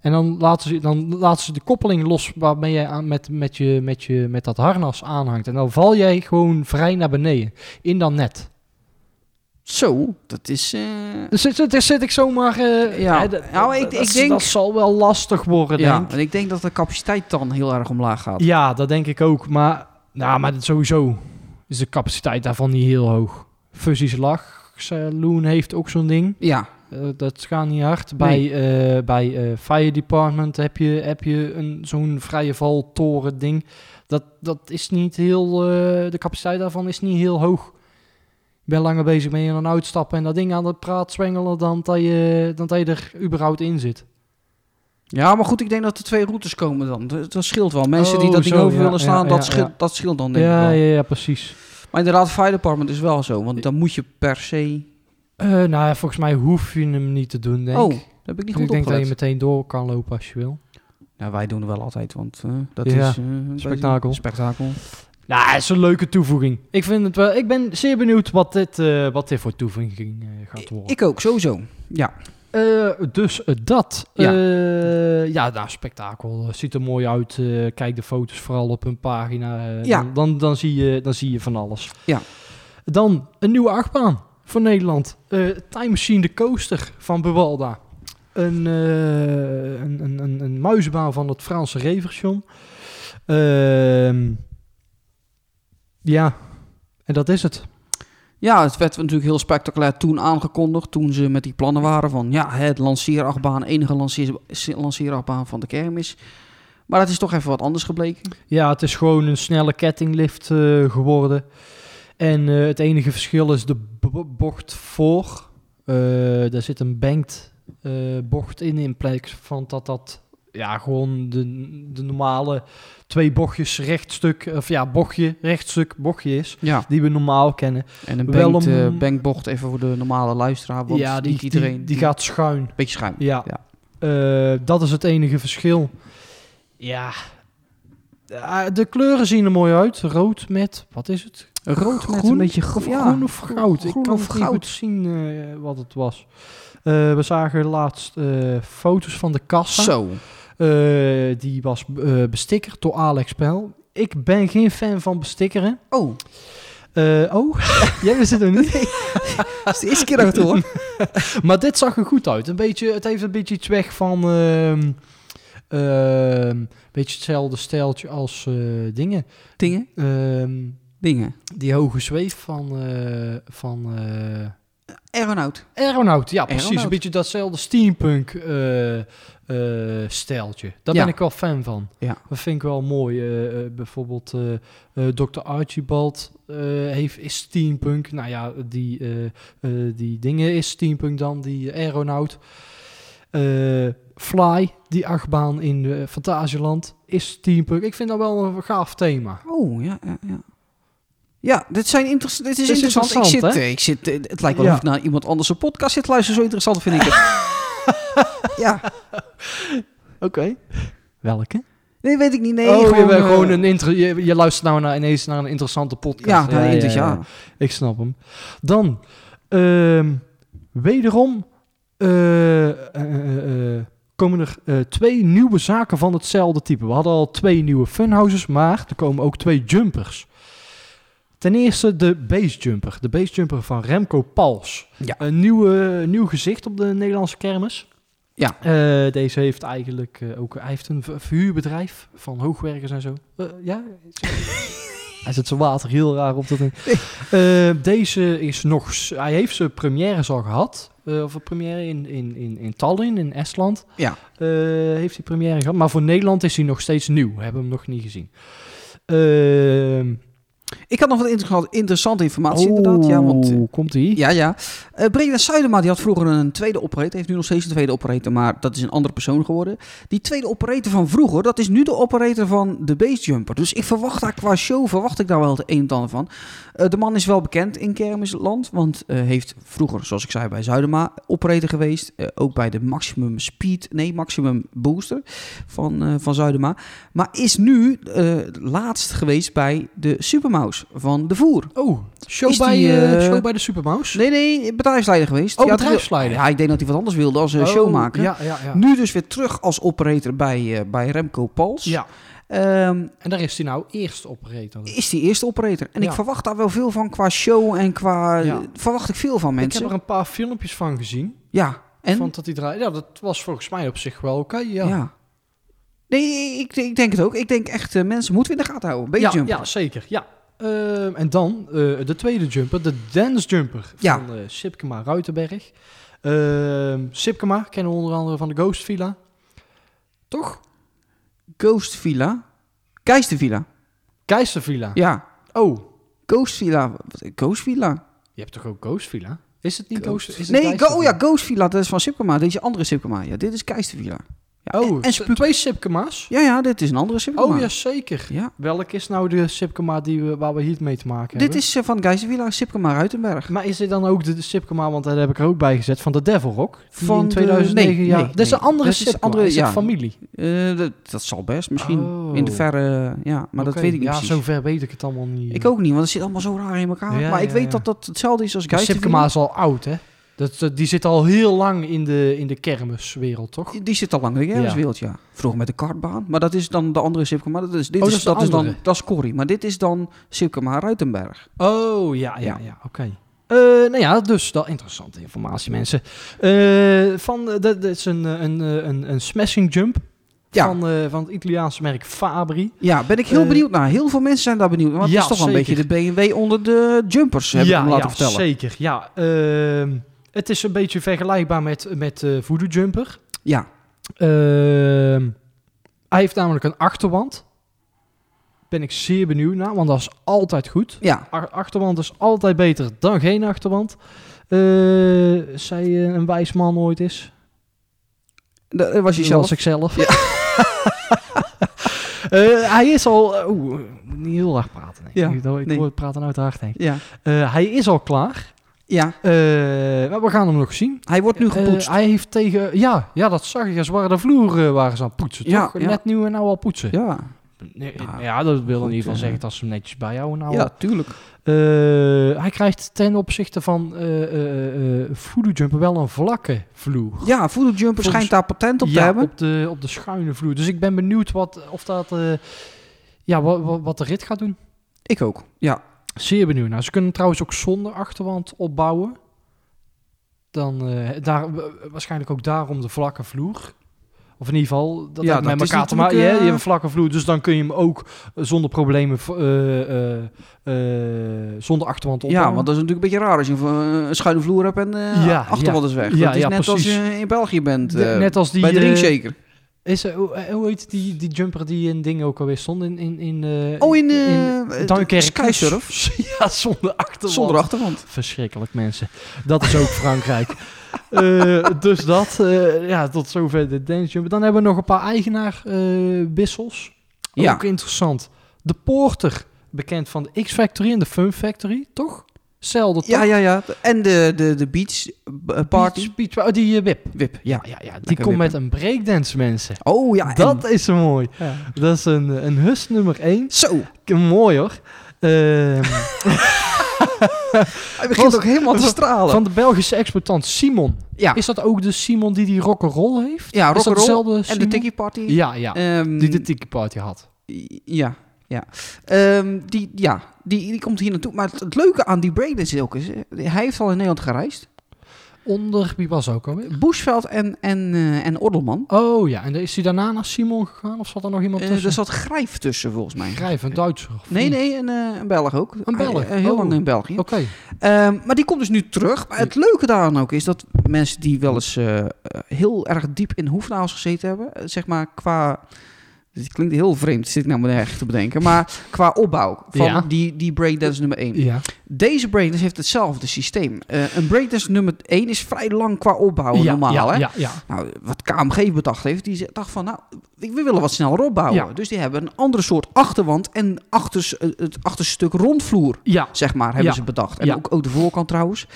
Speaker 4: En dan laten ze, dan laten ze de koppeling los waarmee jij aan, met, met, je, met, je, met dat harnas aanhangt. En dan val jij gewoon vrij naar beneden in dat net.
Speaker 3: Zo, dat is... eh,
Speaker 4: Dus zit, zit, zit ik zomaar... eh,
Speaker 3: Ja.
Speaker 4: eh, dat-
Speaker 3: Nou, ik-
Speaker 4: dat-
Speaker 3: ik
Speaker 4: dat-
Speaker 3: denk-
Speaker 4: Dat zal wel lastig worden,
Speaker 3: ja,
Speaker 4: denk ik.
Speaker 3: en ik denk dat de capaciteit dan heel erg omlaag gaat.
Speaker 4: Ja, dat denk ik ook. Maar, nou, maar dat sowieso is de capaciteit daarvan niet heel hoog. Fuzzy's Lach Saloon heeft ook zo'n ding.
Speaker 3: Ja,
Speaker 4: Eh, dat gaat niet hard.
Speaker 3: Nee.
Speaker 4: Bij, eh, bij eh, Fire Department heb je, heb je een, zo'n vrije valtoren ding. Dat, dat is niet heel... eh, de capaciteit daarvan is niet heel hoog. Ik ben langer bezig met in en uitstappen en dat ding aan het praat zwengelen dan dat je, dan dat je er überhaupt in zit.
Speaker 3: Ja, maar goed, ik denk dat er twee routes komen dan. Dat, dat scheelt wel. Mensen die
Speaker 4: Oh,
Speaker 3: dat niet
Speaker 4: zo,
Speaker 3: over
Speaker 4: ja,
Speaker 3: willen slaan,
Speaker 4: ja,
Speaker 3: dat,
Speaker 4: ja,
Speaker 3: scheelt,
Speaker 4: ja.
Speaker 3: dat scheelt dan denk ik
Speaker 4: ja,
Speaker 3: wel.
Speaker 4: ja, ja, precies.
Speaker 3: Maar inderdaad, fire department is wel zo. Want dan moet je per se...
Speaker 4: Eh, nou ja, volgens mij hoef je hem niet te doen, denk
Speaker 3: oh,
Speaker 4: ik.
Speaker 3: dat heb ik niet
Speaker 4: Ik
Speaker 3: goed
Speaker 4: denk dat je
Speaker 3: opgelet.
Speaker 4: meteen door kan lopen als je wil.
Speaker 3: Nou, wij doen het wel altijd, want eh, dat
Speaker 4: Ja,
Speaker 3: is... eh, een
Speaker 4: spektakel.
Speaker 3: beetje- Spektakel.
Speaker 4: Nou, het is een leuke toevoeging. Ik, vind het wel, ik ben zeer benieuwd wat dit, eh, wat dit voor toevoeging eh, gaat worden.
Speaker 3: Ik ook, sowieso. Ja.
Speaker 4: Eh, dus eh, dat.
Speaker 3: Ja.
Speaker 4: Ja. ja, nou, spektakel. Eh, Ziet er mooi uit. Eh, kijk de foto's vooral op hun pagina. Eh,
Speaker 3: Ja.
Speaker 4: dan, dan, dan zie je, dan zie je van alles.
Speaker 3: Ja.
Speaker 4: Dan een nieuwe achtbaan voor Nederland. Eh, Time Machine de Coaster van Bewalda. Een, eh, een, een, een, een muizenbaan van het Franse Reversion. Ehm, ja, en dat is het.
Speaker 3: Ja, het werd natuurlijk heel spectaculair toen aangekondigd. Toen ze met die plannen waren van ja, het lanceerachtbaan, enige lanceer, lanceerachtbaan van de kermis. Maar het is toch even wat anders gebleken.
Speaker 4: Ja, het is gewoon een snelle kettinglift eh, geworden. En eh, het enige verschil is de bo- bocht voor. Eh, daar zit een banked eh, bocht in, in plaats van dat dat ja, gewoon de, de normale twee bochtjes rechtstuk, of ja, bochtje, rechtstuk, bochtje is,
Speaker 3: Ja,
Speaker 4: die we normaal kennen.
Speaker 3: en een
Speaker 4: Wel
Speaker 3: banked,
Speaker 4: om-
Speaker 3: eh, bankbocht even voor de normale luisteraar. Want
Speaker 4: ja,
Speaker 3: niet iedereen.
Speaker 4: die, die gaat schuin.
Speaker 3: Beetje schuin.
Speaker 4: Ja.
Speaker 3: Ja.
Speaker 4: Eh, dat is het enige verschil. Ja. Ah, de kleuren zien er mooi uit. Rood met, wat is het?
Speaker 3: Rood met
Speaker 4: Groen?
Speaker 3: een beetje
Speaker 4: Of
Speaker 3: ja,
Speaker 4: groen of goud.
Speaker 3: groen
Speaker 4: Ik kan
Speaker 3: of
Speaker 4: het niet
Speaker 3: goud.
Speaker 4: goed zien eh, wat het was. Eh, we zagen laatst eh, foto's van de kassa.
Speaker 3: Zo.
Speaker 4: Eh, die was eh, bestikkerd door Alex Pel. Ik ben geen fan van bestikkeren.
Speaker 3: Oh,
Speaker 4: Eh, oh, jij wist het nog niet.
Speaker 3: dat is de eerste keer dat ik het hoor.
Speaker 4: Maar dit zag er goed uit. Een beetje, het heeft een beetje iets weg van. ehm ehm, beetje hetzelfde stijltje als eh, dingen.
Speaker 3: Dingen?
Speaker 4: Ehm,
Speaker 3: Dingen.
Speaker 4: die hoge zweef van. eh van eh
Speaker 3: Aeronaut.
Speaker 4: Aeronaut, ja, precies.
Speaker 3: Aeronaut.
Speaker 4: Een beetje datzelfde steampunk eh eh, stijltje. Daar
Speaker 3: Ja.
Speaker 4: ben ik wel fan van.
Speaker 3: Ja.
Speaker 4: Dat vind ik wel mooi. Eh, eh, bijvoorbeeld eh eh, Dr. Archibald eh, heeft, is steampunk. Nou ja, die, eh, eh, die dingen is steampunk dan, die aeronaut. Eh, Fly, die achtbaan in eh, Fantasieland, is steampunk. Ik vind dat wel een gaaf thema.
Speaker 3: Oh, ja, ja, ja. Ja, dit, zijn interess- dit is, interessant. ik
Speaker 4: interessant,
Speaker 3: zit, eh, ik zit, eh, het lijkt wel
Speaker 4: Ja.
Speaker 3: of ik naar iemand anders een podcast zit te luisteren. Zo interessant vind ik het. ja,
Speaker 4: Oké. Welke?
Speaker 3: nee, weet ik niet. Nee,
Speaker 4: oh, je, bent
Speaker 3: eh,
Speaker 4: gewoon een intro, je, je luistert nou naar, ineens naar een interessante podcast.
Speaker 3: Ja, nou, inter- ja,
Speaker 4: Ik snap hem. Dan, ehm, wederom eh, eh, eh, eh, komen er eh, twee nieuwe zaken van hetzelfde type. We hadden al twee nieuwe funhouses, maar er komen ook twee jumpers. Ten eerste de base jumper. De base jumper van Remco Pals.
Speaker 3: Ja.
Speaker 4: Een nieuwe, nieuw gezicht op de Nederlandse kermis.
Speaker 3: Ja.
Speaker 4: Eh, deze heeft eigenlijk eh, ook... Hij heeft een ver- verhuurbedrijf van hoogwerkers en zo. Eh, ja? hij zet zijn water heel raar op te drinken. Eh, deze is nog... s- Hij heeft zijn premières al gehad. Eh, of een première in, in, in, in Tallinn, in Estland.
Speaker 3: Ja.
Speaker 4: Eh, heeft hij première gehad. Maar voor Nederland is hij nog steeds nieuw. We hebben hem nog niet gezien. Ehm
Speaker 3: Ik had nog wat inter- interessante informatie
Speaker 4: oh,
Speaker 3: inderdaad. Ja, want, eh,
Speaker 4: komt hij?
Speaker 3: ja, ja. Eh, Breda Zuidema die had vroeger een tweede operator. Heeft nu nog steeds een tweede operator, maar dat is een andere persoon geworden. Die tweede operator van vroeger, dat is nu de operator van de basejumper. Dus ik verwacht daar qua show, verwacht ik daar wel het een en ander van. Eh, de man is wel bekend in kermisland, want eh, heeft vroeger, zoals ik zei, bij Zuidema operator geweest. Eh, ook bij de Maximum Speed, nee, Maximum Booster van, eh, van Zuidema. Maar is nu eh, laatst geweest bij de Supermouse van De Voer.
Speaker 4: Oh, show,
Speaker 3: Is
Speaker 4: bij,
Speaker 3: die,
Speaker 4: eh,
Speaker 3: eh,
Speaker 4: show bij de Supermouse.
Speaker 3: Nee, nee, bedrijfsleider geweest.
Speaker 4: Oh,
Speaker 3: Ja,
Speaker 4: bedrijfsleider.
Speaker 3: Ja, ik denk dat hij wat anders wilde als eh,
Speaker 4: Oh,
Speaker 3: showmaker.
Speaker 4: Ja, ja, ja.
Speaker 3: Nu dus weer terug als operator bij, eh, bij Remco Pals.
Speaker 4: ja.
Speaker 3: Ehm,
Speaker 4: En daar is hij nou eerst operator.
Speaker 3: is die eerste operator. En
Speaker 4: Ja.
Speaker 3: ik verwacht daar wel veel van qua show en qua...
Speaker 4: Ja.
Speaker 3: Verwacht ik veel van
Speaker 4: Ik
Speaker 3: mensen.
Speaker 4: heb er een paar filmpjes van gezien.
Speaker 3: Ja, en?
Speaker 4: Van dat hij draait. Ja, dat was volgens mij op zich wel oké. ja.
Speaker 3: ja. Nee, ik, ik denk het ook. Ik denk echt, eh, mensen moeten we in de gaten houden. Beetje
Speaker 4: ja, ja, zeker. Ja. Ehm, en dan eh, de tweede jumper, de dance jumper
Speaker 3: Ja.
Speaker 4: van eh Sipkema Ruitenberg. Ehm Sipkema kennen we onder andere van de Ghost Villa. Toch?
Speaker 3: Ghost Villa. Keister Villa.
Speaker 4: Keizer Villa.
Speaker 3: Ja.
Speaker 4: Oh,
Speaker 3: Ghost Villa. Wat- Ghost Villa?
Speaker 4: je hebt toch ook Ghost Villa? Is het niet Ghost,
Speaker 3: Ghost-
Speaker 4: Villa? Is het
Speaker 3: nee,
Speaker 4: Keizer
Speaker 3: go, oh
Speaker 4: Villa?
Speaker 3: ja, Ghost Villa. Dat is van Sipkema. Deze andere Sipkema. Ja, dit is Keister Villa. Ja,
Speaker 4: Oh,
Speaker 3: en-
Speaker 4: en
Speaker 3: en
Speaker 4: twee Sipkema's?
Speaker 3: Ja, ja, dit is een andere Sipkema.
Speaker 4: Oh, jazeker.
Speaker 3: Ja.
Speaker 4: Welk is nou de Sipkema die we, waar we hier mee te maken
Speaker 3: Dit
Speaker 4: hebben?
Speaker 3: is eh, van Geizenvilla, Sipkema Ruitenberg.
Speaker 4: Maar is dit dan ook de, de Sipkema, want daar heb ik er ook bij gezet, van de Devil Rock? Die
Speaker 3: Van
Speaker 4: in
Speaker 3: de-
Speaker 4: 2009,
Speaker 3: nee,
Speaker 4: ja.
Speaker 3: nee,
Speaker 4: dat is een
Speaker 3: nee.
Speaker 4: andere
Speaker 3: Dat is
Speaker 4: Sipkema,
Speaker 3: andere-
Speaker 4: is het
Speaker 3: ja.
Speaker 4: familie.
Speaker 3: Eh, dat, dat zal best, misschien
Speaker 4: Oh.
Speaker 3: in de verre... eh, ja, maar dat
Speaker 4: Oké,
Speaker 3: weet ik niet
Speaker 4: ja,
Speaker 3: precies.
Speaker 4: zover weet ik het allemaal niet.
Speaker 3: Ik ook niet, want het zit allemaal zo raar in elkaar.
Speaker 4: Ja,
Speaker 3: maar ik
Speaker 4: ja,
Speaker 3: weet
Speaker 4: ja.
Speaker 3: dat dat hetzelfde is als
Speaker 4: Maar Sipkema
Speaker 3: Geizenvilla.
Speaker 4: is al oud, hè? Dat, dat- die zit al heel lang in de, in de kermiswereld, toch?
Speaker 3: Die zit al lang in de kermiswereld, ja. Vroeger met de kartbaan. Maar dat is dan de andere Sipkema. Dat is, dit
Speaker 4: Oh,
Speaker 3: is,
Speaker 4: dat is de
Speaker 3: dat is dan
Speaker 4: andere.
Speaker 3: dat is Corrie. Maar dit is dan Sipkema Ruitenberg.
Speaker 4: Oh, ja, ja,
Speaker 3: Ja.
Speaker 4: ja, oké. Eh, nou ja, dus dat interessante informatie, mensen. Eh, van, eh, dat, dat is een, eh, een, eh, een, een smashing jump.
Speaker 3: Ja.
Speaker 4: Van, eh, van het Italiaanse merk Fabri.
Speaker 3: Ja, ben ik heel
Speaker 4: Eh,
Speaker 3: benieuwd naar. Heel veel mensen zijn daar benieuwd naar. Want
Speaker 4: ja,
Speaker 3: het is toch wel een beetje de
Speaker 4: zeker.
Speaker 3: BMW onder de jumpers, heb ik me laten vertellen.
Speaker 4: zeker. Ja, ehm, het is een beetje vergelijkbaar met, met eh Voodoo Jumper.
Speaker 3: Ja,
Speaker 4: Ehm, hij heeft namelijk een achterwand. Ben ik zeer benieuwd naar, want dat is altijd goed.
Speaker 3: ja.
Speaker 4: A- Achterwand is altijd beter dan geen achterwand. Eh zei eh, een wijs man ooit is.
Speaker 3: Dat dat eh, was je
Speaker 4: Dat
Speaker 3: zelf.
Speaker 4: was ik zelf. Eh, hij is al... eh, Oeh, ik moet niet heel hard praten. Nee.
Speaker 3: Ja,
Speaker 4: ik ik
Speaker 3: nee.
Speaker 4: hoor het praten uit de hart, denk ik.
Speaker 3: Ja.
Speaker 4: Eh, hij is al klaar.
Speaker 3: ja,
Speaker 4: Eh, maar we gaan hem nog zien.
Speaker 3: hij wordt nu gepoetst.
Speaker 4: Eh, hij heeft tegen... Ja, ja, dat zag ik. Ze waren de vloer eh, waren ze aan het poetsen,
Speaker 3: Ja,
Speaker 4: toch?
Speaker 3: ja.
Speaker 4: Net nieuw en nou al poetsen.
Speaker 3: ja.
Speaker 4: Nee,
Speaker 3: Ja,
Speaker 4: ja, dat wil in
Speaker 3: goed,
Speaker 4: ieder geval
Speaker 3: eh.
Speaker 4: zeggen dat ze hem netjes bijhouden. Nou,
Speaker 3: ja, tuurlijk.
Speaker 4: Eh, hij krijgt ten opzichte van eh eh, eh, Voodoo Jumper wel een vlakke vloer.
Speaker 3: Ja, Voodoo Jumper
Speaker 4: Volgens-
Speaker 3: schijnt daar patent op te
Speaker 4: ja,
Speaker 3: hebben.
Speaker 4: op de, op de schuine vloer. Dus ik ben benieuwd wat, of dat, eh, ja, wat, wat, de rit gaat doen.
Speaker 3: Ik ook. Ja,
Speaker 4: Zeer benieuwd. Nou, ze kunnen hem trouwens ook zonder achterwand opbouwen. Dan, eh, daar, wa- waarschijnlijk ook daarom de vlakke vloer. Of in ieder geval, dat
Speaker 3: Ja,
Speaker 4: heeft
Speaker 3: dat
Speaker 4: met
Speaker 3: is
Speaker 4: elkaar te maken.
Speaker 3: natuurlijk,
Speaker 4: Ja,
Speaker 3: eh,
Speaker 4: je hebt een vlakke vloer, dus dan kun je hem ook eh, zonder problemen v- eh, eh, eh, zonder achterwand opbouwen.
Speaker 3: ja, want dat is natuurlijk een beetje raar als je een, eh, een schuine vloer hebt en eh
Speaker 4: Ja,
Speaker 3: achterwand is weg.
Speaker 4: Ja,
Speaker 3: dat is
Speaker 4: ja,
Speaker 3: net als
Speaker 4: precies.
Speaker 3: je in België bent.
Speaker 4: De-
Speaker 3: eh,
Speaker 4: net als die
Speaker 3: bij de
Speaker 4: eh,
Speaker 3: ringshaker.
Speaker 4: is er- hoe, eh, hoe heet die, die jumper die in dingen ook alweer stond in in in eh,
Speaker 3: Oh, in, eh, eh,
Speaker 4: Duinkerke?
Speaker 3: Skysurf?
Speaker 4: ja, zonder achterwand.
Speaker 3: Zonder achterwand.
Speaker 4: Verschrikkelijk mensen. Dat is ook Frankrijk. Eh, dus dat, eh, ja, tot zover de dance jumper. Dan hebben we nog een paar eigenaar eh, wissels.
Speaker 3: Ja.
Speaker 4: Ook interessant. De Porter, bekend van de X Factory en de Fun Factory, toch? Zelfde toch?
Speaker 3: Ja, ja, ja. En de, de, de beach eh, party.
Speaker 4: Beach, Beach- oh, die eh, Wip.
Speaker 3: Wip, ja.
Speaker 4: Ja, ja, die
Speaker 3: Lekker
Speaker 4: komt met
Speaker 3: wippen.
Speaker 4: een breakdance, mensen.
Speaker 3: Oh ja, en-
Speaker 4: dat is zo mooi.
Speaker 3: Ja.
Speaker 4: Dat is een, een hus nummer 1.
Speaker 3: Zo,
Speaker 4: Mooi hoor. Ehm,
Speaker 3: hij begint
Speaker 4: Was-
Speaker 3: ook helemaal te
Speaker 4: was-
Speaker 3: stralen.
Speaker 4: van de Belgische exploitant Simon.
Speaker 3: ja,
Speaker 4: Is dat ook de Simon die die rock'n'roll heeft?
Speaker 3: ja
Speaker 4: is dat
Speaker 3: rock'n'roll
Speaker 4: dezelfde
Speaker 3: en de
Speaker 4: Simon?
Speaker 3: tiki party.
Speaker 4: Ja, ja.
Speaker 3: Ehm,
Speaker 4: die de Tiki Party had.
Speaker 3: Ja, ja. Ehm, die, ja die, die komt hier naartoe. Maar het, het leuke aan die breakdance is ook is, eh, hij heeft al in Nederland gereisd.
Speaker 4: Onder, wie was ook alweer?
Speaker 3: Boesveld en, en, eh, en Ordelman.
Speaker 4: Oh ja, en is hij daarna naar Simon gegaan? Of zat er nog iemand
Speaker 3: Eh,
Speaker 4: tussen?
Speaker 3: er zat Grijf tussen, volgens mij.
Speaker 4: Grijf, een Duitser. of
Speaker 3: Nee,
Speaker 4: niet?
Speaker 3: nee, een, eh, een Belg ook.
Speaker 4: Een Belg,
Speaker 3: Hij, eh, heel
Speaker 4: oh.
Speaker 3: lang in België.
Speaker 4: Oké.
Speaker 3: Ehm, maar die komt dus nu terug. Maar het leuke daaraan ook is dat mensen die wel eens eh, eh, heel erg diep in hoefnagels gezeten hebben, eh, zeg maar qua. Dit klinkt heel vreemd, zit ik nou me echt te bedenken. Maar qua opbouw van
Speaker 4: Ja.
Speaker 3: die, die breakdance nummer 1.
Speaker 4: Ja.
Speaker 3: Deze breakdance heeft hetzelfde systeem. Eh, een breakdance nummer 1 is vrij lang qua opbouw
Speaker 4: ja,
Speaker 3: normaal.
Speaker 4: ja,
Speaker 3: hè?
Speaker 4: ja, ja.
Speaker 3: Nou, wat KMG bedacht heeft, die ze- dacht van, nou, we we willen wat sneller opbouwen.
Speaker 4: Ja.
Speaker 3: Dus die hebben een andere soort achterwand en achters, eh, het achterstuk rondvloer,
Speaker 4: Ja,
Speaker 3: zeg maar, hebben
Speaker 4: Ja.
Speaker 3: ze bedacht. En
Speaker 4: Ja.
Speaker 3: ook, ook de voorkant trouwens.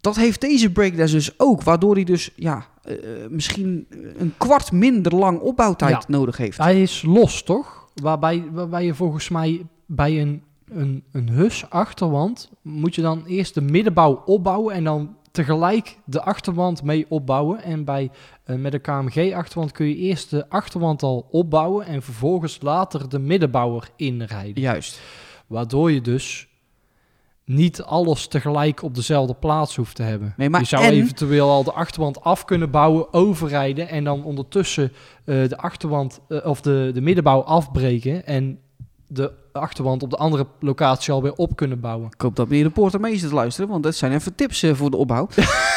Speaker 3: Dat heeft deze breakdance dus ook, waardoor hij dus ja, eh, eh, misschien een kwart minder lang opbouwtijd
Speaker 4: Ja.
Speaker 3: nodig heeft.
Speaker 4: Hij is los, toch? Waarbij, waarbij je volgens mij bij een, een, een hus achterwand moet je dan eerst de middenbouw opbouwen en dan tegelijk de achterwand mee opbouwen. En bij, eh, met een KMG achterwand kun je eerst de achterwand al opbouwen en vervolgens later de middenbouwer inrijden.
Speaker 3: Juist.
Speaker 4: Waardoor je dus niet alles tegelijk op dezelfde plaats hoeft te hebben.
Speaker 3: Nee, maar
Speaker 4: je zou
Speaker 3: en-
Speaker 4: eventueel al de achterwand af kunnen bouwen, overrijden en dan ondertussen eh, de achterwand eh, of de, de middenbouw afbreken en de achterwand op de andere locatie alweer op kunnen bouwen.
Speaker 3: Ik hoop dat meneer de Poortermeester het luisteren, want dat zijn even tips eh, voor de opbouw.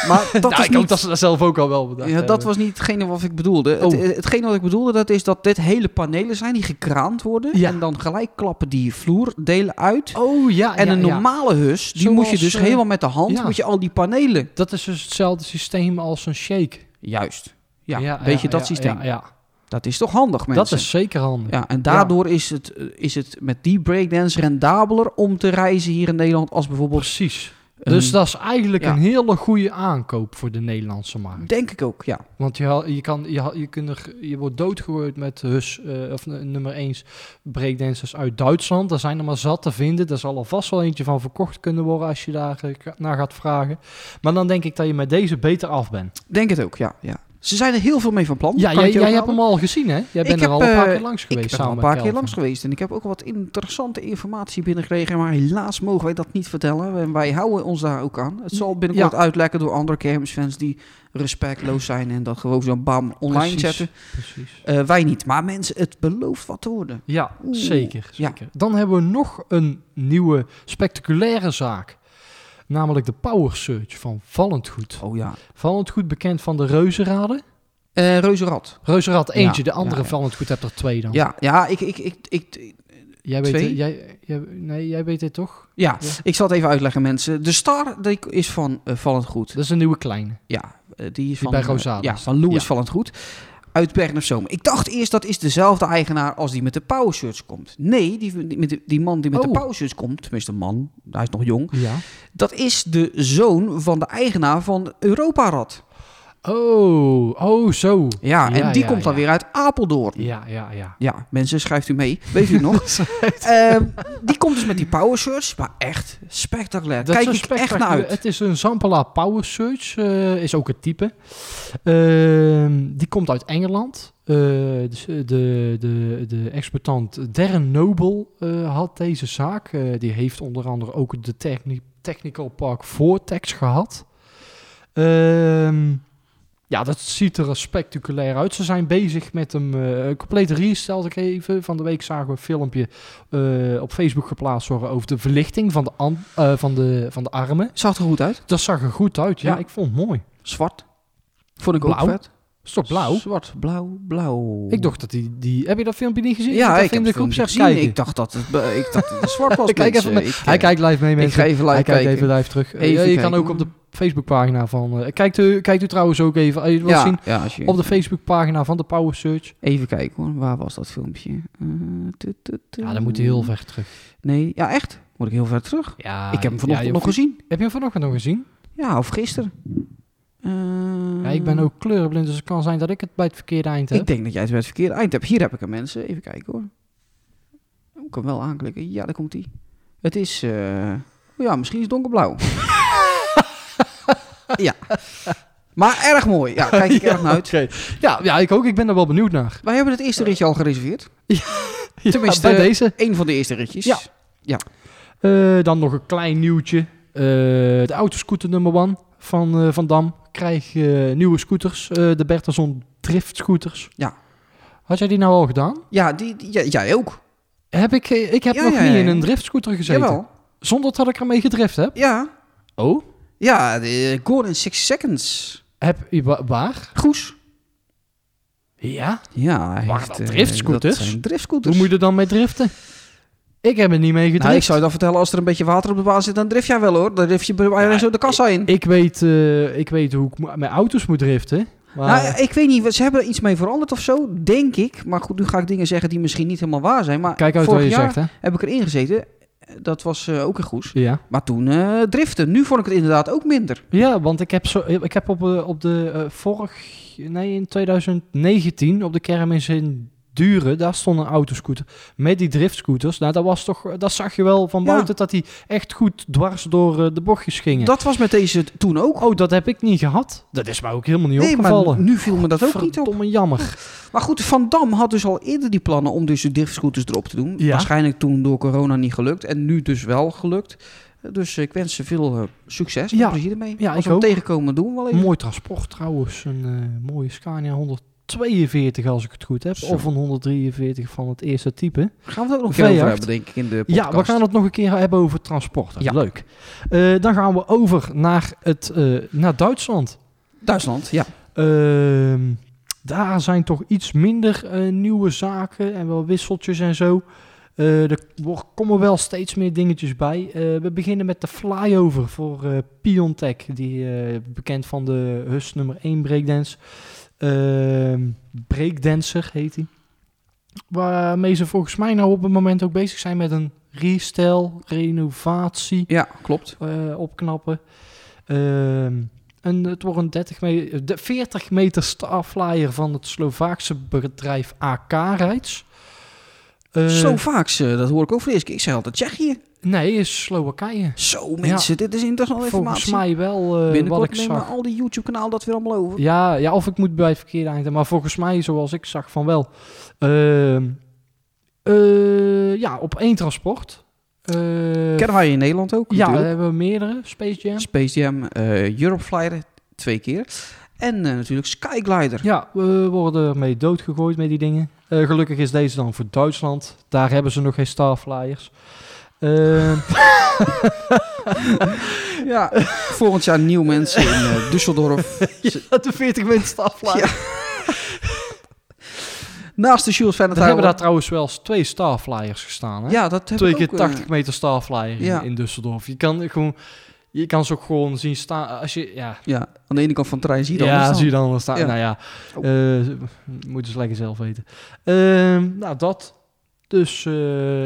Speaker 3: maar dat
Speaker 4: Nou,
Speaker 3: is
Speaker 4: ik hoop
Speaker 3: niet...
Speaker 4: dat ze dat zelf ook al wel bedacht
Speaker 3: Ja, dat
Speaker 4: hebben.
Speaker 3: was niet hetgene wat ik bedoelde.
Speaker 4: Oh.
Speaker 3: Het, eh, hetgene wat ik bedoelde, dat is dat dit hele panelen zijn die gekraand worden.
Speaker 4: Ja.
Speaker 3: En dan gelijk klappen die vloerdelen uit.
Speaker 4: Oh ja,
Speaker 3: en
Speaker 4: ja,
Speaker 3: een
Speaker 4: ja.
Speaker 3: normale hus, die
Speaker 4: Zoals,
Speaker 3: moet je dus
Speaker 4: eh,
Speaker 3: helemaal met de hand,
Speaker 4: ja.
Speaker 3: moet je al die panelen...
Speaker 4: Dat is dus hetzelfde systeem als een shake.
Speaker 3: Juist. Ja, weet je,
Speaker 4: ja,
Speaker 3: dat
Speaker 4: ja,
Speaker 3: systeem.
Speaker 4: Ja, ja.
Speaker 3: Dat is toch handig, mensen?
Speaker 4: dat is zeker handig.
Speaker 3: Ja, en daardoor Is, het, eh, is het met die breakdance rendabeler om te reizen hier in Nederland als bijvoorbeeld...
Speaker 4: Precies.
Speaker 3: een-
Speaker 4: Dus dat is eigenlijk
Speaker 3: ja.
Speaker 4: een hele goede aankoop voor de Nederlandse markt.
Speaker 3: Denk ik ook, ja.
Speaker 4: Want je, haal- je, kan, je, haal- je, kunt er, je wordt doodgegooid met hus, eh, of n- nummer 1 breakdancers uit Duitsland. Daar zijn er maar zat te vinden. Daar zal er vast wel eentje van verkocht kunnen worden als je daar eh, ga- naar gaat vragen. Maar dan denk ik dat je met deze beter af bent.
Speaker 3: Denk het ook, ja. ja. Ze zijn er heel veel mee van plan.
Speaker 4: Ja,
Speaker 3: Oh, Kan ik je
Speaker 4: jij,
Speaker 3: ook
Speaker 4: jij hebt
Speaker 3: helpen?
Speaker 4: hem al gezien, hè? Jij bent
Speaker 3: heb,
Speaker 4: er al een paar
Speaker 3: eh,
Speaker 4: keer langs geweest
Speaker 3: Ik ben al
Speaker 4: samen
Speaker 3: een paar
Speaker 4: met
Speaker 3: keer
Speaker 4: Kelvin.
Speaker 3: langs geweest en ik heb ook wat interessante informatie binnengekregen. Maar helaas mogen wij dat niet vertellen. En wij houden ons daar ook aan. Het zal binnenkort uitlekken door andere Kermisfans die respectloos zijn en dat gewoon zo bam online
Speaker 4: Precies,
Speaker 3: zetten.
Speaker 4: Precies.
Speaker 3: Eh, wij niet. Maar mensen, het belooft wat te worden.
Speaker 4: Ja,
Speaker 3: Oeh.
Speaker 4: zeker.
Speaker 3: Ja.
Speaker 4: zeker. Dan hebben we nog een nieuwe spectaculaire zaak. Namelijk de Power Search van Vallendgoed.
Speaker 3: Oh ja.
Speaker 4: Vallendgoed bekend van de Reuzenraden.
Speaker 3: Eh Reuzenrad.
Speaker 4: Reuzenrad
Speaker 3: Ja,
Speaker 4: eentje, de andere
Speaker 3: ja, ja.
Speaker 4: Vallendgoed hebt er twee dan.
Speaker 3: Ja, ja ik, ik, ik, ik,
Speaker 4: Jij weet,
Speaker 3: Twee?
Speaker 4: het- jij, jij, nee, jij weet dit toch?
Speaker 3: ja,
Speaker 4: Ja.
Speaker 3: ik zal het even uitleggen mensen. De star die is van eh, Vallend Goed.
Speaker 4: Dat is een nieuwe kleine.
Speaker 3: Ja, eh, die is van,
Speaker 4: bij
Speaker 3: eh,
Speaker 4: Rosales.
Speaker 3: Ja, van Louis
Speaker 4: Ja.
Speaker 3: Vallend Goed. Uit Bergen op Zoom. Ik dacht eerst dat is dezelfde eigenaar als die met de Power Shirts komt. Nee, die, die, met de- die man die met
Speaker 4: Oh.
Speaker 3: de Power Shirts komt, tenminste man, hij is nog jong.
Speaker 4: Ja.
Speaker 3: Dat is de zoon van de eigenaar van Europarad.
Speaker 4: Oh, oh zo.
Speaker 3: Ja,
Speaker 4: Ja,
Speaker 3: en die
Speaker 4: ja,
Speaker 3: komt dan
Speaker 4: ja.
Speaker 3: weer uit Apeldoorn.
Speaker 4: Ja, ja, ja.
Speaker 3: Ja, mensen, schrijft u mee. Weet u het nog? Ehm, die komt dus met die power shirts, maar echt spectaculair.
Speaker 4: Dat
Speaker 3: eh, Kijk
Speaker 4: is
Speaker 3: ik
Speaker 4: een
Speaker 3: echt
Speaker 4: spectaculair-
Speaker 3: naar uit.
Speaker 4: Het is een Zampala Power Search, eh, is ook het type. Ehm, die komt uit Engeland. Eh, dus, eh, de, de, de exploitant Darren Noble eh, had deze zaak. Eh, die heeft onder andere ook de techni- Technical Park Vortex gehad. Ehm, ja, dat ziet er spectaculair uit. Ze zijn bezig met hem eh, een complete restyle te geven. Van de week zagen we een filmpje eh, op Facebook geplaatst worden over de verlichting van de, an- eh, van, de, van de armen.
Speaker 3: Zag er goed uit.
Speaker 4: Dat zag er goed uit. Ja,
Speaker 3: Ja.
Speaker 4: ik vond het mooi.
Speaker 3: Zwart. Vond ik
Speaker 4: Blauw?
Speaker 3: ook vet.
Speaker 4: Is toch blauw?
Speaker 3: Zwart, blauw, blauw.
Speaker 4: Ik dacht dat die, die... Heb je dat filmpje niet gezien?
Speaker 3: ja,
Speaker 4: dat
Speaker 3: ik heb
Speaker 4: de
Speaker 3: het
Speaker 4: groep
Speaker 3: filmpje
Speaker 4: zegt
Speaker 3: gezien.
Speaker 4: kijken.
Speaker 3: Ik dacht dat het, be- ik dacht dat het zwart was.
Speaker 4: Ik kijk even
Speaker 3: mensen.
Speaker 4: mee.
Speaker 3: Ik, eh,
Speaker 4: Hij kijkt live mee,
Speaker 3: Ik
Speaker 4: mensen.
Speaker 3: ga even live
Speaker 4: Hij kijkt
Speaker 3: kijken.
Speaker 4: even live terug. Eh,
Speaker 3: Even
Speaker 4: ja, je
Speaker 3: kijken.
Speaker 4: kan ook op de Facebookpagina van... eh, kijkt, u, kijkt u trouwens ook even... als je het wilt
Speaker 3: ja,
Speaker 4: zien,
Speaker 3: ja, als je-
Speaker 4: op de Facebookpagina van de Power Search.
Speaker 3: Even kijken hoor, waar was dat filmpje? Eh, tu, tu, tu.
Speaker 4: Ja, dan moet hij heel ver terug.
Speaker 3: Nee, ja echt? Moet ik heel ver terug?
Speaker 4: Ja,
Speaker 3: ik heb hem
Speaker 4: ja,
Speaker 3: vanochtend
Speaker 4: je
Speaker 3: nog
Speaker 4: hoeft-
Speaker 3: gezien.
Speaker 4: Heb je hem vanochtend nog gezien?
Speaker 3: Ja, of gisteren. Ehm, Eh,
Speaker 4: Ja, ik
Speaker 3: Mm.
Speaker 4: ben ook kleurenblind, dus het kan zijn dat ik het bij het verkeerde eind heb.
Speaker 3: Ik denk dat jij het bij het verkeerde eind hebt. Hier heb ik hem, mensen. Even kijken hoor. Oh, Ik kan wel aanklikken. Ja, daar komt hij. Het is... eh, oh ja, misschien is het donkerblauw. ja. Maar erg mooi. Ja, kijk ik erg naar uit.
Speaker 4: Oké. Ja, ja, ik ook. Ik ben er wel benieuwd naar.
Speaker 3: Wij hebben het eerste ritje al gereserveerd. Tenminste,
Speaker 4: bij deze.
Speaker 3: Eén van de eerste ritjes.
Speaker 4: Ja. Eh, dan nog een klein nieuwtje. Eh, de autoscooter nummer 1 van eh, Van Dam krijgt eh, nieuwe scooters. Eh, de Bertelson Drift scooters.
Speaker 3: Ja.
Speaker 4: Had jij die nou al gedaan?
Speaker 3: Ja, die, die- ja, jij ook.
Speaker 4: Heb ik, eh, ik heb
Speaker 3: Ja,
Speaker 4: nog
Speaker 3: ja,
Speaker 4: niet
Speaker 3: ja.
Speaker 4: in een driftscooter gezeten.
Speaker 3: Jawel.
Speaker 4: Zonder dat ik ermee gedrift heb.
Speaker 3: Ja.
Speaker 4: Oh?
Speaker 3: Ja, de Gordon in 6 Seconds.
Speaker 4: Heb je wa- waar?
Speaker 3: Goes.
Speaker 4: Ja.
Speaker 3: Ja, hij
Speaker 4: Waren
Speaker 3: heeft,
Speaker 4: dat
Speaker 3: eh, Dat
Speaker 4: driftscooters?
Speaker 3: zijn
Speaker 4: Hoe
Speaker 3: driftscooters.
Speaker 4: moet je er dan mee driften? Ik heb er niet mee gedrift.
Speaker 3: Nou, ik zou je dan vertellen, als er een beetje water op de baan zit, dan drift jij wel hoor. Dan drift je bijna
Speaker 4: Ja,
Speaker 3: zo de kassa in.
Speaker 4: Ik weet, eh, ik weet hoe ik mo- mijn auto's moet driften. Maar
Speaker 3: Nou, ik weet niet, ze hebben er iets mee veranderd of zo, denk ik. Maar goed, nu ga ik dingen zeggen die misschien niet helemaal waar zijn. Maar
Speaker 4: kijk uit wat
Speaker 3: vorig
Speaker 4: je
Speaker 3: jaar
Speaker 4: zegt, hè?
Speaker 3: heb ik erin gezeten. Dat was eh, ook een goes.
Speaker 4: Ja.
Speaker 3: Maar toen eh, driften. Nu vond ik het inderdaad ook minder.
Speaker 4: ja, want ik heb, zo, ik heb op, eh, op de eh, vorig... Nee, in 2019 op de kermis in Duren, daar stond een autoscooter met die driftscooters. Nou, dat, was toch, dat zag je wel van
Speaker 3: Ja.
Speaker 4: buiten dat die echt goed dwars door eh, de bochtjes gingen.
Speaker 3: Dat was met deze t- toen ook.
Speaker 4: Oh, dat heb ik niet gehad. Dat is mij ook helemaal niet
Speaker 3: Nee, maar
Speaker 4: opgevallen.
Speaker 3: nu viel me dat ook niet op.
Speaker 4: Verdomme jammer.
Speaker 3: Maar goed, Van Dam had dus al eerder die plannen om dus de driftscooters erop te doen.
Speaker 4: Ja.
Speaker 3: Waarschijnlijk toen door corona niet gelukt. En nu dus wel gelukt. Dus eh, ik wens ze veel eh, succes en
Speaker 4: Ja.
Speaker 3: plezier ermee.
Speaker 4: Ja, ik
Speaker 3: Als we hem
Speaker 4: ook.
Speaker 3: tegenkomen, doen we wel even.
Speaker 4: Mooi transport trouwens. Een eh, mooie Scania 142 als ik het goed heb.
Speaker 3: Zo.
Speaker 4: Of een 143 van het eerste type.
Speaker 3: Gaan we het ook nog een keer over
Speaker 4: Veejacht.
Speaker 3: hebben, denk ik, in de eh, podcast.
Speaker 4: Ja, we gaan het nog een keer hebben over transport. Dat is
Speaker 3: Ja.
Speaker 4: Leuk. Eh, dan gaan we over naar, het, eh, naar Duitsland.
Speaker 3: Duitsland, ja.
Speaker 4: Ehm, daar zijn toch iets minder eh, nieuwe zaken en wel wisseltjes en zo. Eh, er wo- komen wel steeds meer dingetjes bij. Eh, we beginnen met de flyover voor eh Piontech, die eh, bekend van de Hus nummer 1 breakdance. Ehm breakdancer heet hij. Waarmee ze volgens mij nou op het moment ook bezig zijn met een restyle, renovatie.
Speaker 3: Ja, klopt.
Speaker 4: eh, opknappen. Ehm, en het wordt een 30 me- eh, de 40 meter starflyer van het Slovaakse bedrijf AK Rijts. Eh,
Speaker 3: Zo vaak, ze, dat hoor ik ook voor de eerste keer. Ik zei altijd Tsjechië.
Speaker 4: Nee, is Slowakije.
Speaker 3: Zo mensen, dit is interessante
Speaker 4: Volgens
Speaker 3: informatie.
Speaker 4: mij wel eh wat
Speaker 3: Binnenkort
Speaker 4: ik
Speaker 3: nemen
Speaker 4: zag.
Speaker 3: al die YouTube-kanaal dat weer allemaal over.
Speaker 4: Ja, ja, of ik moet bij het verkeerde eind. Maar volgens mij, zoals ik zag, van wel. Ehm, eh, ja, op één transport. Eh,
Speaker 3: Kennen wij in Nederland ook
Speaker 4: ja, eh, we
Speaker 3: natuurlijk.
Speaker 4: hebben meerdere. Space Jam.
Speaker 3: Space Jam, eh Europe Flyer, twee keer. En eh, natuurlijk Skyglider.
Speaker 4: Ja, we worden ermee doodgegooid met die dingen. Eh, gelukkig is deze dan voor Duitsland. Daar hebben ze nog geen Starflyers. Ehm,
Speaker 3: Ja. Volgend jaar nieuw mensen in eh, Düsseldorf.
Speaker 4: de 40 minuten Starflyers.
Speaker 3: Naast de Jules Van
Speaker 4: Er hebben daar trouwens wel eens twee Starflyers gestaan. Hè?
Speaker 3: Ja, dat heb
Speaker 4: twee
Speaker 3: ik
Speaker 4: keer
Speaker 3: ook, eh,
Speaker 4: 80 meter Starflyer in,
Speaker 3: ja.
Speaker 4: in Düsseldorf. Je kan, gewoon, je kan ze ook gewoon zien staan. Als je, ja,
Speaker 3: ja, aan de ene kant van het terrein zie je dat.
Speaker 4: ja,
Speaker 3: anders
Speaker 4: zie je dan wel staan.
Speaker 3: Ja.
Speaker 4: Nou ja, eh, moeten ze lekker zelf weten. Ehm, nou, dat. Dus eh,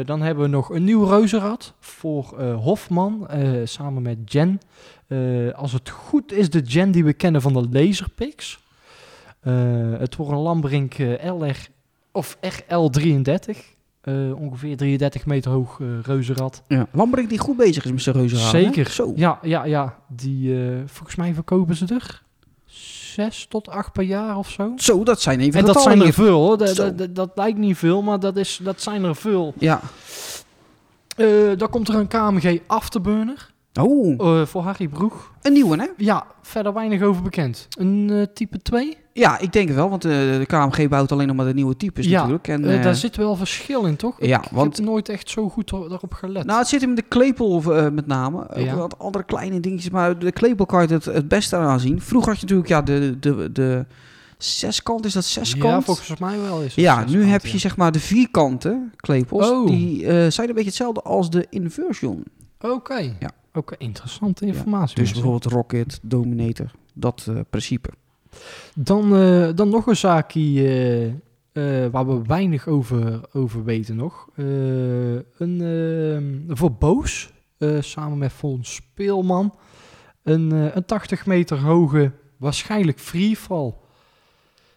Speaker 4: dan hebben we nog een nieuw reuzenrad voor eh, Hofman eh, samen met Jen. Eh, als het goed is, de Jen die we kennen van de Laserpix. Eh, het wordt een Lambrink eh, LR of RL33. eh, ongeveer 33 meter hoog eh, reuzenrad.
Speaker 3: Ja. Lambrink die goed bezig is met zijn reuzenhaal. hè?
Speaker 4: Zeker.
Speaker 3: Zo.
Speaker 4: Ja, ja, ja. Die, eh, volgens mij verkopen ze er zes tot acht per jaar of zo.
Speaker 3: Zo, dat zijn even
Speaker 4: En dat
Speaker 3: getallen
Speaker 4: zijn er
Speaker 3: hier.
Speaker 4: veel, hoor. Dat,
Speaker 3: Zo.
Speaker 4: dat, dat, dat lijkt niet veel, maar dat, is, dat zijn er veel.
Speaker 3: Ja.
Speaker 4: Eh dan komt er een KMG Afterburner
Speaker 3: Oh,
Speaker 4: eh, voor Harry Broeg.
Speaker 3: een nieuwe hè?
Speaker 4: Ja, verder weinig over bekend. Een eh, type 2?
Speaker 3: Ja, ik denk het wel, want eh, de KMG bouwt alleen nog maar de nieuwe types
Speaker 4: Ja,
Speaker 3: natuurlijk. En,
Speaker 4: Eh,
Speaker 3: eh,
Speaker 4: daar zit wel verschil in, toch?
Speaker 3: ja,
Speaker 4: ik
Speaker 3: want-
Speaker 4: heb nooit echt zo goed er- daarop gelet.
Speaker 3: Nou, het zit hem in de klepel eh, met name. Ook
Speaker 4: Ja.
Speaker 3: wat andere kleine dingetjes, maar de klepel kan je het het beste aan zien. Vroeger had je natuurlijk ja, de, de, de zeskant, is dat zeskant?
Speaker 4: ja, volgens mij wel is het
Speaker 3: Ja,
Speaker 4: zeskant,
Speaker 3: nu heb je
Speaker 4: ja.
Speaker 3: zeg maar de vierkante klepels.
Speaker 4: Oh.
Speaker 3: Die eh, zijn een beetje hetzelfde als de inversion.
Speaker 4: Oké,
Speaker 3: Ja.
Speaker 4: Oké, interessante
Speaker 3: Dus
Speaker 4: informatie. mensen.
Speaker 3: bijvoorbeeld Rocket, Dominator, dat eh, principe.
Speaker 4: Dan, eh, dan nog een zaakje eh, eh, waar we weinig over, over weten nog. Eh, een, eh, voor Boos, eh, samen met Fons Speelman. Een, eh, een 80 meter hoge, waarschijnlijk freefall.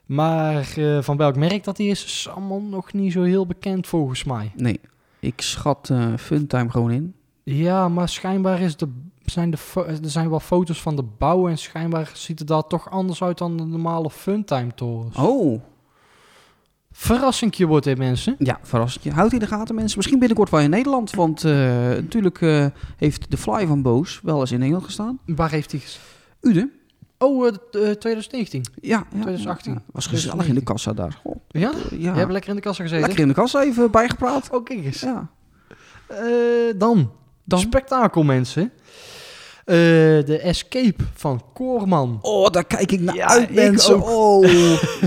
Speaker 4: Maar eh, van welk merk dat die is, is allemaal nog niet zo heel bekend volgens mij.
Speaker 3: Nee, ik schat eh, Funtime gewoon in.
Speaker 4: Ja, maar schijnbaar is de, zijn de, fo- er zijn wel foto's van de bouw en schijnbaar ziet het daar toch anders uit dan de normale Funtime torens.
Speaker 3: Oh,
Speaker 4: Verrassingje wordt dit, mensen.
Speaker 3: ja, verrassend. Je Houdt in de gaten mensen. Misschien binnenkort wel in Nederland, want eh, natuurlijk eh, heeft de Fly van Boos wel eens in Engeland gestaan.
Speaker 4: Waar heeft hij ges...
Speaker 3: Ude,
Speaker 4: Oh, eh, t- eh, 2019.
Speaker 3: ja. ja,
Speaker 4: 2018.
Speaker 3: ja. Was gezellig in de kassa daar. Goh,
Speaker 4: Ja?
Speaker 3: ja,
Speaker 4: Je hebt lekker in de kassa gezeten.
Speaker 3: lekker in de kassa even bijgepraat.
Speaker 4: Oh, kijk eens.
Speaker 3: Ja.
Speaker 4: Eh, dan. dan. Spektakel, mensen. Eh, de Escape van Koorman.
Speaker 3: Oh, daar kijk ik naar
Speaker 4: Ja,
Speaker 3: uit,
Speaker 4: ik
Speaker 3: mensen.
Speaker 4: ook.
Speaker 3: Oh,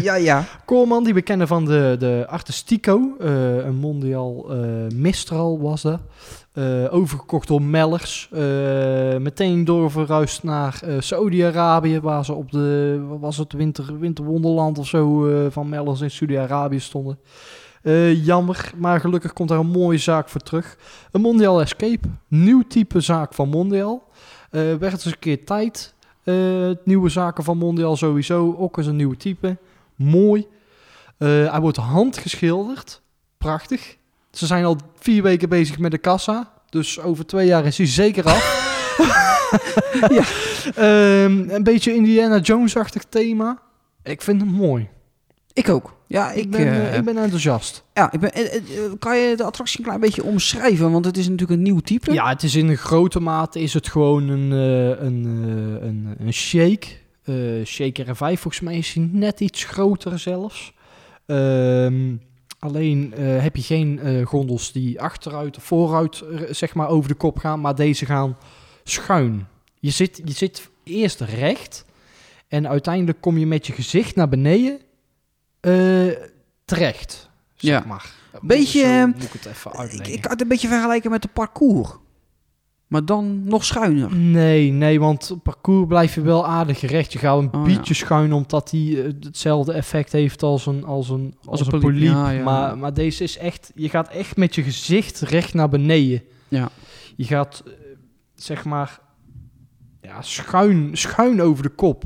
Speaker 3: ja, ja.
Speaker 4: Koorman, die we kennen van de, de Artistico. eh, een mondiaal eh, mistral was dat. Eh, overgekocht door Mellers. Eh, meteen doorverhuisd naar eh, Saudi-Arabië, waar ze op de, wat was het winter, winterwonderland of zo eh, van Mellers in Saudi-Arabië stonden. Eh, jammer, maar gelukkig komt daar een mooie zaak voor terug. Een mondiaal escape, nieuw type zaak van mondiaal. Eh, werd eens een keer tijd. Eh, nieuwe zaken van mondiaal sowieso, ook eens een nieuw type. Mooi. Eh, hij wordt handgeschilderd. Prachtig. Ze zijn al vier weken bezig met de kassa. Dus over twee jaar is hij zeker af. ja. Ehm, een beetje Indiana Jones-achtig thema. Ik vind hem mooi.
Speaker 3: Ik ook. Ja,
Speaker 4: Ik,
Speaker 3: ik,
Speaker 4: ben, eh,
Speaker 3: eh,
Speaker 4: ik ben enthousiast.
Speaker 3: ja, ik ben eh, eh, eh, kan je de attractie een klein beetje omschrijven? Want het is natuurlijk een nieuw type.
Speaker 4: Ja, het is in grote mate is het gewoon een, eh, een, eh, een, een shake. Eh shake R5 volgens mij is hij net iets groter zelfs. Ehm, alleen eh, heb je geen eh, gondels die achteruit of vooruit eh, zeg maar over de kop gaan, maar deze gaan schuin. Je zit, je zit eerst recht en uiteindelijk kom je met je gezicht naar beneden eh, terecht. Zeg
Speaker 3: Ja.
Speaker 4: maar.
Speaker 3: Beetje,
Speaker 4: Zo
Speaker 3: ehm,
Speaker 4: moet ik het even
Speaker 3: Ik,
Speaker 4: uitleggen.
Speaker 3: ik kan het een beetje vergelijken met de parcours. Maar dan nog schuiner.
Speaker 4: Nee, nee, want op parcours blijf je wel aardig gerecht. Je gaat een
Speaker 3: Oh,
Speaker 4: beetje schuin, omdat die eh, hetzelfde effect heeft als een, als een, als
Speaker 3: een
Speaker 4: een poliep.
Speaker 3: poliep, ja, ja.
Speaker 4: Maar, maar deze is echt... Je gaat echt met je gezicht recht naar beneden.
Speaker 3: Ja.
Speaker 4: Je gaat, eh, zeg maar, ja, schuin, schuin over de kop.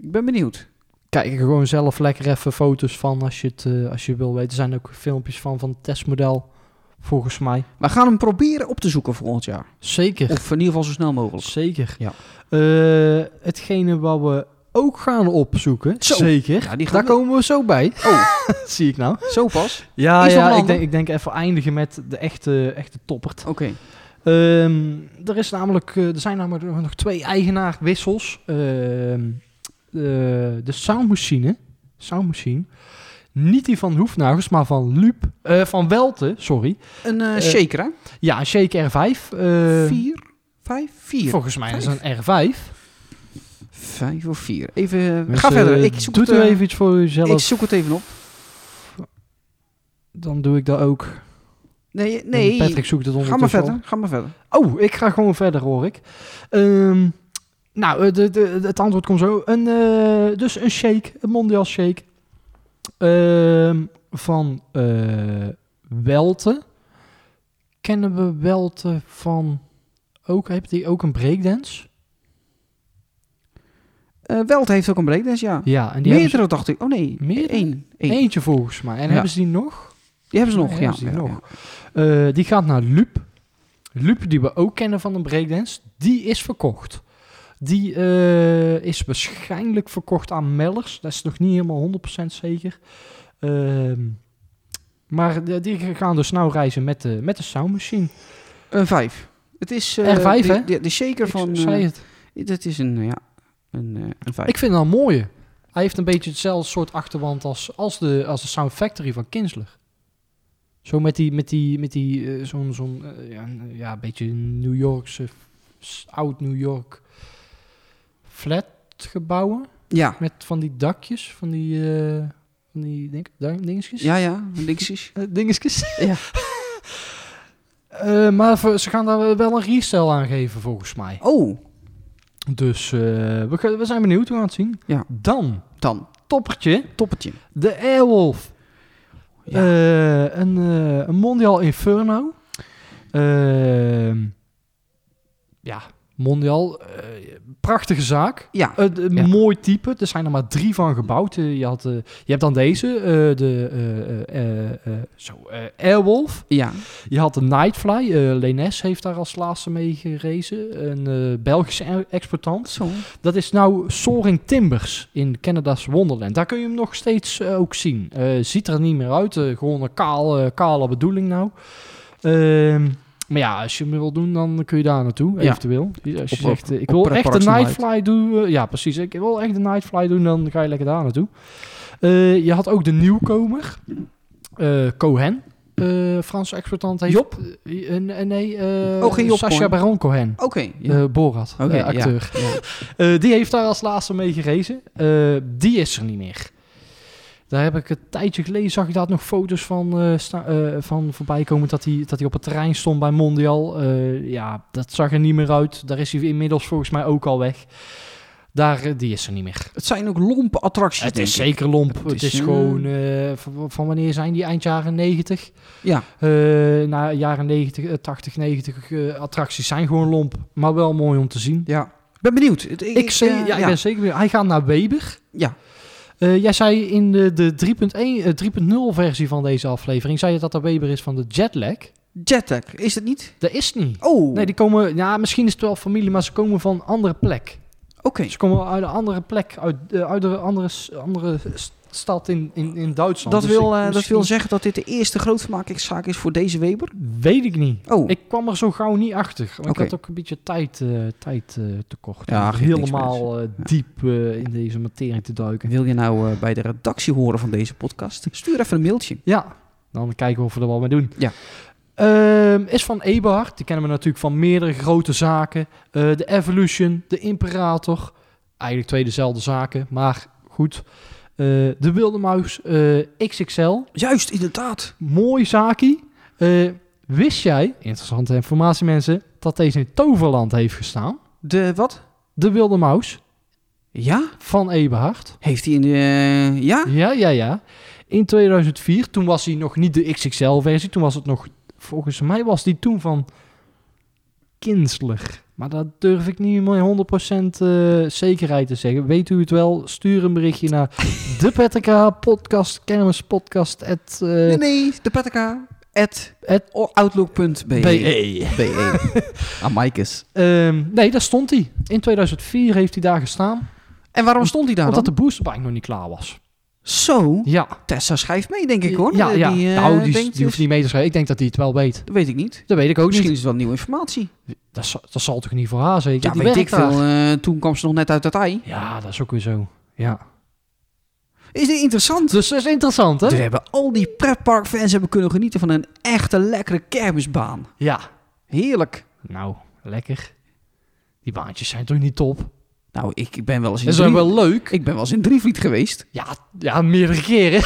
Speaker 3: Ik ben benieuwd.
Speaker 4: Kijk er gewoon zelf lekker even foto's van als je het eh, als je wil weten. Er zijn ook filmpjes van van het testmodel, volgens mij.
Speaker 3: We gaan hem proberen op te zoeken volgend jaar.
Speaker 4: Zeker.
Speaker 3: Of in ieder geval zo snel mogelijk.
Speaker 4: Zeker.
Speaker 3: Ja.
Speaker 4: Eh, hetgene wat we ook gaan opzoeken.
Speaker 3: Zo.
Speaker 4: Zeker.
Speaker 3: Ja, die gaan
Speaker 4: Daar
Speaker 3: we-
Speaker 4: komen we zo bij.
Speaker 3: Oh,
Speaker 4: Zie ik nou.
Speaker 3: zo pas?
Speaker 4: Ja,
Speaker 3: Is nog een
Speaker 4: ja ik,
Speaker 3: ander?
Speaker 4: denk, ik denk even eindigen met de echte, echte toppert.
Speaker 3: Oké.
Speaker 4: Ehm, er, is namelijk, eh, er zijn namelijk nog- nog twee eigenaarwissels. Ehm, eh, de- de soundmachine, soundmachine, niet die van Hoefnagels, maar van Lup, eh, van Welte, sorry.
Speaker 3: Een eh, shaker, hè?
Speaker 4: Ja, een Shake R5. eh,
Speaker 3: vier, vijf, vier.
Speaker 4: Volgens mij is het een R5.
Speaker 3: Vijf of vier. Even, eh,
Speaker 4: Dus,
Speaker 3: ga
Speaker 4: eh,
Speaker 3: verder. Ik zoek,
Speaker 4: doe
Speaker 3: het,
Speaker 4: er
Speaker 3: eh,
Speaker 4: even iets voor jezelf,
Speaker 3: ik zoek het even op.
Speaker 4: dan doe ik dat ook.
Speaker 3: Nee, eh,
Speaker 4: En
Speaker 3: nee.
Speaker 4: Patrick zoekt het
Speaker 3: Ga maar
Speaker 4: ondertussen
Speaker 3: verder, ga maar verder.
Speaker 4: Oh, ik ga gewoon verder, hoor ik. Ehm, nou, eh, de, de, de- het antwoord komt zo. Een, eh, dus een shake, een mondial shake. Ehm, van eh Welte. Kennen we Welte van... Ook, heeft die ook een breakdance?
Speaker 3: Eh Welt heeft ook een breakdance, ja.
Speaker 4: Ja, en die hebben
Speaker 3: Meerdere dacht ik. Oh nee,
Speaker 4: Meerdere?
Speaker 3: één.
Speaker 4: ze-
Speaker 3: één.
Speaker 4: eentje volgens mij. En
Speaker 3: Ja.
Speaker 4: hebben ze die nog?
Speaker 3: Die hebben ze nog, ja.
Speaker 4: Hebben ze
Speaker 3: ja,
Speaker 4: die, nog?
Speaker 3: ja.
Speaker 4: Eh, die gaat naar Lup. Lup, die we ook kennen van de breakdance, die is verkocht. Die eh, is waarschijnlijk verkocht aan Mellers. Dat is nog niet helemaal 100% zeker. Ehm, maar de- die gaan dus nou reizen met de, met de soundmachine.
Speaker 3: Een vijf. Het is eh,
Speaker 4: R5,
Speaker 3: de,
Speaker 4: hè?
Speaker 3: De, de shaker
Speaker 4: Ik
Speaker 3: van.
Speaker 4: zei
Speaker 3: eh,
Speaker 4: het.
Speaker 3: dat is een, ja, een, eh, een vijf.
Speaker 4: Ik vind het een mooie. Hij heeft een beetje hetzelfde soort achterwand als, als, de, als de Sound Factory van Kinsler. Zo met die, met die, met die eh, zo'n, zo'n eh, ja, een- ja, een beetje New Yorkse, s- oud New York flat gebouwen.
Speaker 3: ja.
Speaker 4: Met van die dakjes, van die, eh, van die denk, ding- dingetjes.
Speaker 3: ja, ja, een dingetjes.
Speaker 4: Eh, dingetjes.
Speaker 3: Ja.
Speaker 4: Eh, maar voor- ze gaan daar wel een resell aan geven volgens mij.
Speaker 3: Oh,
Speaker 4: Dus eh, we, gaan- we zijn benieuwd, we gaan het zien.
Speaker 3: Ja.
Speaker 4: Dan,
Speaker 3: dan.
Speaker 4: toppertje.
Speaker 3: Toppetje.
Speaker 4: De Airwolf.
Speaker 3: Ja.
Speaker 4: Eh, een, eh, een Mondial Inferno. Ehm, ja, Mondial. eh, prachtige zaak.
Speaker 3: Ja.
Speaker 4: Eh, de-
Speaker 3: Ja.
Speaker 4: Mooi type. Er zijn er maar drie van gebouwd. Eh, je, had, eh, je hebt dan deze, eh, de eh, eh, eh, eh, zo, eh, Airwolf.
Speaker 3: Ja.
Speaker 4: Je had de Nightfly. eh Lenes heeft daar als laatste mee gerezen. Een eh, Belgische e- exportant.
Speaker 3: Zo.
Speaker 4: Dat is nou Soaring Timbers in Canada's Wonderland. Daar kun je hem nog steeds eh, ook zien. Eh, ziet er niet meer uit. eh, gewoon een kaal, eh, kale bedoeling nou. Ehm, maar ja, als je hem wil doen, dan kun je daar naartoe,
Speaker 3: Ja.
Speaker 4: eventueel. Als je
Speaker 3: op-
Speaker 4: zegt, eh, ik
Speaker 3: op
Speaker 4: wil
Speaker 3: Pretpark
Speaker 4: echt de
Speaker 3: Snelheid.
Speaker 4: Nightfly doen. eh, ja, precies. Ik wil echt de Nightfly doen, dan ga je lekker daar naartoe. Eh, je had ook de nieuwkomer, eh, Cohen. eh Franse exportant heeft...
Speaker 3: Mm. Job?
Speaker 4: Eh, eh, nee, eh
Speaker 3: Oh, geen Job
Speaker 4: Sacha
Speaker 3: Cohen.
Speaker 4: Baron Cohen.
Speaker 3: Oké. ja.
Speaker 4: eh, Borat,
Speaker 3: Oké,
Speaker 4: eh, acteur.
Speaker 3: Ja. Ja.
Speaker 4: Eh, die heeft daar als laatste mee gerezen. Eh, die is er niet meer. Daar heb ik een tijdje geleden, zag ik daar nog foto's van, eh, sta- eh, van voorbij komen dat hij, dat hij op het terrein stond bij Mondial. Eh, ja, dat zag er niet meer uit. Daar is hij inmiddels volgens mij ook al weg. Daar, eh, die is er niet meer.
Speaker 3: Het zijn ook lompe attracties.
Speaker 4: Het
Speaker 3: denk
Speaker 4: is
Speaker 3: ik.
Speaker 4: zeker lomp.
Speaker 3: Het
Speaker 4: Het,
Speaker 3: is,
Speaker 4: is,
Speaker 3: eh,
Speaker 4: gewoon, eh, van, van wanneer zijn die? Eind jaren 90?
Speaker 3: Ja.
Speaker 4: Eh, na jaren 90, eh, 80, 90 eh, attracties zijn gewoon lomp. Maar wel mooi om te zien.
Speaker 3: Ja. Ik ben benieuwd. Het-
Speaker 4: Ik, zie,
Speaker 3: eh,
Speaker 4: ja, ik
Speaker 3: ja.
Speaker 4: ben zeker benieuwd. Hij gaat naar Weber.
Speaker 3: Ja.
Speaker 4: Eh, jij zei in de, de 3.1, eh, 3.0 versie van deze aflevering, zei je dat er Weber is van de jetlag.
Speaker 3: Jetlag, is het niet?
Speaker 4: Dat is niet.
Speaker 3: Oh,
Speaker 4: Nee, die komen, ja, misschien is het wel familie, maar ze komen van een andere plek.
Speaker 3: oké.
Speaker 4: Ze komen uit een andere plek, uit, eh, uit een andere, s- andere s- stad in, in, in Duitsland.
Speaker 3: Dat,
Speaker 4: Dus
Speaker 3: wil,
Speaker 4: ik-
Speaker 3: eh, dat
Speaker 4: misschien-
Speaker 3: wil zeggen dat dit de eerste grootvermakingszaak is voor deze Weber?
Speaker 4: Weet ik niet.
Speaker 3: Oh,
Speaker 4: Ik kwam er zo gauw niet achter. Want
Speaker 3: Oké.
Speaker 4: Ik had ook een beetje tijd, eh, tijd eh, tekort.
Speaker 3: Ja,
Speaker 4: om
Speaker 3: geeft niks,
Speaker 4: helemaal eh, diep eh, in deze materie te duiken.
Speaker 3: wil je nou eh, bij de redactie horen van deze podcast? Stuur even een mailtje.
Speaker 4: Ja, dan kijken we of we er wel mee doen.
Speaker 3: Ja.
Speaker 4: Ehm, is van Eberhard. Die kennen we natuurlijk van meerdere grote zaken. Eh, de Evolution, de Imperator. Eigenlijk twee dezelfde zaken, maar goed. Eh, de Wilde Muis, eh, XXL.
Speaker 3: Juist, inderdaad.
Speaker 4: Mooi zaakje. Eh, wist jij, interessante informatie mensen, dat deze in Toverland heeft gestaan?
Speaker 3: De wat?
Speaker 4: De Wilde Muis
Speaker 3: Ja?
Speaker 4: van Eberhard.
Speaker 3: Heeft hij een... eh, ja?
Speaker 4: Ja, ja, ja. In 2004, toen was hij nog niet de XXL-versie. Toen was het nog, volgens mij was die toen van Kinsler. Maar dat durf ik niet met 100% eh, zekerheid te zeggen. Weet u het wel? Stuur een berichtje naar de Petterka podcast, kermispodcast. at, eh,
Speaker 3: Nee, nee, de Petterka. At
Speaker 4: at E.
Speaker 3: outlook.be.
Speaker 4: BE.
Speaker 3: BE. Aan Mike's.
Speaker 4: Ehm, nee, daar stond hij. In 2004 heeft hij daar gestaan.
Speaker 3: En waarom stond hij daar
Speaker 4: omdat
Speaker 3: dan?
Speaker 4: de boosterbike nog niet klaar was.
Speaker 3: Zo,
Speaker 4: Ja.
Speaker 3: Tessa schrijft mee, denk ik hoor.
Speaker 4: Ja,
Speaker 3: Eh,
Speaker 4: ja.
Speaker 3: Die, eh,
Speaker 4: nou, die,
Speaker 3: denkt-
Speaker 4: die hoeft niet mee te schrijven. Ik denk dat hij het wel weet.
Speaker 3: Dat weet ik niet.
Speaker 4: Dat weet ik ook
Speaker 3: Misschien
Speaker 4: niet.
Speaker 3: is het wel nieuwe informatie.
Speaker 4: Dat, zal- dat zal toch niet voor haar zeker?
Speaker 3: Ja,
Speaker 4: Die
Speaker 3: weet ik
Speaker 4: werkt
Speaker 3: veel.
Speaker 4: daar.
Speaker 3: Eh, toen kwam ze nog net uit het ei.
Speaker 4: Ja, dat is ook weer zo. Ja.
Speaker 3: Is dit interessant?
Speaker 4: Dus dat is interessant, hè?
Speaker 3: Dus hebben al die pretparkfans hebben kunnen genieten van een echte lekkere kermisbaan.
Speaker 4: Ja.
Speaker 3: Heerlijk.
Speaker 4: Nou, lekker. Die baantjes zijn toch niet top?
Speaker 3: Nou, ik ik ben wel eens in
Speaker 4: Ze zijn
Speaker 3: Drie-
Speaker 4: wel leuk.
Speaker 3: Ik ben wel eens in Drievliet geweest.
Speaker 4: Ja, ja, meerdere keren.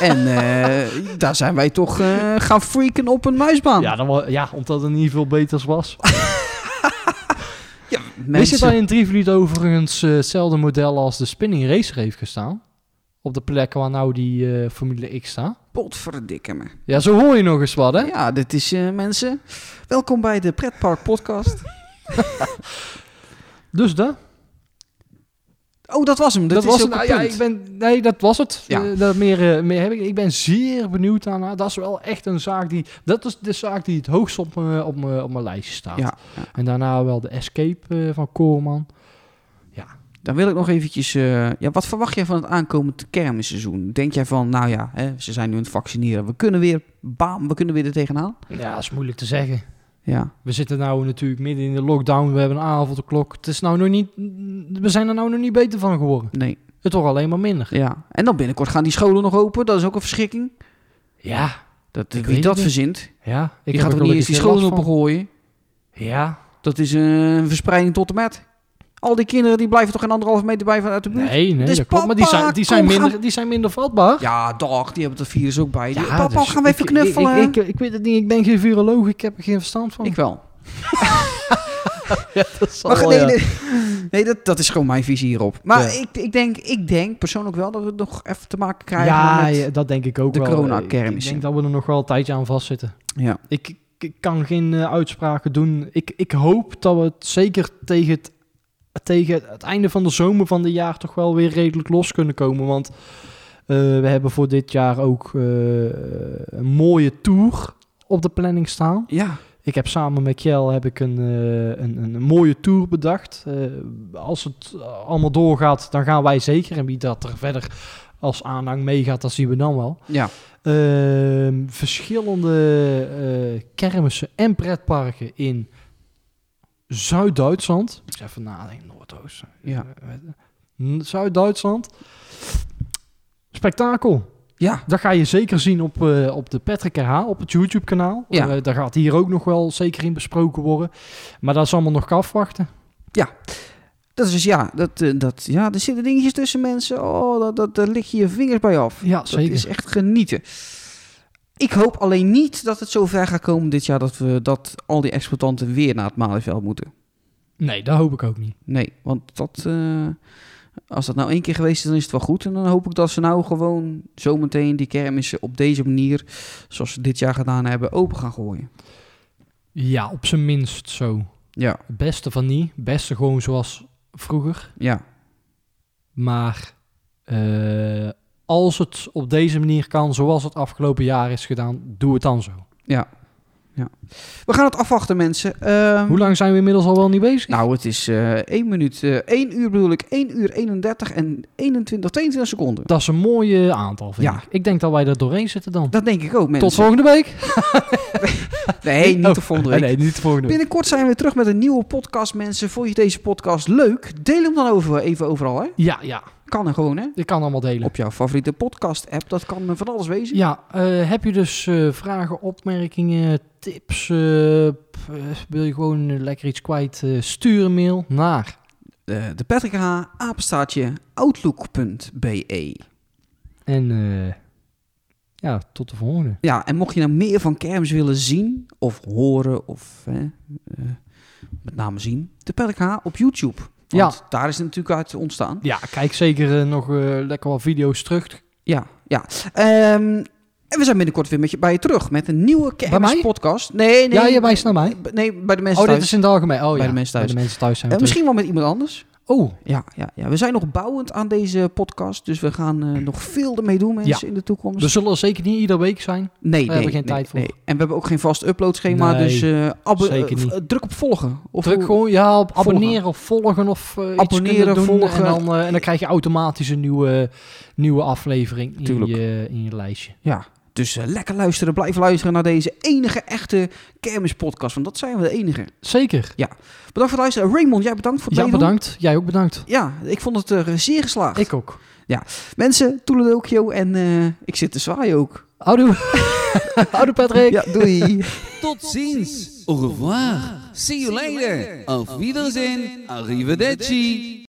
Speaker 3: en eh, daar zijn wij toch eh, gaan freaken op een muisbaan.
Speaker 4: Ja, dan, wel- ja, omdat het niet veel beters was.
Speaker 3: Ja,
Speaker 4: Wist je
Speaker 3: mensen.
Speaker 4: dat in Drievliet overigens eh, hetzelfde model als de Spinning Racer heeft gestaan? Op de plek waar nou die eh, Formule X staat.
Speaker 3: Potverdikke me.
Speaker 4: Ja, zo hoor je nog eens wat, hè?
Speaker 3: Ja, dit is eh, mensen. Welkom bij de Pretpark Podcast.
Speaker 4: Dus dat?
Speaker 3: Oh, dat was hem. Ah, Dat, is
Speaker 4: was
Speaker 3: ook
Speaker 4: het. Nou
Speaker 3: een
Speaker 4: Ja,
Speaker 3: punt.
Speaker 4: ik ben, nee, dat was het.
Speaker 3: Ja.
Speaker 4: Eh, dat meer, eh, meer heb ik. niet. ik ben zeer benieuwd daarna. Dat is wel echt een zaak die... Dat is de zaak die het hoogst op, me- op, me- op mijn lijstje staat.
Speaker 3: Ja,
Speaker 4: En daarna wel de Escape eh, van Koorman.
Speaker 3: Dan wil ik nog eventjes... eh, ja, wat verwacht jij van het aankomend kermisseizoen? Denk jij van, nou ja, hè, ze zijn nu aan het vaccineren. We kunnen weer, bam, we kunnen weer er tegenaan.
Speaker 4: Ja, dat is moeilijk te zeggen.
Speaker 3: Ja,
Speaker 4: We zitten nou natuurlijk midden in de lockdown. We hebben een avondklok. Het is nou nog niet... We zijn er nou nog niet beter van geworden.
Speaker 3: nee,
Speaker 4: Het wordt alleen maar minder.
Speaker 3: ja. En dan binnenkort gaan die scholen nog open. Dat is ook een verschrikking.
Speaker 4: Ja.
Speaker 3: Dat,
Speaker 4: Ik
Speaker 3: wie
Speaker 4: weet
Speaker 3: dat
Speaker 4: het niet.
Speaker 3: verzint,
Speaker 4: Ja. Ik
Speaker 3: die gaat
Speaker 4: er
Speaker 3: er niet eens die scholen op gooien.
Speaker 4: Ja.
Speaker 3: Dat is een verspreiding tot en met. Al die kinderen die blijven toch geen anderhalf meter bij vanuit de buurt?
Speaker 4: Nee, nee.
Speaker 3: Dus
Speaker 4: dat klopt. Maar die
Speaker 3: papa,
Speaker 4: zijn, die
Speaker 3: kom,
Speaker 4: zijn,
Speaker 3: gaan-
Speaker 4: minder, die zijn minder vatbaar.
Speaker 3: Ja, dag, die hebben dat virus ook bij.
Speaker 4: Ja,
Speaker 3: Papa,
Speaker 4: dus
Speaker 3: gaan we even
Speaker 4: ik- ik-
Speaker 3: knuffelen?
Speaker 4: Ik, ik, ik weet het niet, ik ben geen viroloog, ik heb er geen verstand van.
Speaker 3: Ik wel.
Speaker 4: ja, dat zal
Speaker 3: Maar
Speaker 4: wel,
Speaker 3: nee,
Speaker 4: ja.
Speaker 3: nee, nee, dat, dat is gewoon mijn visie hierop. Maar
Speaker 4: Ja.
Speaker 3: ik, ik, denk, ik denk persoonlijk wel dat we het nog even te maken krijgen
Speaker 4: Ja,
Speaker 3: met...
Speaker 4: ja, dat denk ik ook
Speaker 3: de
Speaker 4: wel.
Speaker 3: coronakermis,
Speaker 4: Ik
Speaker 3: ja.
Speaker 4: denk dat we er nog wel een tijdje aan vastzitten.
Speaker 3: Ja.
Speaker 4: Ik, ik, ik kan geen eh, uitspraken doen. Ik, ik hoop dat we het zeker tegen het, tegen het einde van de zomer van dit jaar toch wel weer redelijk los kunnen komen. Want eh, we hebben voor dit jaar ook eh, een mooie tour op de planning staan.
Speaker 3: Ja,
Speaker 4: Ik heb samen met Kjell heb ik een, eh, een, een, een mooie tour bedacht. Eh, als het eh, allemaal doorgaat, dan gaan wij zeker. En wie dat er verder als aanhang meegaat, dat zien we dan wel.
Speaker 3: ja.
Speaker 4: Ehm, verschillende eh, kermissen en pretparken in Zuid-Duitsland. Ik moet even nadenken, Noordoosten.
Speaker 3: Ja.
Speaker 4: Eh, Zuid-Duitsland. Spektakel.
Speaker 3: ja.
Speaker 4: Dat ga je zeker zien op, eh, op de Patrick RH, op het YouTube-kanaal.
Speaker 3: Ja.
Speaker 4: Eh, daar gaat hier ook nog wel zeker in besproken worden. Maar dat is allemaal nog afwachten.
Speaker 3: Dat is dus, ja, dat, eh, dat, ja, er zitten dingetjes tussen mensen. Oh, dat, dat, daar lig je je vingers bij af.
Speaker 4: Ja,
Speaker 3: Dat is echt genieten. Ik hoop alleen niet dat het zo ver gaat komen dit jaar dat, we, dat al die exploitanten weer naar het Malieveld moeten.
Speaker 4: Nee, dat hoop ik ook niet.
Speaker 3: Nee, want dat, eh, als dat nou één keer geweest is, dan is het wel goed. En dan hoop ik dat ze nou gewoon zometeen die kermissen op deze manier, zoals ze dit jaar gedaan hebben, open gaan gooien.
Speaker 4: Ja, op zijn minst zo.
Speaker 3: Ja,
Speaker 4: Het beste van niet. Het beste gewoon zoals vroeger.
Speaker 3: ja,
Speaker 4: Maar eh, als het op deze manier kan, zoals het afgelopen jaar is gedaan, doe het dan zo.
Speaker 3: ja. ja. We gaan het afwachten, mensen. Ehm,
Speaker 4: Hoe lang zijn we inmiddels al wel niet bezig?
Speaker 3: Nou, het is eh 1 minuut, eh 1 uur bedoel ik, 1 uur 31 en 21, 22 seconden.
Speaker 4: Dat is een mooi eh, aantal, vind
Speaker 3: Ja.
Speaker 4: ik. Ik denk dat wij er doorheen zitten dan.
Speaker 3: Dat denk ik ook, mensen.
Speaker 4: Tot volgende week.
Speaker 3: Nee, niet de
Speaker 4: Oh,
Speaker 3: volgende week.
Speaker 4: Nee, niet de volgende week.
Speaker 3: Binnenkort zijn we weer terug met een nieuwe podcast, mensen. Vond je deze podcast leuk? Deel hem dan over, even overal, hè?
Speaker 4: Ja, ja.
Speaker 3: Kan er gewoon, hè?
Speaker 4: Ik kan allemaal delen.
Speaker 3: Op jouw favoriete podcast-app. Dat kan eh, van alles wezen.
Speaker 4: Ja, eh, heb je dus eh, vragen, opmerkingen, tips? eh, p- eh, wil je gewoon eh, lekker iets kwijt? eh, stuur een mail naar.
Speaker 3: Eh, de Patrick H. apenstaartje outlook.be.
Speaker 4: En eh, ja, tot de volgende.
Speaker 3: Ja, en mocht je nou meer van Kerms willen zien of horen of hè, eh, met name zien, de Patrick H. op YouTube. Want
Speaker 4: Ja.
Speaker 3: daar is het natuurlijk uit ontstaan.
Speaker 4: Ja, kijk zeker eh, nog eh, lekker wat video's terug.
Speaker 3: Ja, ja. Ehm, En we zijn binnenkort weer met je, bij je terug met een nieuwe
Speaker 4: Bij mij?
Speaker 3: kermispodcast. Nee, nee.
Speaker 4: Ja, je wijst naar mij.
Speaker 3: B- Nee, bij de mensen
Speaker 4: Oh,
Speaker 3: thuis.
Speaker 4: dit is in het algemeen. Oh,
Speaker 3: Bij
Speaker 4: ja.
Speaker 3: de mensen thuis.
Speaker 4: Bij de mensen thuis zijn we
Speaker 3: Eh, misschien wel met iemand anders.
Speaker 4: terug. Oh,
Speaker 3: Ja, ja, ja, we zijn nog bouwend aan deze podcast. Dus we gaan eh, nog veel ermee doen, mensen, in de toekomst.
Speaker 4: we zullen zeker niet iedere week zijn.
Speaker 3: nee, nee,
Speaker 4: Dus hebben geen
Speaker 3: nee,
Speaker 4: tijd voor.
Speaker 3: nee. En we hebben ook geen vast uploadschema.
Speaker 4: Nee,
Speaker 3: dus eh, abbe-
Speaker 4: zeker
Speaker 3: eh,
Speaker 4: niet.
Speaker 3: v- druk op volgen. Of
Speaker 4: Druk
Speaker 3: hoe-
Speaker 4: gewoon ja, op
Speaker 3: Volgen.
Speaker 4: abonneren of volgen of eh, iets
Speaker 3: Abonneren,
Speaker 4: kunnen doen.
Speaker 3: volgen.
Speaker 4: En dan, eh, en dan krijg je automatisch een nieuwe, nieuwe aflevering in
Speaker 3: Tuurlijk.
Speaker 4: je, in je lijstje.
Speaker 3: Ja, dus eh, lekker luisteren. Blijf luisteren naar deze enige echte kermispodcast. Want dat zijn we de enige.
Speaker 4: Zeker.
Speaker 3: Bedankt voor het luisteren. Raymond, jij bedankt voor het
Speaker 4: Ja,
Speaker 3: meedoen.
Speaker 4: bedankt. Jij ook bedankt.
Speaker 3: Ja, ik vond het eh, zeer geslaagd.
Speaker 4: Ik ook.
Speaker 3: Mensen, toedeledoekio en eh, ik zit te zwaaien ook.
Speaker 4: Houdoe. Houdoe Patrick.
Speaker 3: Ja, doei.
Speaker 5: Tot ziens. Au revoir. See you later. Auf Wiedersehen. Arrivederci.